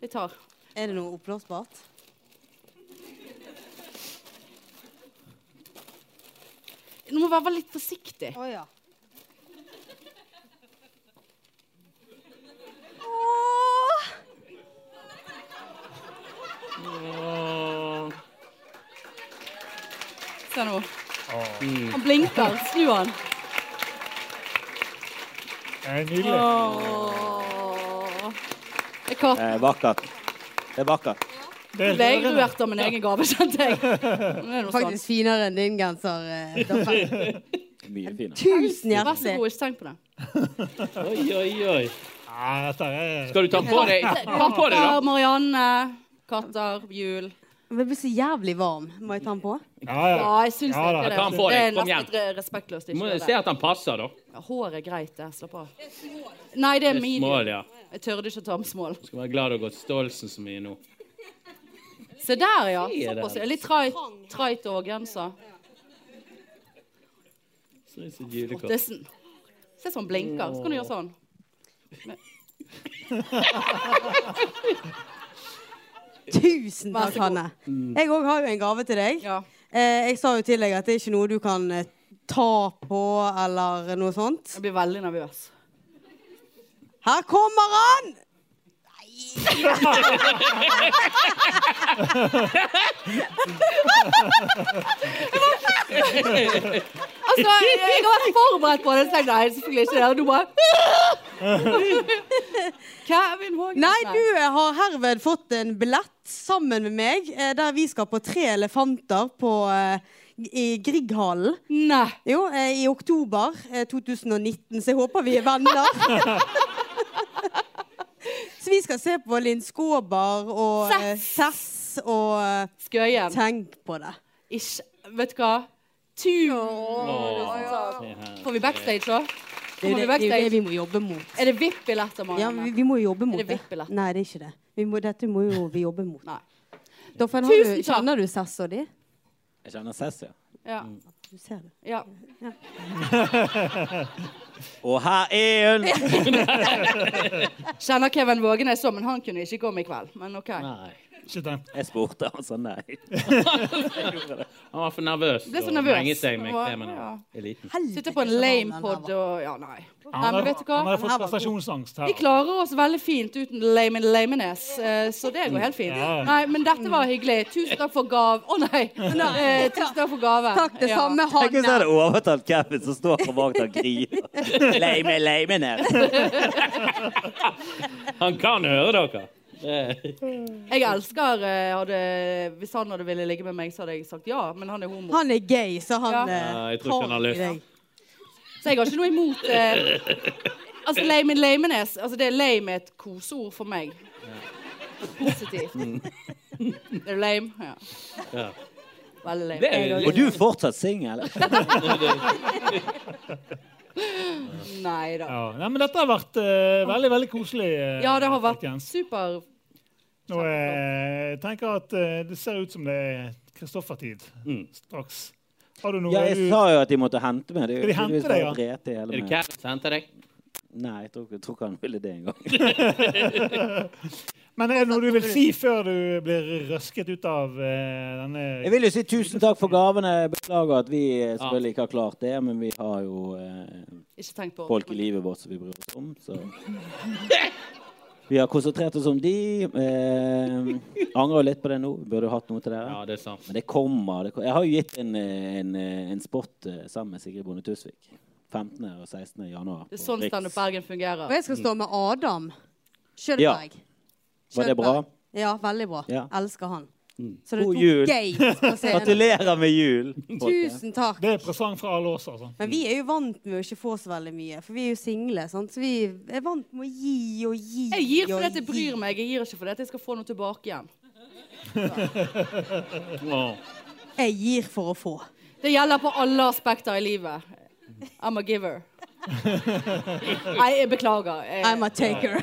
[SPEAKER 3] Litt hard.
[SPEAKER 4] Er det noe oppblåsbart?
[SPEAKER 3] Du må være litt forsiktig.
[SPEAKER 4] Å ja.
[SPEAKER 3] Se nå. Han blinker. Snu han.
[SPEAKER 1] Det er nydelig.
[SPEAKER 3] Åh. Jeg kan
[SPEAKER 5] Eh, vakkert. Det er vakkert.
[SPEAKER 1] Det er
[SPEAKER 3] ble jeg
[SPEAKER 1] rørende.
[SPEAKER 3] rørt av min egen gave, kjente
[SPEAKER 2] *laughs*
[SPEAKER 3] jeg. Men det er noe sånn.
[SPEAKER 4] Faktisk finere enn din genser. eh, Doffer. *laughs*
[SPEAKER 5] Mye finere.
[SPEAKER 4] Tusen
[SPEAKER 3] Vær så
[SPEAKER 4] hjertelig.
[SPEAKER 3] god, ikke tenk på det.
[SPEAKER 2] Oi, oi, oi.
[SPEAKER 1] Ja, dette er
[SPEAKER 2] Skal du ta på deg Ta på deg,
[SPEAKER 3] Katter,
[SPEAKER 2] da.
[SPEAKER 3] Marianne, katter, jul.
[SPEAKER 4] Jeg blir så jævlig varm. Må jeg ta den på?
[SPEAKER 1] Ja,
[SPEAKER 3] Ja,
[SPEAKER 1] ja.
[SPEAKER 3] jeg syns
[SPEAKER 1] Ja da,
[SPEAKER 3] ikke
[SPEAKER 1] ta
[SPEAKER 2] den på
[SPEAKER 3] det.
[SPEAKER 2] deg.
[SPEAKER 3] Det er
[SPEAKER 2] Kom
[SPEAKER 3] nesten litt re- respektløst.
[SPEAKER 2] Du
[SPEAKER 3] Ikke
[SPEAKER 2] må
[SPEAKER 3] gjøre
[SPEAKER 2] se
[SPEAKER 3] det.
[SPEAKER 2] at han passer, da.
[SPEAKER 3] Håret er greit, det. Slapp av. Nei, det
[SPEAKER 2] Det
[SPEAKER 3] er
[SPEAKER 2] er Smål,
[SPEAKER 3] medium.
[SPEAKER 2] ja.
[SPEAKER 3] Jeg tørde ikke å ta med smål.
[SPEAKER 2] Skal være glad du har gått Stolsen så mye nå.
[SPEAKER 3] Se der, ja.
[SPEAKER 2] Se der.
[SPEAKER 3] Såpass. ja. Litt trait- trait og genser.
[SPEAKER 2] Så er det så julekort.
[SPEAKER 3] Ottesen. Se sånn blinker. Så kan du gjøre sånn.
[SPEAKER 4] Tusen
[SPEAKER 3] Vær
[SPEAKER 4] takk,
[SPEAKER 3] så god.
[SPEAKER 4] Hanne. Jeg òg har jo en gave til deg.
[SPEAKER 3] Ja.
[SPEAKER 4] Eh, jeg sa jo til deg at det er ikke noe du kan eh, ta på eller noe sånt.
[SPEAKER 3] Jeg blir veldig nervøs.
[SPEAKER 4] Her kommer han!
[SPEAKER 3] Altså, jeg, jeg har vært forberedt på det. Så tenkte jeg, nei, selvfølgelig ikke det. Og du
[SPEAKER 4] *laughs*
[SPEAKER 3] bare Kevin Hågen.
[SPEAKER 4] Nei, du eh, har herved fått en billett sammen med meg eh, der vi skal på Tre elefanter på, eh, i Grieghallen.
[SPEAKER 3] Nei.
[SPEAKER 4] Jo, eh, i oktober eh, 2019, så jeg håper vi er venner. *laughs* så vi skal se på Linn Skåber og eh, Sess og eh,
[SPEAKER 3] Skøyen.
[SPEAKER 4] Tenk på det.
[SPEAKER 3] Ikke Vet du hva? Tur. Får vi backstage, da?
[SPEAKER 4] Det er jo det, det, er jo
[SPEAKER 3] Kommer vi
[SPEAKER 4] det
[SPEAKER 3] backstage?
[SPEAKER 4] vi må jobbe mot.
[SPEAKER 3] Er det VIP-billetter,
[SPEAKER 4] Ja, vi,
[SPEAKER 3] Marianne?
[SPEAKER 4] vi må jo jobbe mot
[SPEAKER 3] det vippelatt?
[SPEAKER 4] Nei, det er ikke det. Vi må, dette må jo vi jobbe mot.
[SPEAKER 3] Nei.
[SPEAKER 4] Doffen, har
[SPEAKER 3] Tusen
[SPEAKER 4] du,
[SPEAKER 3] takk.
[SPEAKER 4] kjenner du Sess og de?
[SPEAKER 5] Jeg kjenner Sess, ja.
[SPEAKER 3] Ja.
[SPEAKER 4] Du ser det.
[SPEAKER 3] ja.
[SPEAKER 5] Og her er hun!
[SPEAKER 3] Kjenner Kevin Vågenes så, men han kunne ikke komme i kveld. Men OK.
[SPEAKER 2] Nei.
[SPEAKER 1] Ikke tenkt.
[SPEAKER 5] Jeg spurte, han sa nei.
[SPEAKER 2] Han var for nervøs.
[SPEAKER 3] Ble så
[SPEAKER 2] og
[SPEAKER 3] nervøs.
[SPEAKER 2] menget seg med
[SPEAKER 3] Ja,
[SPEAKER 2] kremen
[SPEAKER 3] ja.
[SPEAKER 2] og eliten.
[SPEAKER 3] Sitter på en lame pod og Ja, nei. nei.
[SPEAKER 1] Han
[SPEAKER 3] Men
[SPEAKER 1] har
[SPEAKER 3] vet du
[SPEAKER 1] han har
[SPEAKER 3] hva?
[SPEAKER 1] fått prestasjonsangst her.
[SPEAKER 3] Vi klarer oss veldig fint uten lame lameness, eh, så det går helt fint.
[SPEAKER 1] Ja.
[SPEAKER 3] Nei, men dette var hyggelig. Tusen takk for gav... Å nei! Eh, tusen takk for gave.
[SPEAKER 4] Takk, det
[SPEAKER 3] Ja.
[SPEAKER 4] samme,
[SPEAKER 5] Tenk hvis jeg
[SPEAKER 4] Hanne.
[SPEAKER 5] hadde overtalt Kevin, som står på bak der og griner. Leime, leime ned.
[SPEAKER 2] Han kan høre dere.
[SPEAKER 3] Jeg elsker eh, hadde, Hvis han hadde ville ligge med meg, så hadde jeg sagt ja, men han er homo.
[SPEAKER 4] Han er gay, så han
[SPEAKER 3] Ja.
[SPEAKER 4] eh,
[SPEAKER 2] Ja, jeg tror ikke han har
[SPEAKER 4] tar i
[SPEAKER 2] lyst.
[SPEAKER 4] deg.
[SPEAKER 3] Så jeg har ikke noe imot eh, Altså, lame lameness altså, Det er lame er et koseord for meg. Positivt. *laughs* Er du lame? Ja.
[SPEAKER 2] Ja.
[SPEAKER 3] Veldig lame.
[SPEAKER 2] Det er
[SPEAKER 5] Og du er fortsatt singel.
[SPEAKER 3] Nei da.
[SPEAKER 1] Ja, nei, men dette har vært eh, veldig veldig koselig. eh,
[SPEAKER 3] Ja, det har vært
[SPEAKER 1] folkens.
[SPEAKER 3] super
[SPEAKER 1] Nå eh, tenker jeg at eh, det ser ut som det er Kristoffer-tid straks. Har du noe
[SPEAKER 5] Ja, jeg
[SPEAKER 1] du-
[SPEAKER 5] sa jo at de måtte hente meg. Det er
[SPEAKER 1] Skal de hente
[SPEAKER 5] tydeligvis
[SPEAKER 1] deg,
[SPEAKER 5] bare
[SPEAKER 1] ja?
[SPEAKER 5] dret i hele
[SPEAKER 2] Er det
[SPEAKER 5] meg.
[SPEAKER 2] Kevin som henter deg?
[SPEAKER 5] Nei, jeg tror, ikke- jeg tror ikke han ville det engang.
[SPEAKER 1] Men er det noe du vil si før du blir røsket ut av eh,
[SPEAKER 5] Jeg
[SPEAKER 1] denne
[SPEAKER 5] vil jo si tusen takk for gavene. Beklager at vi eh, selvfølgelig ikke har klart det, men vi har jo eh,
[SPEAKER 3] Ikke tenk på
[SPEAKER 5] folk i livet vårt som vi bryr oss om, så Vi har konsentrert oss om de. Eh, angrer jo litt på det nå. Burde jo hatt noe til dere.
[SPEAKER 2] Ja, det er sant.
[SPEAKER 5] Men det kommer. Det kommer. Jeg har jo gitt en, eh, en, eh, en spot eh, sammen med Sigrid Bonde Tusvik. 15. og 16. januar.
[SPEAKER 3] Det er
[SPEAKER 5] på
[SPEAKER 3] sånn
[SPEAKER 5] Riks.
[SPEAKER 3] Standup Bergen
[SPEAKER 4] Og
[SPEAKER 3] fungerer.
[SPEAKER 4] jeg skal stå med Adam Kjølberg.
[SPEAKER 5] Var det bra?
[SPEAKER 4] Ja, veldig bra.
[SPEAKER 5] Ja. Mm.
[SPEAKER 4] Elsker han. Så det
[SPEAKER 5] God
[SPEAKER 4] tok
[SPEAKER 5] jul.
[SPEAKER 4] gate på scenen.
[SPEAKER 5] Gratulerer med jul! folkens.
[SPEAKER 4] Tusen takk.
[SPEAKER 1] Det er presang fra alle oss, altså.
[SPEAKER 4] Men vi er jo vant med å ikke få så veldig mye, for vi er jo single. Sant? Så vi er vant med å gi og gi.
[SPEAKER 3] Jeg gir fordi at
[SPEAKER 4] og
[SPEAKER 3] jeg bryr meg. Jeg gir ikke fordi at jeg skal få noe tilbake igjen.
[SPEAKER 2] Åh.
[SPEAKER 4] gi. Jeg gir for å få.
[SPEAKER 3] Det gjelder på alle aspekter i livet. I'm a giver. Nei, jeg beklager. Jeg,
[SPEAKER 4] I'm a taker.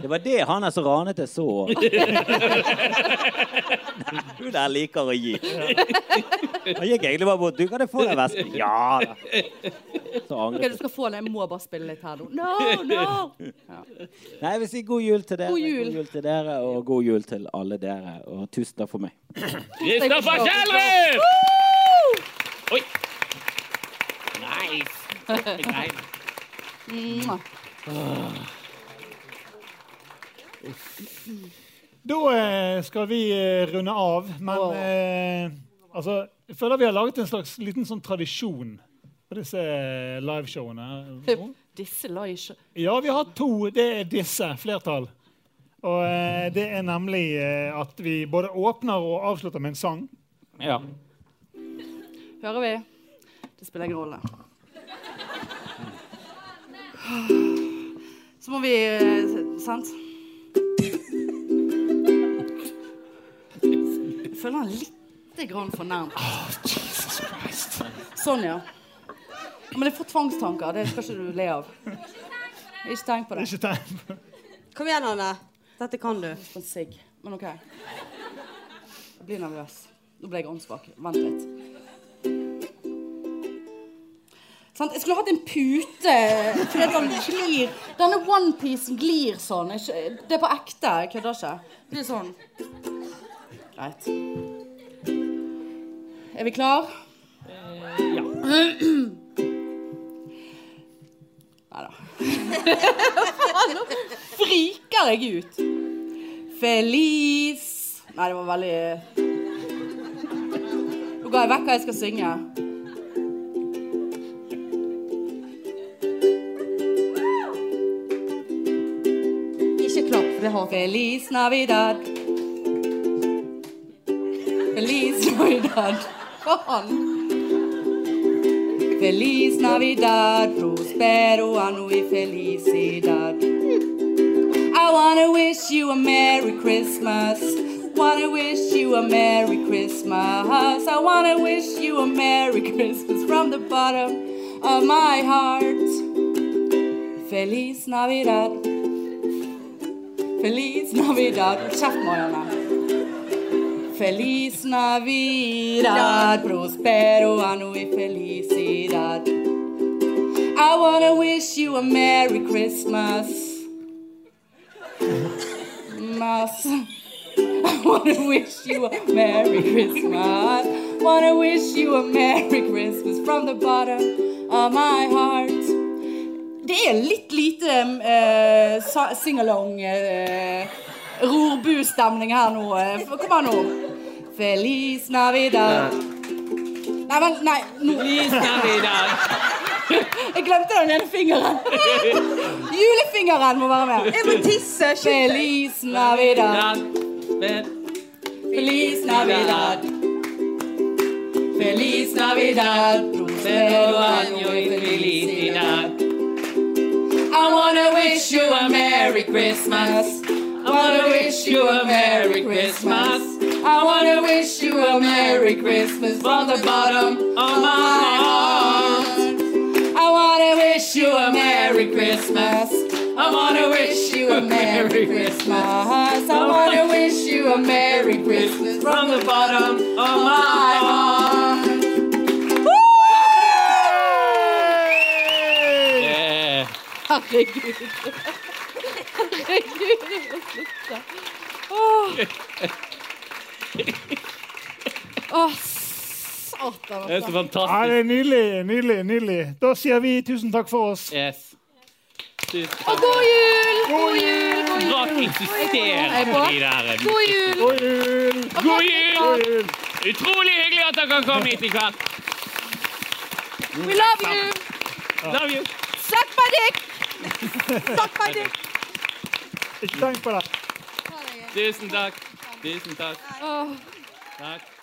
[SPEAKER 5] Det var det han er så ranete så. Du der liker å gi. Han gikk egentlig bare bort. Du kan jo få deg vesken. Ja da. Så
[SPEAKER 3] Ok, du
[SPEAKER 5] angret jeg.
[SPEAKER 3] skal få det. Jeg må bare spille litt her nå. No, no!
[SPEAKER 5] Nei, jeg vil si god jul til dere.
[SPEAKER 3] God jul.
[SPEAKER 5] til dere, og god jul til alle dere. Og tusen takk for meg.
[SPEAKER 2] Kristoffer Kjellrup! Oi. Nice. Nice.
[SPEAKER 3] Mwah.
[SPEAKER 1] Da eh, skal vi eh, runde av, men
[SPEAKER 3] Åh.
[SPEAKER 1] eh, altså, jeg føler vi har laget en slags liten sånn tradisjon på disse eh, liveshowene. her.
[SPEAKER 3] Disse la ikke
[SPEAKER 1] Ja, vi har to. Det er disse. Flertall. Og eh, det er nemlig eh, at vi både åpner og avslutter med en sang.
[SPEAKER 2] Ja.
[SPEAKER 3] Hører vi? Det spiller ingen rolle. Så må vi eh, Sant? Jeg føler han er lite grann fornærmet. Sånn, ja. Men jeg får tvangstanker. Det skal ikke du le av. Ikke tenk på det.
[SPEAKER 1] Ikke tegn.
[SPEAKER 5] *laughs*
[SPEAKER 4] Kom igjen, Anne. Dette kan du.
[SPEAKER 3] på en sigg. Men OK. Jeg blir nervøs. Nå ble jeg åndssvak. Vent litt. Sant? Jeg skulle hatt en pute. Fordi at den glir. Denne onepiecen glir sånn. Jeg skj- Det er på ekte. Jeg kødder ikke. Det blir sånn. Greit. Er vi klar? *laughs* ja. Nei da friker jeg ut. Feliz Nei, det var veldig Nå ga jeg vekk hva jeg skal synge. Ikke klapp, for det har Feliz Navidad. Feliz Navidad. Faen. Feliz Navidad, prospero anno y felicidad. I wanna wish you a Merry Christmas. Wanna wish you a Merry Christmas. I wanna wish you a Merry Christmas from the bottom of my heart. Feliz Navidad. Feliz Navidad. Kjeft, Marianne. Feliz Navidad. Prospero anno y felicidad. I wanna wish you a Merry Christmas. Christmas. I wanna wish you a Merry Christmas. Wanna wish you a Merry Christmas from the bottom of my heart. Det er litt lite eh, sa- sing-along uh, rorbu-stemning her nå. eh. Kom an nå. Feliz Navidad. Nei, vent. Nei, nå.
[SPEAKER 2] Please, Navidad.
[SPEAKER 3] Jeg glemte den ene *laughs* fingeren. Julefingeren må være med.
[SPEAKER 4] Jeg må tisse. Skynd deg.
[SPEAKER 3] Feliz Navidad.
[SPEAKER 2] Men-
[SPEAKER 3] Feliz Navidad. Feliz Navidad. Prospero año y felicidad. I wanna wish you a Merry Christmas. I wanna wish you a Merry Christmas. I wanna wish you a Merry Christmas from the bottom of my heart. I wanna wish you a Merry Christmas. I wanna wish you a Merry Christmas. I wanna wish you a Merry Christmas from the bottom of my heart.
[SPEAKER 2] Eh,
[SPEAKER 3] Herregud. Herregud. Å, satan.
[SPEAKER 2] Det er så
[SPEAKER 1] Ja,
[SPEAKER 3] Altså.
[SPEAKER 1] det
[SPEAKER 2] fantastisk.
[SPEAKER 1] er nydelig, nydelig, nydelig. Da sier vi tusen takk for oss.
[SPEAKER 2] Yes. Tusen
[SPEAKER 3] Og god jul! God jul! God jul!
[SPEAKER 2] Rart insisterer på de der. eh,
[SPEAKER 3] God jul!
[SPEAKER 1] God jul!
[SPEAKER 2] God jul!
[SPEAKER 1] God jul!
[SPEAKER 2] Utrolig hyggelig at dere kom hit i kveld.
[SPEAKER 3] We love you!
[SPEAKER 2] Love you.
[SPEAKER 3] Suck my dick! Suck my dick!
[SPEAKER 1] Ikke tenk på det.
[SPEAKER 2] Tusen takk. Tusen takk.
[SPEAKER 3] Åh.
[SPEAKER 2] takk.